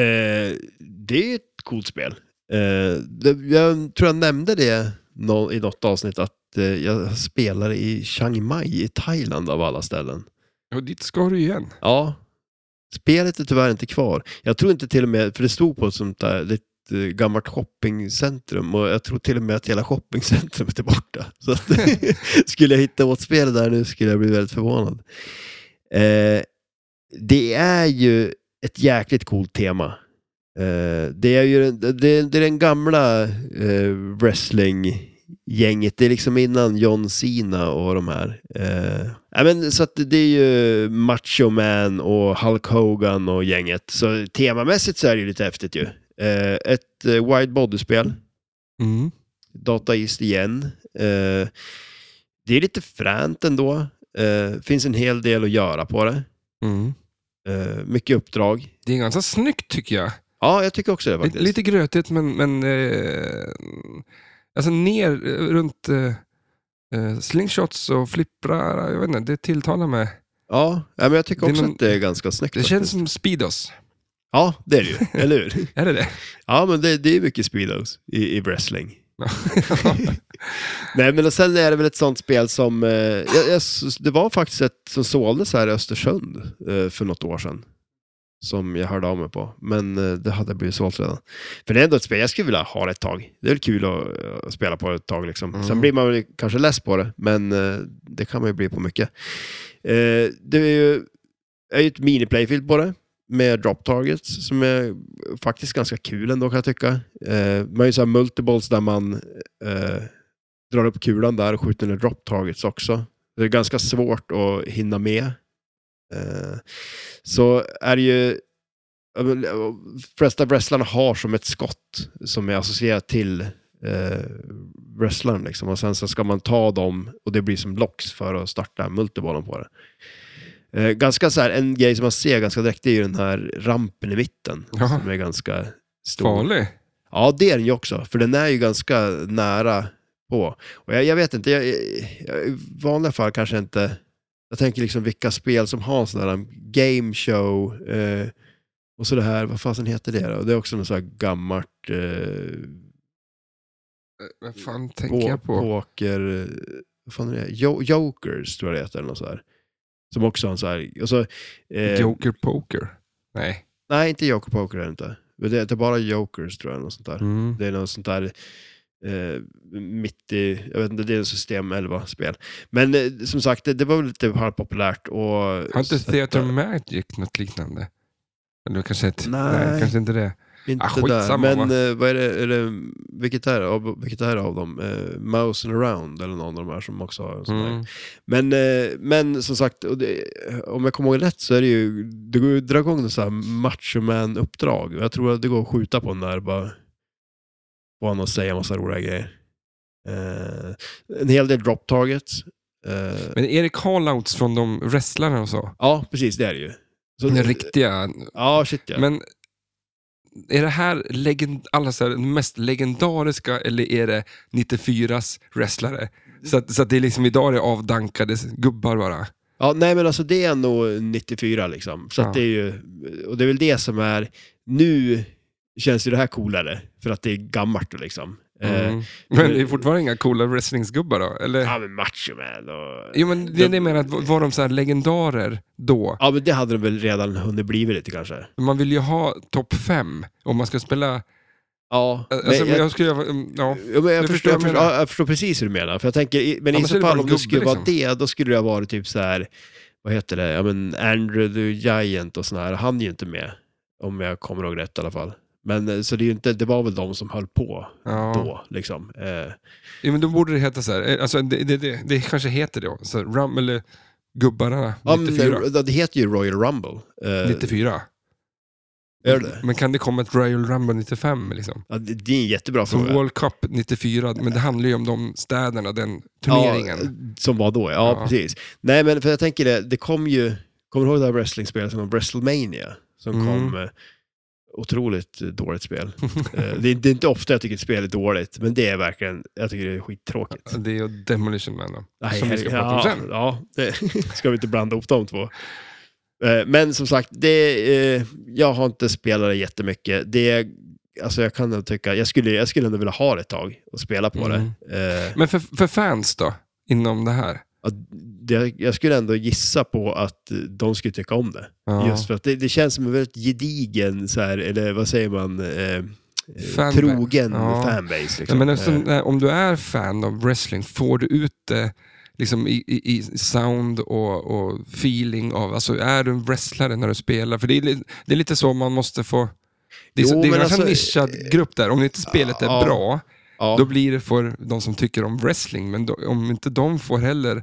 Eh, det är ett coolt spel. Eh, det, jag tror jag nämnde det nå- i något avsnitt att eh, jag spelar i Chiang Mai i Thailand av alla ställen.
Och dit ska du igen.
Ja, spelet är tyvärr inte kvar. Jag tror inte till och med, för det stod på ett sånt där lite eh, gammalt shoppingcentrum och jag tror till och med att hela shoppingcentrumet är borta. Så att, skulle jag hitta åt spelet där nu skulle jag bli väldigt förvånad. Eh, det är ju ett jäkligt coolt tema. Eh, det är ju den- det, det är den gamla eh, wrestling-gänget. Det är liksom innan John Cena och de här. Eh, ja, men, så att det är ju Macho Man och Hulk Hogan och gänget. Så temamässigt så är det ju lite häftigt ju. Eh, ett eh, wide body-spel.
Mm.
Data East igen. Eh, det är lite fränt ändå. Eh, finns en hel del att göra på det.
Mm.
Eh, mycket uppdrag.
Det är ganska snyggt tycker jag.
Ja, jag tycker också det
Lite,
faktiskt.
lite grötigt, men, men eh, alltså ner eh, runt eh, eh, slingshots och flipprar, jag vet inte, det tilltalar mig.
Ja, ja, men jag tycker
Det är
också
någon-
att det är ganska snyggt.
Det
faktiskt.
känns som Speedos,
Ja, det är det ju, eller hur?
är det det?
Ja, men det, det är mycket speedos i, i wrestling.
Ja.
Nej, men och sen är det väl ett sånt spel som... Eh, jag, jag, s- det var faktiskt ett som såldes här i Östersund eh, för något år sedan. Som jag hörde av mig på. Men eh, det hade blivit sålt redan. För det är ändå ett spel jag skulle vilja ha ett tag. Det är väl kul att eh, spela på ett tag liksom.
Mm.
Sen blir man väl kanske less på det, men eh, det kan man ju bli på mycket. Eh, det är ju, är ju ett miniplayfield på det. Med drop targets som är faktiskt ganska kul ändå kan jag tycka. Eh, man har ju så här multiballs där man eh, drar upp kulan där och skjuter ner drop targets också. Det är ganska svårt att hinna med. Eh, så är det ju... ja, men, eh, De flesta wrestlarna har som ett skott som är associerat till eh, wrestlaren. Liksom. Och sen så ska man ta dem och det blir som blocks för att starta multibollen på det. Eh, ganska så här, en grej som man ser ganska direkt det är ju den här rampen i mitten.
Ja.
Som är ganska stor.
Farlig. Eh,
Ja, det är den ju också, för den är ju ganska nära på. Och jag, jag vet inte, jag, jag, i vanliga fall kanske inte... Jag tänker liksom vilka spel som har sådana här game show eh, och så det här, vad fasen heter det då? Det är också något så här gammalt eh,
Vad fan tänker
po-
jag på?
poker... eh, Vad fan är det? Jo- Jokers tror jag det heter, eller något så här. Som också har en så här... Och så, eh,
Joker Poker? Nej.
nej, inte Joker Poker är det inte. Men Det är bara Jokers tror jag, eller något sånt där.
Mm.
Det är något sånt där eh, mitt i, jag vet inte, det är en system 11-spel. Men eh, som sagt, det, det var väl lite halvpopulärt. Och,
Har inte
så att,
Theater
eh,
Magic något liknande? Eller kanske ett,
Nej.
kanske inte det.
Inte
Ah, skitsamma,
där. Men
va?
eh, vad är det, är det vilket, är, det av, vilket är det av dem? Eh, Mouse and Around eller någon av de här som också har en sån här.
Mm.
Men, eh, men som sagt, och det, om jag kommer ihåg rätt så är det ju, det går ju att dra igång något så här machoman-uppdrag. Jag tror att det går att skjuta på den där bara. Få honom att säga massa roliga grejer. Eh, en hel del drop targets. Eh,
Men är det call-outs från de wrestlarna och så?
ja, precis det är det ju. Så-
Den riktiga.
Ja, shit ja.
Men är det här legend, alla så här, mest legendariska eller är det 94s wrestlare? Så att, så att det är liksom idag är det avdankade gubbar bara.
Ja, nej men alltså det är nog 94 liksom. Så
Ja.
att det är ju, och det är väl det som är, nu känns ju det här coolare för att det är gammalt liksom. Eh,
Mm. Men det är fortfarande inga coola wrestlingsgubbar då? Eller?
ja men macho man och...
Eh. Jo, men det är det jag menar, att var de så här legendarer då?
Ja men det hade de väl redan hunnit blivit lite kanske.
Man vill ju ha topp fem om man ska spela... eh,
Ja, men
Alltså,
jag,
jag, skulle göra... mm, Ja.
ja, men jag,
du
förstår,
förstår
jag,
vad jag
förstår,
menar.
ja, jag förstår precis hur du menar. För jag tänker, i- men i
Annars är
så
det bara
fall
en
om det
gubbe,
skulle vara
liksom.
det, då skulle det ha varit typ så här, vad heter det, ja men Andrew the Giant och sådana här, han är ju inte med. Om jag kommer ihåg rätt i alla fall. Men eh, så det är ju inte, det var väl de som höll på
Ja.
då. Liksom. Eh,
Jo, men då borde det heta så här. eh, Alltså, det, det, det, det kanske heter det då. Så här, Rum, eller Gubbarna
ja,
94.
men det, det heter ju Royal Rumble. Eh,
94.
Är det
Men kan det komma ett Royal Rumble 95? Liksom?
ja, det? Det är en jättebra
Så
fråga.
World Cup 94, men det handlar ju om de städerna, den
Ja,
turneringen.
som var då, ja,
Ja.
precis. Nej, men för jag tänker det, det kom ju, kommer du ihåg det här wrestlingspelet som var WrestleMania? Som
Mm.
kom, eh, otroligt eh, dåligt spel. Eh, det, är- det är inte ofta jag tycker ett spel är dåligt, men det är verkligen, jag tycker det är skittråkigt.
Det är ju Demolition Man då.
Nej,
som vi ska
herregud.
prata om
ja,
sen.
ja, det ska vi inte blanda ihop de två. Eh, Men som sagt, det, eh, jag har inte spelat det jättemycket. Det, alltså jag kan nog tycka, jag skulle, jag skulle ändå vilja ha det ett tag och spela på
Mm.
det. Eh,
Men för, för fans då, inom det här?
att det. Jag skulle ändå gissa på att eh, de skulle tycka om det.
Ja.
Just för att det, det känns som en väldigt gedigen, så här, eller vad säger man, eh, eh,
Fanbase.
trogen
Ja.
fanbase.
Ja,
Liksom.
men
Eh,
eftersom, eh, om du är fan av wrestling, får du ut det liksom i, i, i sound och, och feeling av, alltså är du en wrestlare när du spelar? För det är, li- det är lite så man måste få, det är, så-
Jo,
det är
men
kanske en
alltså,
nischad grupp där, om inte spelet är
ja,
bra,
ja.
då blir det för de som tycker om wrestling, men då, om inte de får heller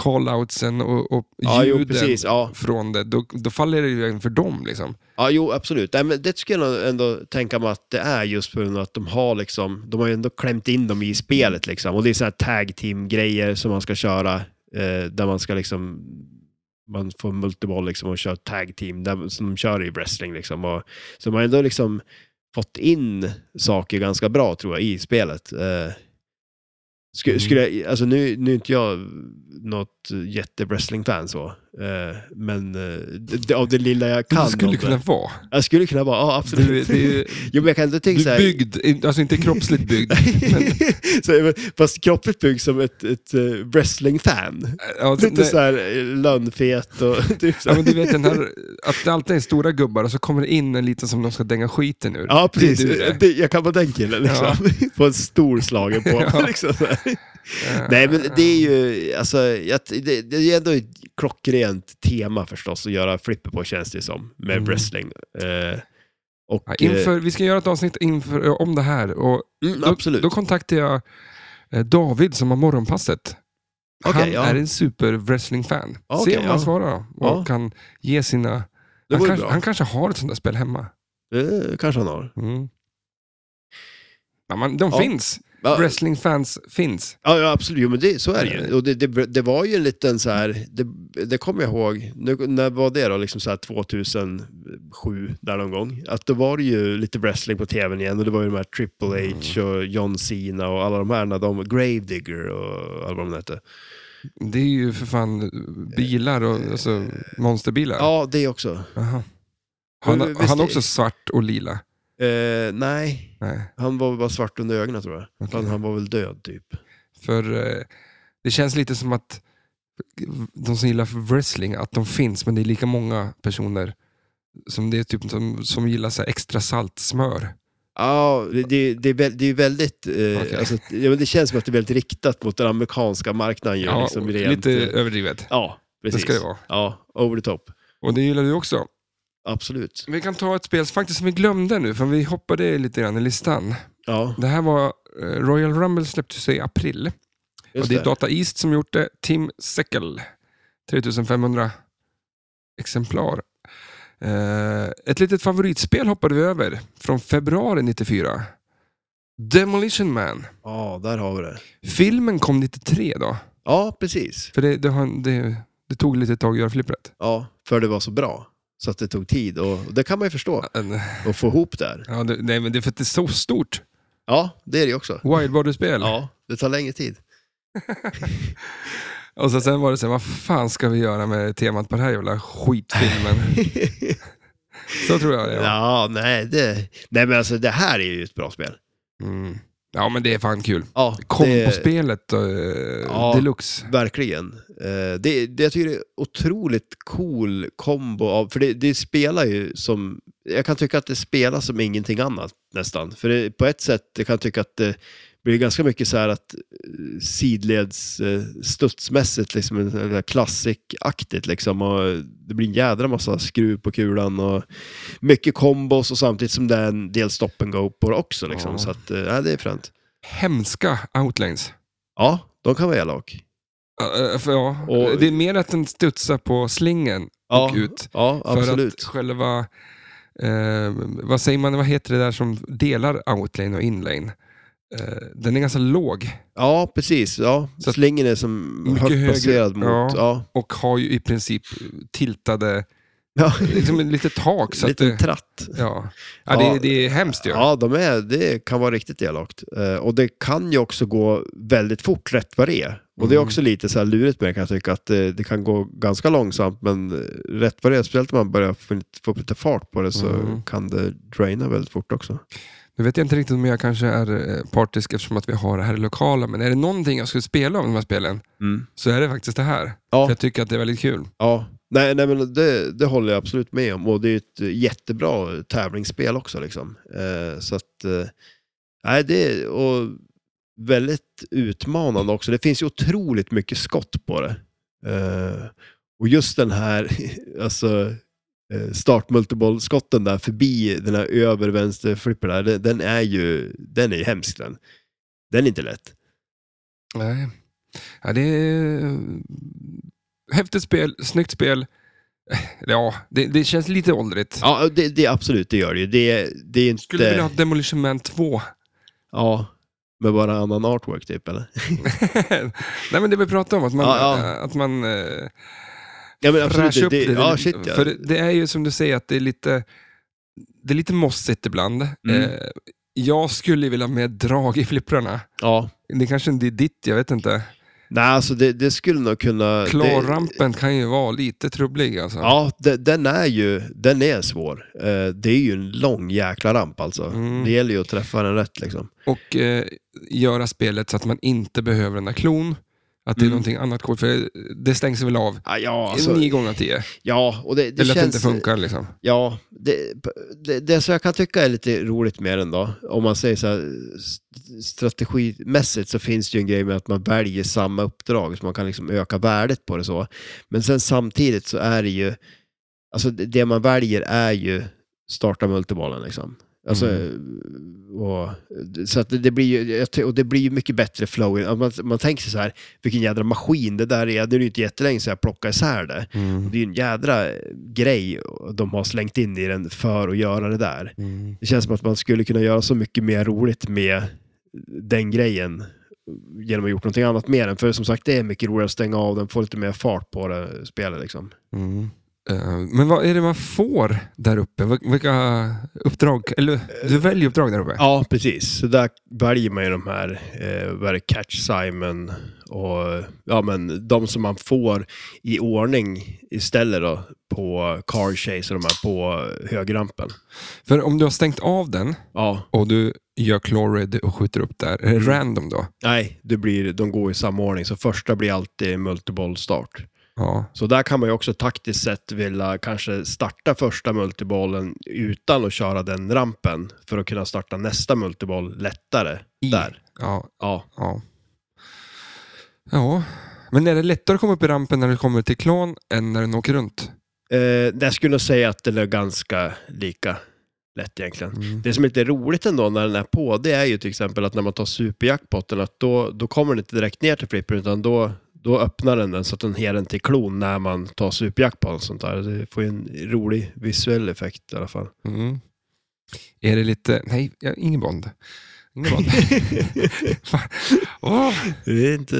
call-outsen och, och
ja, jo,
ljuden
precis. Ja.
från det, då, då faller det ju även för dem. Liksom.
Ja, jo, absolut. Nej, men det ska jag nog ändå tänka mig att det är just på grund av att de har liksom, de har ju ändå klämt in dem i spelet liksom. Och det är så här tag team-grejer som man ska köra, eh, där man ska liksom, man får multiboll liksom och kör tag team, där, som de kör i wrestling liksom. Och, så de har ändå liksom fått in saker ganska bra tror jag i spelet. Eh, skulle,
Mm.
skulle jag, alltså nu, nu är inte jag något jätte-wrestling-fan så, eh, men eh, det, av det lilla jag kan.
Du
om
skulle
det.
kunna vara.
Jag skulle kunna vara, ja absolut.
Du, det är ju,
Jo men jag kan ändå
du
tänka så
är
här...
byggd, in- alltså inte kroppsligt byggd, men
så, här, men- fast kroppligt byggd som ett, ett eh, wrestling-fan.
Ja,
Lite
Alltså, nej,
så här eh, lönnfet och typ så
ja,
här.
men du vet den här, att det alltid är stora gubbar och så kommer det in en liten som de ska dänga skiten ur.
Ja, precis.
Det är du det.
Det, jag kan vara den killen liksom. Få en stor slagen på
Ja.
liksom, så här. Nej, men det är ju, alltså, jag, det, det är ändå ett klockrent tema förstås att göra flipper på känns det som, med
Mm.
wrestling. Eh, och,
Ja,
eh,
inför, vi ska göra ett avsnitt inför, om det här och
mm,
då,
absolut.
då kontaktar jag eh, David som har morgonpasset.
Okej,
han
ja.
är en super wrestling-fan.
Okej,
Se om
ja.
han svarar då, och
Ja.
kan ge sina...
det
Han
vore
kanske,
bra.
han kanske har ett sånt där spel hemma.
Eh, kanske han har.
Mm. Ja, men de
Ja.
finns.
Ja,
Wrestling-fans finns.
Ja, ja absolut. Jo, men det, så är det
Eh.
ju. Och det, det, det var ju en liten så här, det, det kommer jag ihåg, nu, när var det då? Liksom så här 2007, där någon gång. Att då var det ju lite wrestling på tvn igen och det var ju de här
Mm.
Triple H och John Cena och alla de här, när de, Gravedigger och alla vad de hette.
Det är ju för fan eh, bilar, och, alltså monsterbilar.
Ja, det också.
Aha. Han,
Men, visst
han
är-
också svart och lila?
Eh, nej,
Nej.
han var väl bara svart under ögonen tror jag.
okej.
Han, han var väl död typ.
För eh, det känns lite som att de som gillar wrestling, att de finns, men det är lika många personer som det är typ som, som gillar så här extra salt smör.
Ja, det, det, det, är väl- det är ju väldigt, eh,
Okej.
alltså, ja, men det känns som att det är väldigt riktat mot den amerikanska marknaden. Ju,
Ja,
liksom,
och
rent,
lite
eh,
överdrivet.
Ja, precis.
Det ska det vara.
Ja, over the top.
Och det gillar du också.
Absolut.
Vi kan ta ett spel faktiskt som vi glömde nu, för vi hoppade lite grann i listan.
Ja,
Det här var eh, Royal Rumble släpptes ju i april. och
just
det är
det.
Data East som gjort det. Tim Seckel. 3500 exemplar. Eh, ett litet favoritspel hoppade vi över från februari 94. Demolition Man.
Ja, där har vi det.
Filmen kom 93 då.
Ja, precis.
För det, det, har- det, det tog lite tag att göra flippret.
Ja, för det var så bra. Så att det tog tid och och det kan man ju förstå.
En-
Och få ihop där.
Ja, det, nej, men det är för att det är så stort.
Ja, det är det ju också.
Wildboard-spel.
Ja, det tar längre tid.
Och så, sen var det så här, vad fan ska vi göra med temat på den här jävla skitfilmen? så tror jag det var.
Ja, nej, det... nej men alltså det här är ju ett bra spel.
Mm. Ja, men det är fan kul.
Ja, det,
Kombospelet eh,
Ja.
deluxe.
verkligen. Eh, Det, det, jag tycker det är otroligt cool kombo av, för det, det spelar ju som, jag kan tycka att det spelar som ingenting annat nästan. För det, på ett sätt jag kan jag tycka att det blir ganska mycket så här att eh, sidleds eh, studsmässigt, liksom, en sån här klassikaktigt liksom. Och det blir en jädra massa skruv på kulan och mycket kombos och samtidigt som det är en del stop and go på det också liksom.
Ja.
Så att, eh, ja, det är fränt.
Hemska outlanes.
Ja, de kan vara elak.
Ja, eh, för, ja.
Och-
det är mer att den studsar på slingen
Ja,
och ut.
ja
För att
absolut.
själva, eh, vad säger man, vad heter det där som delar outlane och inlane? Eh, den är ganska låg
Ja, precis. Ja.
Så att-
Slingen är som
Mycket
högt
högre.
placerad mot...
Ja.
Ja.
och har ju i princip tiltade,
Ja.
liksom lite tak. Så att
Liten
det,
tratt.
ja. Ja, det,
Ja.
det är hemskt ju.
Ja, de är, det kan vara riktigt elakt. Eh, och det kan ju också gå väldigt fort rätt vad det är. Och det är
Mm.
också lite så här lurigt med det, kan jag tycka, att eh, det kan gå ganska långsamt men eh, rätt vad det är, speciellt om man börjar få lite, få lite fart på det så
Mm.
kan det draina väldigt fort också.
Nu vet jag inte riktigt om jag kanske är eh, partisk eftersom att vi har det här i lokala, men är det någonting jag skulle spela av de här spelen så är det faktiskt det här.
Ja.
För jag tycker att det är väldigt kul.
Ja, nej, nej men det, det håller jag absolut med om. Och det är ju ett jättebra tävlingsspel också. Liksom. Eh, så att, eh, nej, det är, och väldigt utmanande också. Det finns ju otroligt mycket skott på det. Eh, och just den här, alltså eh, startmultiple-skotten där förbi den här över vänster flipper där, den- den är ju, den är ju hemsk den. Den är inte lätt.
Nej. Ja, det är eh, häftigt spel, snyggt spel. Eh, Ja, det, det känns lite åldrigt.
Ja, det, det absolut, det gör det ju. Det, det är inte...
Skulle vilja ha Demolition Man 2.
Ja, med bara annan artwork typ eller?
Nej men det vi pratade om, att man,
Ja, ja.
Att man eh,
Ja men absolut,
fräschar
det,
upp det.
det, ja, shit, ja.
För det, det är ju som du säger, att det är lite, det är lite mossigt ibland.
Mm.
Eh, jag skulle vilja ha med drag i flipprarna.
ja.
Det kanske inte är ditt, jag vet inte.
Nej alltså det, det skulle nog kunna... det,
Klarrampen kan ju vara lite trubblig alltså.
Ja, de- den är ju den är svår. Eh, det är ju en lång jäkla ramp alltså.
Mm.
Det gäller ju att träffa den rätt liksom.
Och eh, göra spelet så att man inte behöver den där klon. Att det är
Mm.
någonting annat kort, för det stängs väl av.
Ja, ja, alltså,
Nio gånger av tio.
ja och det, det
Eller att det inte
känns...
funkar liksom.
Ja, det, det, det som jag kan tycka är lite roligt med den då, om man säger så här, st- strategimässigt så finns det ju en grej med att man väljer samma uppdrag, så man kan liksom öka värdet på det så. Men sen samtidigt så är det ju, alltså det- det man väljer är ju starta multibollen liksom. Alltså, och, så att det, det blir ju, jag ty- och det blir ju mycket bättre flow. Att Man, man tänker sig så här, vilken jädra maskin det där är. Det är ju inte jättelänge sedan jag plockade isär det. Och
Mm.
Det är ju en jädra eh, grej de har slängt in i den för att göra det där.
Mm.
Det känns som att man skulle kunna göra så mycket mer roligt med den grejen genom att gjort någonting annat med den. För som sagt, det är mycket roligare att stänga av den, få lite mer fart på det spelet liksom.
Mm. Eh, Men vad är det man får där uppe? Vil- Vilka uppdrag? Eller du väljer uppdrag där uppe?
Ja, precis. Så där väljer man ju de här, eh, vad är det, Catch Simon och ja, men de som man får i ordning istället då på Car Chase och de här på högerrampen.
För om du har stängt av den
Ja,
och du gör chloride och skjuter upp där,
Mm.
är det random då?
Nej, det blir, de går i samma ordning. Så första blir alltid multiboll start.
Ja.
Så där kan man ju också taktiskt sett vilja kanske starta första multibollen utan att köra den rampen för att kunna starta nästa multiboll lättare
I.
där.
Ja,
Ja.
ja. Ja. Men är det lättare att komma upp i rampen när du kommer till klan än när den åker runt?
Eh, jag skulle nog säga att det är ganska lika lätt egentligen. Det som är lite roligt ändå när den är på, det är ju till exempel att när man tar superjackpotten, att då, då kommer den inte direkt ner till flippen, utan då, då öppnar den den så att den ger den till klon när man tar superjackpot och sånt där. Det får ju en rolig visuell effekt i alla fall.
Mm. Är det lite... Nej, ja, ingen Bond. Ingen Bond. Fan. Åh,
Det är inte...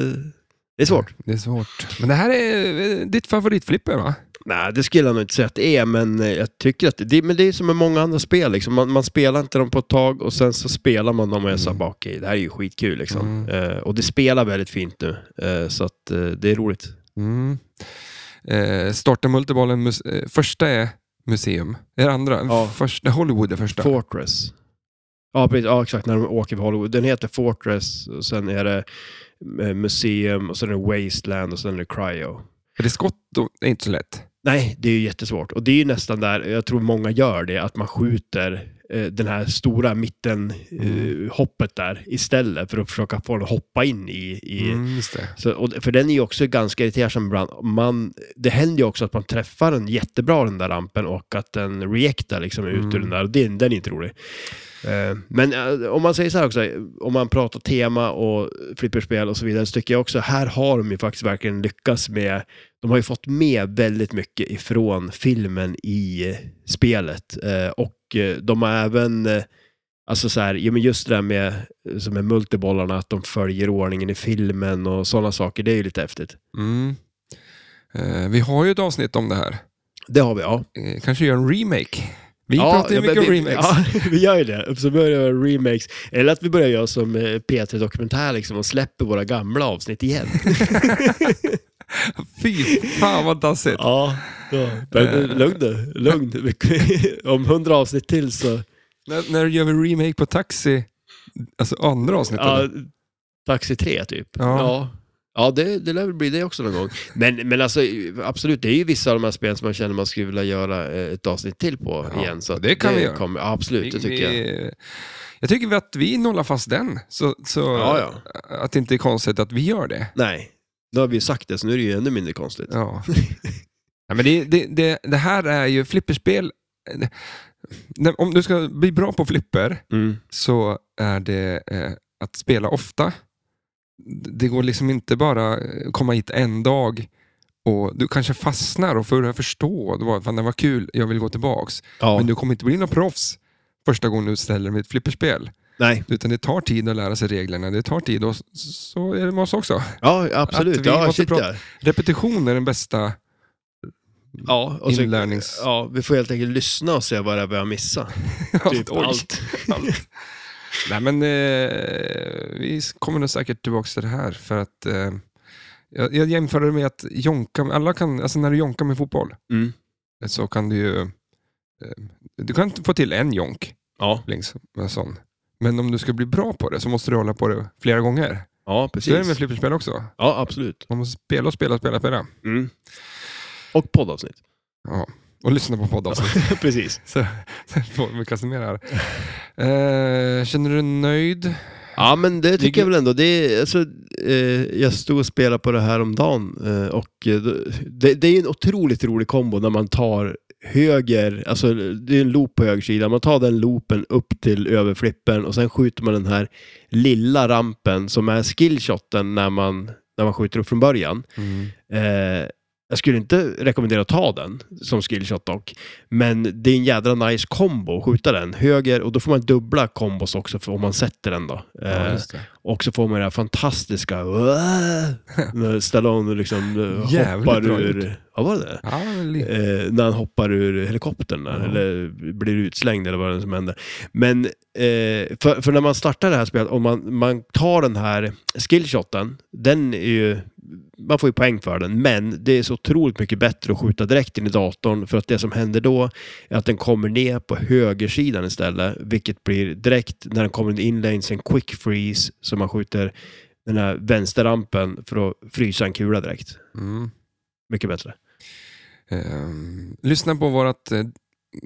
Det är svårt.
det är svårt. Men det här är eh, ditt favoritflipper va?
Nej, det skulle jag nog inte säga att det är, men eh, jag tycker att det, men det är som med många andra spel. Liksom. Man, man spelar inte dem på ett tag och sen så spelar man dem och är så här, bara okej, det här är ju skitkul liksom. Eh, och det spelar väldigt fint nu, eh, så att eh, det är roligt.
Mm. Eh, starta multibollen, mus- eh, första är museum. Är det andra?
Ja.
Första, Hollywood är första.
Fortress. Ja, precis, ja, exakt, när de åker på Hollywood. Den heter Fortress, och sen är det eh, Museum, och sen är det Wasteland och sen är det Cryo.
Är det skott? då? Det är inte så lätt.
Nej, det är ju jättesvårt. Och det är ju nästan där, jag tror många gör det, att man skjuter eh, den här stora mitten eh, hoppet där istället för att försöka få den att hoppa in i... i
Mm, just det.
så, och, för den är ju också ganska irriterande ibland. Man, det händer ju också att man träffar den jättebra, den där rampen, och att den reactar liksom ut ur den där. Och det, den är inte rolig. Eh, Men eh, om man säger så här också, om man pratar tema och flipperspel och så vidare, så tycker jag också här har de ju faktiskt verkligen lyckats med, de har ju fått med väldigt mycket ifrån filmen i spelet. Eh, Och eh, de har även, eh, alltså så här, ja, men just det där med, eh, som är multibollarna, att de följer ordningen i filmen och sådana saker, det är ju lite häftigt.
Mm. Eh, vi har ju ett avsnitt om det här.
Det har vi, ja.
Eh, kanske gör en remake. Vi
ja,
pratar ju
ja, men
mycket om
vi-
remakes.
Ja, vi gör ju det. Så börjar vi göra remakes. Eller att vi börjar göra som eh, P3 Dokumentär liksom och släpper våra gamla avsnitt igen.
Fy fan vad dassigt.
ja, ja. Men, eh, lugn nu. Lugn. Vi- Om hundra avsnitt till så...
När, när gör vi remake på Taxi? Alltså andra avsnittet?
Ja, taxi 3 typ.
Ja.
Ja. ja. det, det lär väl bli det också någon gång. Men, men alltså, absolut, det är ju vissa av de här spelen som man känner man skulle vilja göra eh, ett avsnitt till på
Ja,
igen. Så att
det kan vi göra.
Kommer, ja, absolut, det tycker jag.
jag. Jag tycker att vi nollar fast den. Så, så
Ja, ja.
att det inte är konstigt att vi gör det.
Nej, nu har vi ju sagt det, så nu är det ju ännu mindre konstigt.
Ja. Nej, men det, det, det, det här är ju flipperspel. eh, när- Om du ska bli bra på flipper
Mm.
så är det eh, att spela ofta. Det går liksom inte bara eh, komma hit en dag och du kanske fastnar och börjar förstå. Det var, fan, det var kul, jag vill gå tillbaks.
Ja.
Men du kommer inte bli någon proffs första gången du ställer dig med ett flipperspel.
Nej,
Utan det tar tid att lära sig reglerna. Det tar tid och s- så är det med oss också.
ja absolut.
Att vi
Ja,
måste
shit,
prata-
ja.
Repetition är den bästa
Ja, och så,
Inlärnings-
ja, vi får helt enkelt lyssna och se vad det är vi har missat. Typ
Oj.
allt.
Nej, men eh, vi kommer nog säkert tillbaka till det här. För att, eh, jag, jag jämför det med att jonka, alla kan, alltså när du jonkar med fotboll
Mm.
så kan du ju... Eh, du kan inte få till en jonk,
Ja,
liksom, en sån. men om du ska bli bra på det så måste du hålla på det flera gånger.
ja
Så är det med
precis.
flipperspel också.
Ja, absolut.
Man måste spela och spela och spela. spela.
Mm. Och poddavsnitt.
Ja. Och lyssna på poddavsnitt.
precis.
Så, så får vi kasta med det här. Eh, känner du dig nöjd?
Ja, men det tycker
Ligger-
jag väl ändå. Det är, alltså, eh, jag stod och spelade på det här om dagen eh, och eh, då- det, det är ju en otroligt rolig kombo när man tar höger, alltså det är en loop på höger sida, man tar den loopen upp till överflippen och sen skjuter man den här lilla rampen som är skillshoten när man, när man skjuter upp från början. Eh, jag skulle inte rekommendera att ta den som skillshot dock. Men det är en jädra nice kombo att skjuta den höger och då får man dubbla kombos också för om man sätter den då.
Ja,
Eh,
just det.
och så får man det här fantastiska när Stallone liksom eh,
Jävligt
hoppar
bra
ur... Ja, var det det?
Ja, väl lite.
Eh, när han hoppar ur helikoptern där,
Ja.
eller blir utslängd eller vad det är som händer. Men eh, för, för när man startar det här spelet, om man, man tar den här skillshoten, den är ju, man får ju poäng för den, men det är så otroligt mycket bättre att skjuta direkt in i datorn för att det som händer då är att den kommer ner på högersidan istället, vilket blir direkt när den kommer in lanes en quick freeze som man skjuter den här vänsterrampen för att frysa en kula direkt.
Mm.
Mycket bättre.
Ehm, lyssna på vårt eh,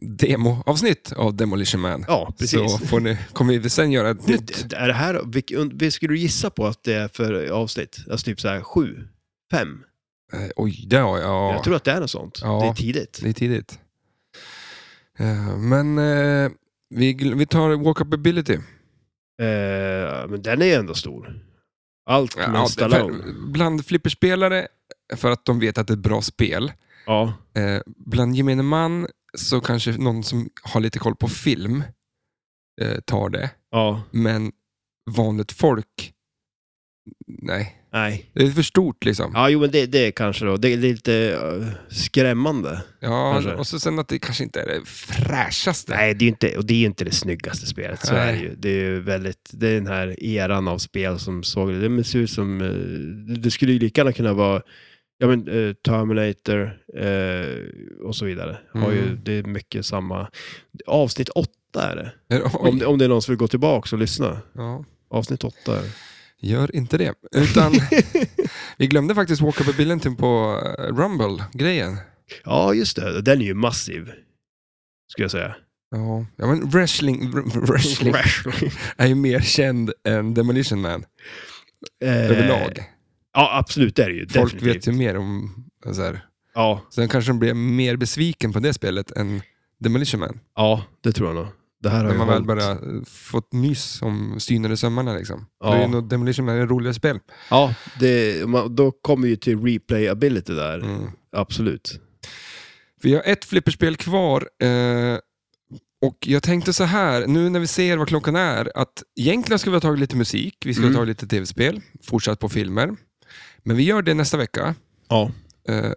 demoavsnitt av Demolition Man.
Ja, precis.
Så får ni, kommer vi sen göra ett nytt.
Det- det- Är det här, vilk- und- vad skulle du gissa på att det är för avsnitt? Alltså typ så här sju? Fem?
Eh, Oj, det har jag.
Jag tror att det är något sånt.
Ja.
Det är tidigt.
Det är tidigt. Eh, Men eh, vi, gl- vi tar walk-up ability.
Eh, men den är ju ändå stor. Allt med
Ja,
Stallone.
för- bland flipperspelare, för att de vet att det är ett bra spel.
Ja.
Eh, bland gemene man så kanske någon som har lite koll på film eh, tar det.
Ja.
Men vanligt folk, nej.
Nej.
Det är för stort liksom.
Ja, jo men det, det kanske då. Det är lite eh, skrämmande. kanske.
Ja, och så sen att det kanske inte är det fräschaste.
Nej, det är ju inte, och det är ju inte det snyggaste spelet. Så
Nej.
är det ju. Det är ju väldigt, det är den här eran av spel som såg det. Det ser ut som, eh, det skulle ju lika gärna kunna vara ja, men, eh, Terminator eh, och så vidare. Har ju,
Mm.
det är mycket samma. Avsnitt åtta är det.
Är det- Eh, oj.
Om, det- om det är någon som vill gå tillbaka och lyssna.
Ja,
Avsnitt åtta. är det.
gör inte det. Utan vi glömde faktiskt walk up ability på eh, Rumble-grejen.
Ja, just det. Den är ju massiv. Skulle jag säga.
Ja. ja, men wrestling, wr- wrestling är ju mer känd än Demolition Man
Eh,
överlag.
Ja, absolut. Det är det ju.
Folk
definitivt.
vet ju mer om eh, så här,
Ja,
Sen kanske de blev mer besviken på det spelet än Demolition Man.
ja, det tror jag nog. Det här har
När
ju
man väl
hållit-
bara eh, fått nys om synade sömmarna. Liksom.
Ja.
Då är ju nog Demolition Man ett roligare spel.
Ja, det, man, då kommer ju till replayability där.
Mm.
Absolut.
För jag har ett flipperspel kvar. Eh, och jag tänkte så här, nu när vi ser vad klockan är, att egentligen ska vi ha tagit lite musik, vi ska ha
Mm.
tagit lite tv-spel, fortsatt på filmer. Men vi gör det nästa vecka.
Ja.
Eh,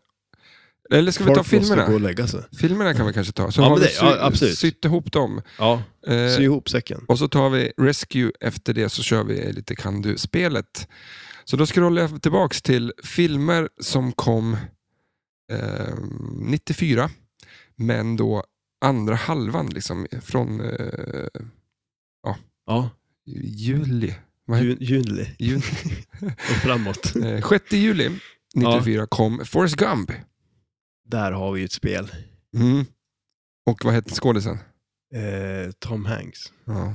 eller ska vi ta
Folk måste gå
filmerna?
och lägga sig.
Filmerna kan vi kanske ta, så
Ja,
har
men
vi
det- ja,
sy-
absolut.
sytt ihop dem.
Ja.
Eh,
Sy ihop säcken.
Och så tar vi Rescue efter det så kör vi lite Kan du-spelet. Så då scrollar jag tillbaks till filmer som kom eh, 94, men då andra halvan liksom från eh,
Ja.
juli. Vad heter-
Jun, juli
juni?
och framåt.
Eh, 6 juli 94 kom Forrest Gump.
där har vi ju ett spel.
Mm. Och vad hette skådisen?
Eh, Tom Hanks.
Ja.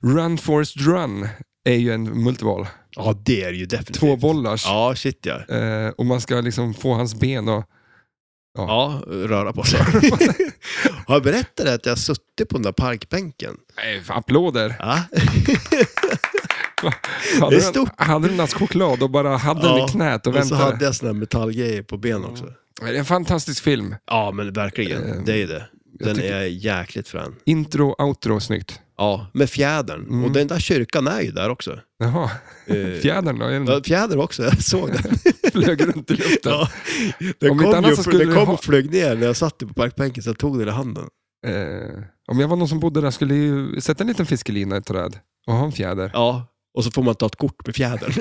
Run Forrest Run är ju en multiboll.
Ja, det är det ju definitivt.
Två bollars.
Ja, shit ja.
Eh, och man ska liksom få hans ben och
Ja, röra på sig. har jag berättat det att jag har suttit på den där parkbänken?
Nej, fan, Eh, applåder.
Ja.
Hade du,
är stort.
en, hade du en ask choklad och bara hade den
Ja,
i knät och
Och så
väntade?
hade jag såna här metallgrejer på benen också.
Det är en fantastisk film.
Ja, men verkligen.
Eh,
Det är ju det.
jag
Den
tycker-
är jäkligt frän.
Intro, outro, snyggt.
Ja, med fjädern.
Mm.
Och den där kyrkan är ju där också.
Jaha,
Eh,
fjädern då? Är den
ja, fjäder också, jag såg den.
flög runt i luften.
Ja. Den
Om inte
kom,
annat
ju,
så
upp-
skulle
den
du
kom
ha-
och flög ner när jag satt på parkbänken, så jag tog den i handen.
Eh, om jag var någon som bodde där skulle jag ju sätta en liten fiskelina i ett träd och ha en fjäder.
Ja, och så får man ta ett kort med fjädern.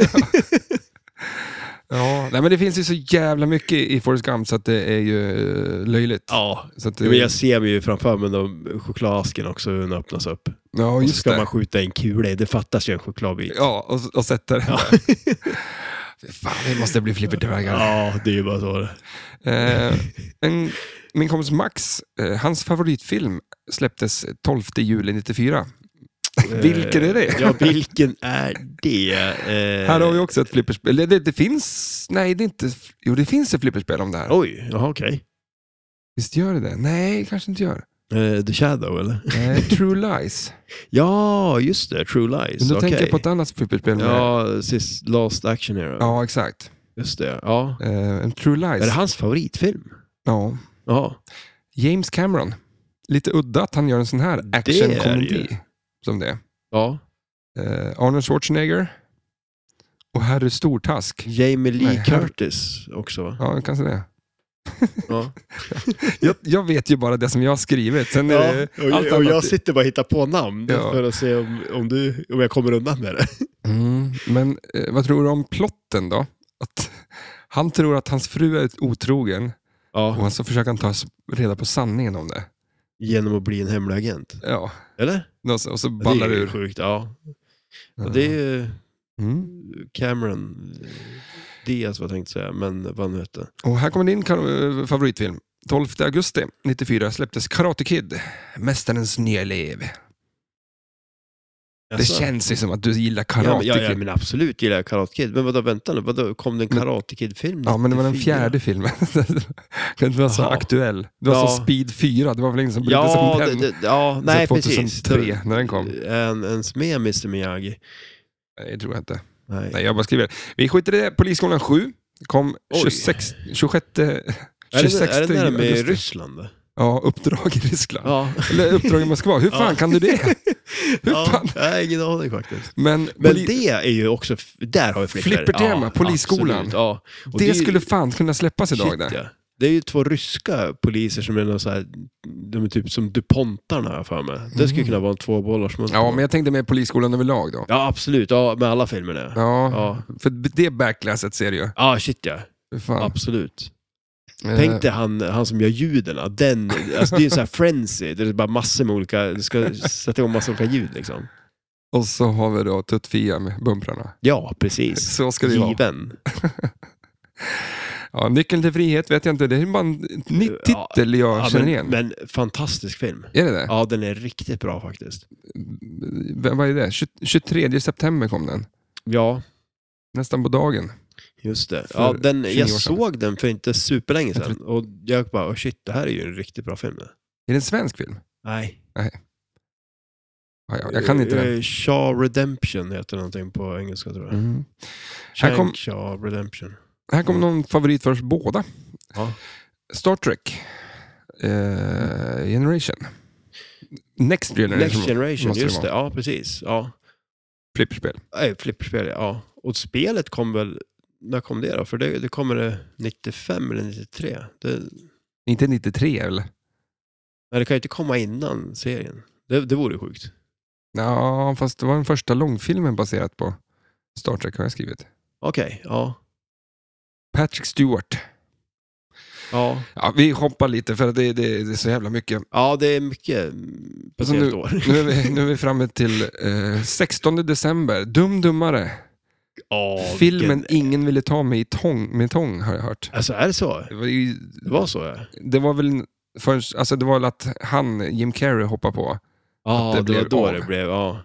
Ja. Nej, men det finns ju så jävla mycket i Forrest Gump så att det är ju eh, löjligt.
ja.
Så att,
Men jag ser mig ju framför mig de chokladasken också hur den öppnas upp.
ja,
Och så
just
ska
det.
man skjuta en kula i, det fattas ju en chokladbit.
Ja, och, och sätter den där. Fan, det måste bli flippertvägar.
Ja, det är ju bara så det
Eh, en, min kompis Max, eh, hans favoritfilm släpptes 12 juli 94. Vilken är det?
Eh, Ja, vilken är det? Eh,
Här har vi också ett flipperspel. Det, det, det finns... Nej, det är inte... Jo, det finns ett flipperspel om det här.
Oj, jaha okej.
Visst gör det det? Nej, kanske inte gör.
Eh, The Shadow eller?
Nej, True Lies.
Ja, just det. True Lies.
Men då tänker jag
Okej.
på ett annat flipperspel. med-
Ja, sist Last Action Hero.
ja exakt.
Just det, ja.
Eh, en True
Är det
Lies.
hans favoritfilm?
Ja.
Ja.
James Cameron. Lite udda att han gör en sån här
Det är
actionkomedi. Som det.
ja.
Eh, Arnold Schwarzenegger. Och Harry Stortask.
Jamie Lee
Nej, här-
Curtis också va?
Ja, kanske det.
Ja.
Jag, jag vet ju bara det som jag har skrivit. Sen är det allt
och, och jag
annat.
sitter bara och hittar på namn
Ja.
för att se om, om, du, om jag kommer undan med det.
Mm, men eh, vad tror du om plotten då? Att han tror att hans fru är otrogen
Ja.
och så försöker han ta s- reda på sanningen om det.
Genom att bli en hemlig agent.
Ja,
Eller?
och så, och så
Det
ballar
är
det
ju
ur.
sjukt, ja. Och det är ju
Mm.
Cameron eh, Diaz vad jag tänkte säga, men vad han nu hette.
Och här kommer din kar- eh, favoritfilm. 12 augusti 94 släpptes Karate Kid, Mästarens nya elev. Det
Alltså,
känns ju som att du gillar
ja,
Karate
men- ja, ja,
Kid.
men absolut gillar jag Karate Kid. Men vadå, vänta nu, vadå, kom det en Karate Kid-film?
Ja, men det var den
94?
fjärde filmen. den var så
Jaha.
aktuell. Det var
Ja.
så Speed 4, det var väl ingen som brydde sig
Ja,
om
det,
den.
det, ja nej
Så
precis.
2003 när den kom.
En, ens med Mr Miyagi.
Nej, det tror jag inte.
Nej.
Nej, jag bara skriver. Vi skiter i det. Polisskolan 7 kom
Oj.
26, 26, 26
är det, är det den med
augusti.
Ryssland? då?
Ja, uppdrag i Ryssland.
Ja.
Eller uppdrag i Moskva. Hur fan
Ja.
kan du det? Hur
ja,
fan?
jag har ingen aning faktiskt.
Men,
Men
poli-
det är ju också, f- där har vi flickor.
Flippertema, polisskolan.
absolut, Ja.
det,
är ju-
skulle fan kunna släppas idag.
shit,
där.
ja. Det är ju två ryska poliser som är någon så här, de är typ som DuPontarna har jag för mig. Det skulle kunna vara en tvåbollars
Mm. Ja, men jag tänkte mer polisskolan överlag då.
ja, absolut. Ja, med alla filmerna. Ja,
Ja,
ja.
för det backlasset ser du ju.
ja shit ja.
Hur fan.
Absolut.
Eh,
Tänk dig han, han som gör ljuden. då. Den, alltså det är en sån här frenzy. Där det är bara massor med olika, du ska sätta igång massor med olika ljud liksom.
Och så har vi då Tutt-Fia med bumprarna.
Ja, precis.
Så ska det ju vara.
Given.
Ja, nyckeln till frihet vet jag inte. Det är bara en ny
Ja,
titel jag
Ja,
känner igen.
men, men fantastisk film.
Är det det?
Ja, den är riktigt bra faktiskt.
V- Vad är det? 20- 23 september kom den.
Ja,
Nästan på dagen.
just det.
För
Ja, den,
20 år
jag
sedan.
såg den för inte superlänge
Jag
sedan. Och jag bara, oh shit, det här är ju en riktigt bra film.
Är det en svensk film?
Nej.
Ja, ja, jag kan inte den.
Eh, Shaw Redemption heter någonting på engelska tror jag.
Mm. Här
Shank
kom-
Shaw Redemption.
Här kommer någon favorit för oss båda.
eh. Ja.
Star Trek. Eh, Generation. Next Generation.
Next Generation,
måste det
just det.
vara.
Ja, precis. Ja.
Flipperspel.
Nej, flipperspel, ja. Och spelet kom väl, när kom det då? För det, det kommer det 95 eller 93? Det,
Inte 93 eller?
nej, det kan ju inte komma innan serien. Det, det vore sjukt.
Ja, fast det var den första långfilmen baserat på Star Trek har jag skrivit.
Okej, ja.
Patrick Stewart.
Ja,
Ja, vi hoppar lite för det, det, det är så jävla mycket.
ja det är mycket mm, på ett
Alltså
helt år.
Nu är vi, nu är vi framme till eh, 16 december. Dum Dummare.
Ja,
Filmen
vilken-
ingen ville ta mig i tång, med tång har jag hört.
Alltså är det så?
Det var, ju,
Det var så ja.
det var väl först, alltså det var väl att han, Jim Carrey, hoppade på.
Ja,
Att det
det, var
blev
då
av.
det blev, ja.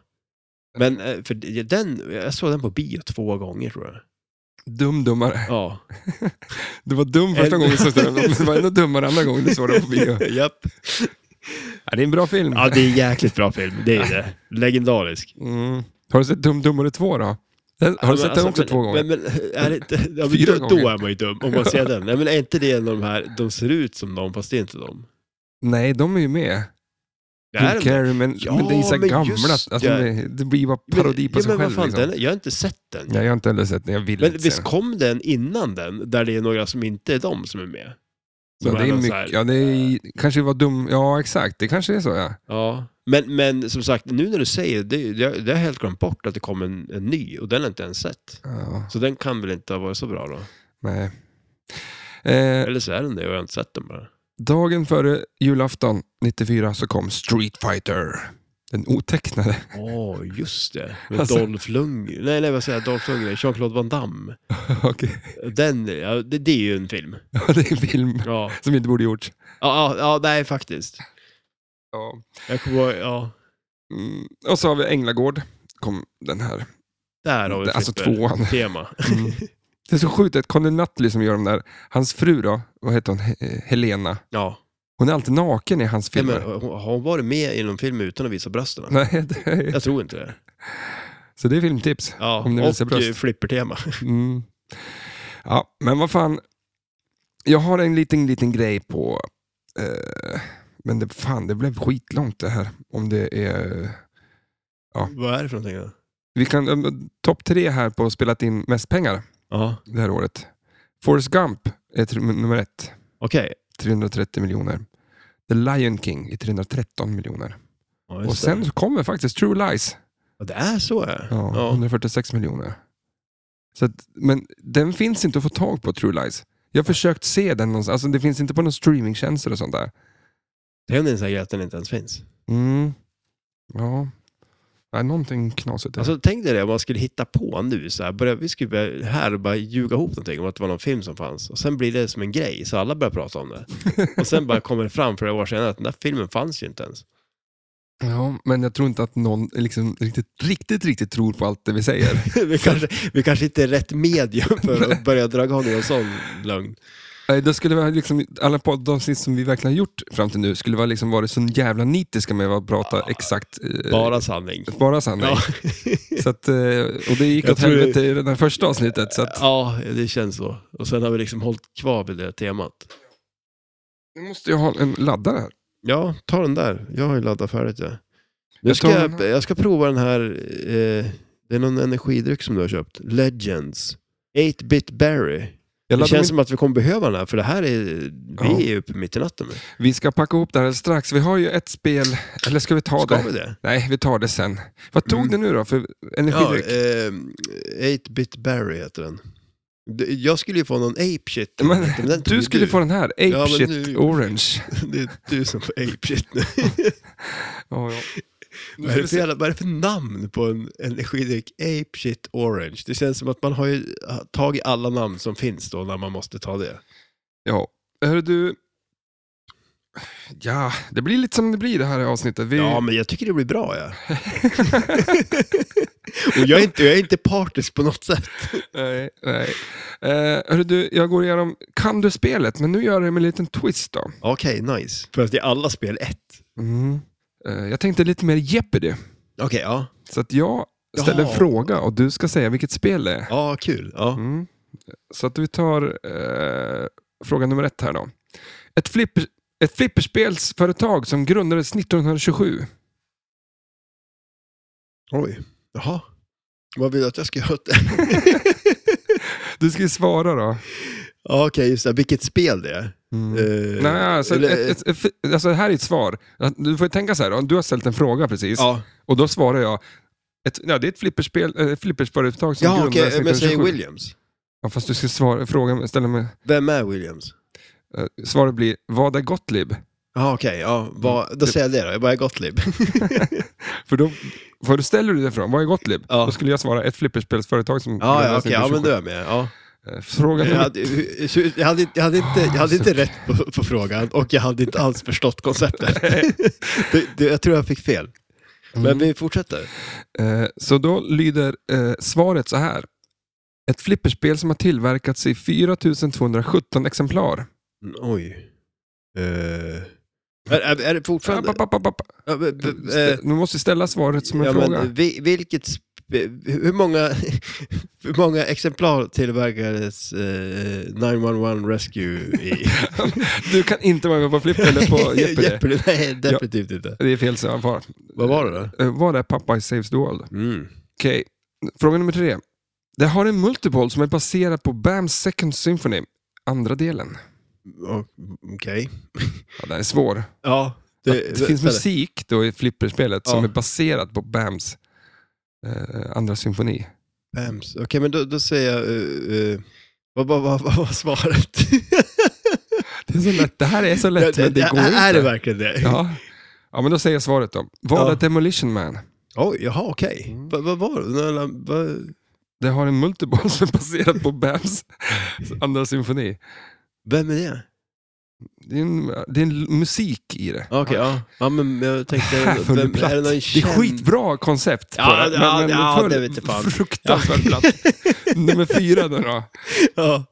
Men eh, för det- den, jag såg den på bio två gånger tror jag.
Dum Dummare.
Ja.
Det var dum första
En-
gången du såg den, men det var ännu dummare andra gången du såg den på bio.
Japp.
Ja, det är en bra film.
Ja, det är en jäkligt bra film. Det är det. Legendarisk.
Mm. Har du sett Dum Dummare 2 då? Den, har du
Ja,
sett den
men alltså,
också
men,
två gånger?
Men, men, är det, inte- ja, men
Fyra
då, då
gånger.
är man ju dum, om man ser den. Nej, men är inte det en av de här, de ser ut som dem fast det är inte dem?
Nej, de är ju med.
Det är
Jim
den.
Carrey, men,
Ja,
men det är så
men
här gamla.
just
Alltså, de är- det blir bara parodi
Men-
på
ja,
sig
men vad
själv.
fan,
liksom.
den, jag har inte sett den.
Nej, jag har inte heller sett den. Jag vill
men
inte se
visst
den.
kom den innan den, där det är några som inte är de som är med?
Ja,
Som
det är
någon så
mycket,
här-
ja, det är, kanske var dum... Ja, exakt. Det kanske är så, ja.
Ja. Men, men som sagt, nu när du säger det, jag, jag har helt glömt bort att det kom en, en ny och den har jag inte ens sett.
ja
Så den kan väl inte ha varit så bra då?
nej. Eh,
Eller så är den det och jag har inte sett den bara.
dagen före julafton 94 så kom Street Fighter. Den otecknade.
Åh, just det. Med
Alltså-
Dolph Lundgren. Nej, nej, vad säger jag? Dolph Lundgren. Jean-Claude Van Damme.
Okej.
Den, ja, det, det är ju en film.
Ja, det är en film
Ja,
som inte borde gjorts.
ja, ja, ja nej faktiskt.
Ja.
Jag kommer ihåg, ja.
Mm. Och så har vi Änglagård. kom den här.
Där har vi
Alltså
flipper.
tvåan.
Tema.
Mm. Det är så sjukt att Conny Nutley som gör de där, hans fru då, vad heter hon, He- Helena.
Ja.
Hon är alltid naken i hans
Nej,
filmer.
men, hon- har hon varit med i någon film utan att visa brösten?
Nej, det är,
Jag tror inte det.
så det är filmtips.
Ja,
Om ni vill
och
se bröst.
eh, flippertema.
Mm. Ja, men vad fan. Jag har en liten, liten grej på... Eh, men det, fan, det blev skitlångt det här. Om det är...
Vad är det för någonting då?
Vi kan... eh, Topp tre här på spelat in mest pengar
Ja,
det här året. Forrest Gump är tr- nummer ett.
okej.
330 miljoner. The Lion King är 313 miljoner.
Ja, just
Och sen
det.
så kommer faktiskt True Lies.
Ja, det är så ja.
Ja,
ja.
146 miljoner. Så att, men den finns inte att få tag på, True Lies. Jag har försökt se den någonstans. Alltså, det finns inte på några streamingtjänster och sånt där.
Det är en sån här grej att den inte ens finns.
Mm. Ja. Nej, någonting knasigt. är det.
Alltså tänk dig det om man skulle hitta på nu så här, börja, vi skulle börja här och bara ljuga ihop någonting om att det var någon film som fanns och sen blir det som en grej så alla börjar prata om det. Och sen bara kommer det fram flera år senare att den där filmen fanns ju inte ens.
Ja, men jag tror inte att någon liksom riktigt, riktigt, riktigt tror på allt det vi säger.
vi, kanske, vi kanske inte är rätt medium för att börja dra igång en sån lögn.
Nej, då skulle vi ha liksom, alla poddavsnitt som vi verkligen har gjort fram till nu skulle vara liksom varit så jävla nitiska med att prata exakt eh,
Bara sanning.
bara sanning.
Ja.
Så att, eh, och det gick
Jag
åt
tror det-
helvete i det där första avsnittet. Så att,
Ja, det känns så. Och sen har vi liksom hållit kvar vid det temat.
nu måste jag ha en laddare här.
Ja, ta den där. Jag har ju laddat färdigt det. Nu
Jag
ska
tar den
jag,
här.
jag ska prova den här. Eh, det är någon energidryck som du har köpt. Legends. 8-bit berry.
Jag
Det
laddar
känns
min,
som att vi kommer behöva den här, för det här är...
Ja.
Vi är uppe mitt i natten nu.
Vi ska packa ihop det här strax. Vi har ju ett spel, eller ska vi ta
Ska
det?
vi det?
Nej, vi tar det sen. Vad tog
Mm.
det nu då för
Ja,
energidryck?
eh, 8-bit berry heter den. Det- Jag skulle ju få någon ape shit.
men,
den tog
du
ju
skulle få den här, Ape
Ja, men
Shit
nu-
Orange.
Det är du som får ape shit nu.
Ja, ja.
Vad är, det för, jävla- vad är det för namn på en energidryck? Ape shit orange. Det känns som att man har ju tagit alla namn som finns då när man måste ta det.
Ja, hör du. Ja, det blir lite som det blir det här avsnittet. Vi...
Ja, men jag tycker det blir bra ja. Och jag är inte, jag är inte partisk på något sätt.
nej, nej. Eh, hörru du, jag går igenom Kan du spelet? Men nu gör jag det med en liten twist då.
Okej, nice. För att det är alla spel ett. Mm.
Eh, jag tänkte lite mer Jeopardy.
Okej, ja.
Så att jag ställer
Jaha.
en fråga och du ska säga vilket spel det är.
Ja, kul. Ja.
Mm. Så att vi tar eh, fråga nummer ett här då. Ett, flipper, ett flipperspelsföretag som grundades 1927.
Oj. Jaha. Vad vill du att jag ska göra åt det?
Du ska ju svara
Eh,
då.
Ja, Okej, just det. Vilket spel det är. Eh,
Mm. Nej, alltså,
eller-
ett, ett, ett, alltså här är ett svar. Du får ju tänka så här, då. du har ställt en fråga precis
Ja,
och då svarar jag ett, ja, det är ett flipperspel, eh, flippersföretag som
ja okej.
grundades
men säg
1927.
Williams.
Ja, fast du ska svara, fråga, ställa mig,
Vem är Williams?
eh, svaret blir vad är Gottlieb?
Ja, okej. ja, vad, då säger jag det då. Vad är Gottlieb?
För då, för då ställer du det frågan, vad är Gottlieb?
Ja.
Då skulle jag svara ett flipperspelsföretag som
Ja, ja,
grundades
okej. Ja, men
1927.
då är jag med. Ja.
Eh, Fråga
Jag,
nummer
hade, jag, hade, inte- jag, hade inte, jag hade inte rätt på, på frågan och jag hade inte alls förstått konceptet. det, det, jag tror jag fick fel. Men vi fortsätter.
Eh, Så då lyder eh, svaret så här. Ett flipperspel som har tillverkats i 4217 exemplar.
Mm, Oj. Eh, är, är, är det fortfarande...
App, app, app, app.
Ja, men, b-
Stä-
eh,
Du måste ställa svaret som en
ja,
fråga.
men, vi, vilket, sp- hur, många, hur många exemplar tillverkades eh, 911 Rescue i?
Du kan inte vara med på Flipp eller på Jeopardy.
Jeopardy? Nej, definitivt inte.
Det är fel svar.
Vad var det då?
Eh, Vad är Popeye Saves the World?
Mm.
Okej, fråga nummer tre. Det har en multiball som är baserad på Bams Second Symphony, andra delen.
o- Okej.
Ja, den är svår.
Ja.
Det, finns musik då i flipperspelet som
Ja.
är baserat på Bams eh, andra symfoni.
Bams. Okej, men då, då säger jag... eh, eh, vad, vad, vad, vad var svaret?
Det, är så lätt. det här är så lätt, men det, går
är,
inte.
Är det verkligen det?
ja. ja, men då säger jag svaret då. Vad
Ja.
är Demolition Man?
Oj, jaha, okej.
Mm.
Vad vad var det? Den där- vad-
Det har en multiball som är baserad på Bams andra symfoni.
Vem är det?
Det är, en, det är en musik i det.
Okej, ja. ja. men jag tänkte...
Här föll det
vem-
platt.
är det någon
Det är
känd-
skitbra koncept på
Ja,
det,
ja, ja,
föll
det vet jag fan.
fruktansvärt platt. Nummer fyra då. då.
Ja.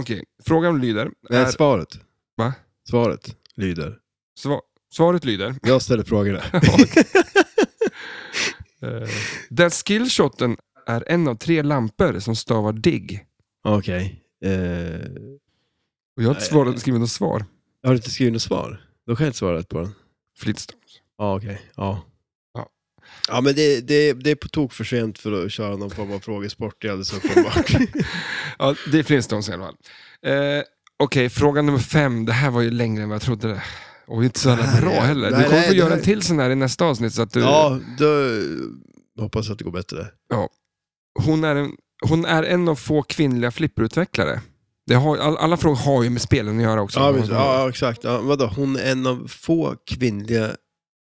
Okej, frågan lyder...
Men
Är,
svaret?
Va?
Svaret lyder.
sva, svaret lyder...
Jag ställer frågorna.
Eh, Den skillshoten är en av tre lampor som stavar digg.
Okej. Eh,
Och jag har inte svarat, skrivit något svar.
har du inte skrivit något svar? Då kan jag inte svara rätt på den.
Flintstones.
Ja, okej. Ja.
Ja.
Ja, men det, det, det är på tok för sent för att köra någon form av frågesport. Det är alldeles uppenbart.
Ja, det är Flintstones i alla fall. Eh, Okej, fråga nummer fem. Det här var ju längre än vad jag trodde. det. Och inte så
Nej,
jävla bra heller.
nej,
du kommer
nej,
få
det
göra
här-
en till sån här i nästa avsnitt. Så att du,
ja, då hoppas jag att det går bättre.
hon, är en, hon är en av få kvinnliga flipperutvecklare. Det har, all, alla frågor har ju med spelen att göra också.
Ja, visst, ja, exakt. Ja, vadå? Hon är en av få kvinnliga...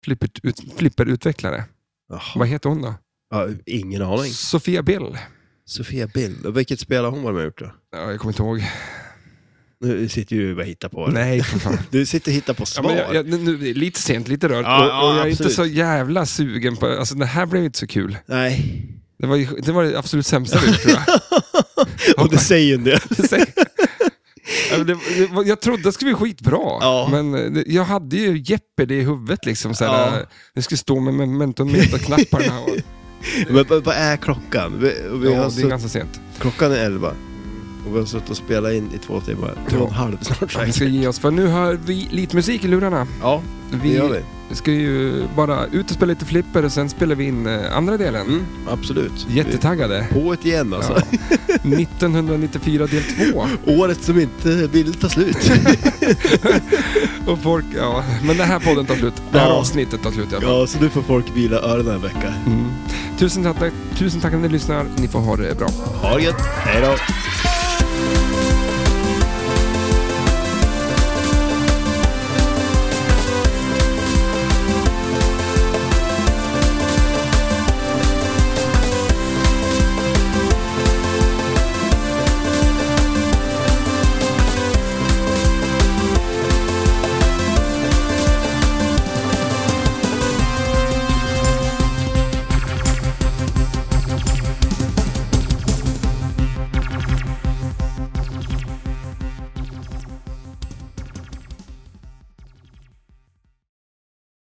Flippert, ut, flipperutvecklare.
Jaha.
Vad heter hon då?
Ja, ingen aning.
Sofia Bill.
Sofia Bill. Och vilket spel har hon varit med och gjort då?
Ja, jag kommer inte ihåg.
Nu sitter ju du bara och hittar på. det.
Nej, för fan.
Du sitter och hittar på
Ja,
svar.
men jag, jag, nu- nu, lite sent, lite rört.
Ja,
och,
ja,
och jag är inte
absolut.
så jävla sugen på... Alltså det här blev inte så kul.
Nej.
Det var, ju, det, var det absolut sämsta vi gjort, tror jag.
Och det säger ju en del.
Säg- Ja, men det, det, var- jag trodde det skulle bli skitbra,
Ja.
men eh, det, jag hade ju Jeopardy i huvudet. Liksom, såhär,
Ja.
eh, Jag skulle stå med memento meta-knapparna. Och,
Men vad vad är klockan? Vi, och vi
ja,
har
det är
sutt-
ganska sent.
Klockan är elva. Och vi har suttit och spelat in i två timmar. Två och en halv snart
Vi
sagt.
ska ge oss, för nu hör vi lite musik i lurarna.
Ja, det
Vi
gör vi.
ska ju bara ut och spela lite flipper och sen spelar vi in eh, andra delen.
Mm, absolut.
Jättetaggade.
Vi- På ett igen alltså.
Ja. 1994 del 2.
Året som inte vill ta slut.
Och folk, ja, men den här podden tar slut. Det här
Ja.
avsnittet tar slut i alla fall.
ja, så nu får folk vila öronen en vecka.
Mm. Tusen, tack, tusen tack att ni lyssnar. Ni får ha det bra.
Ha det gött. Hej då.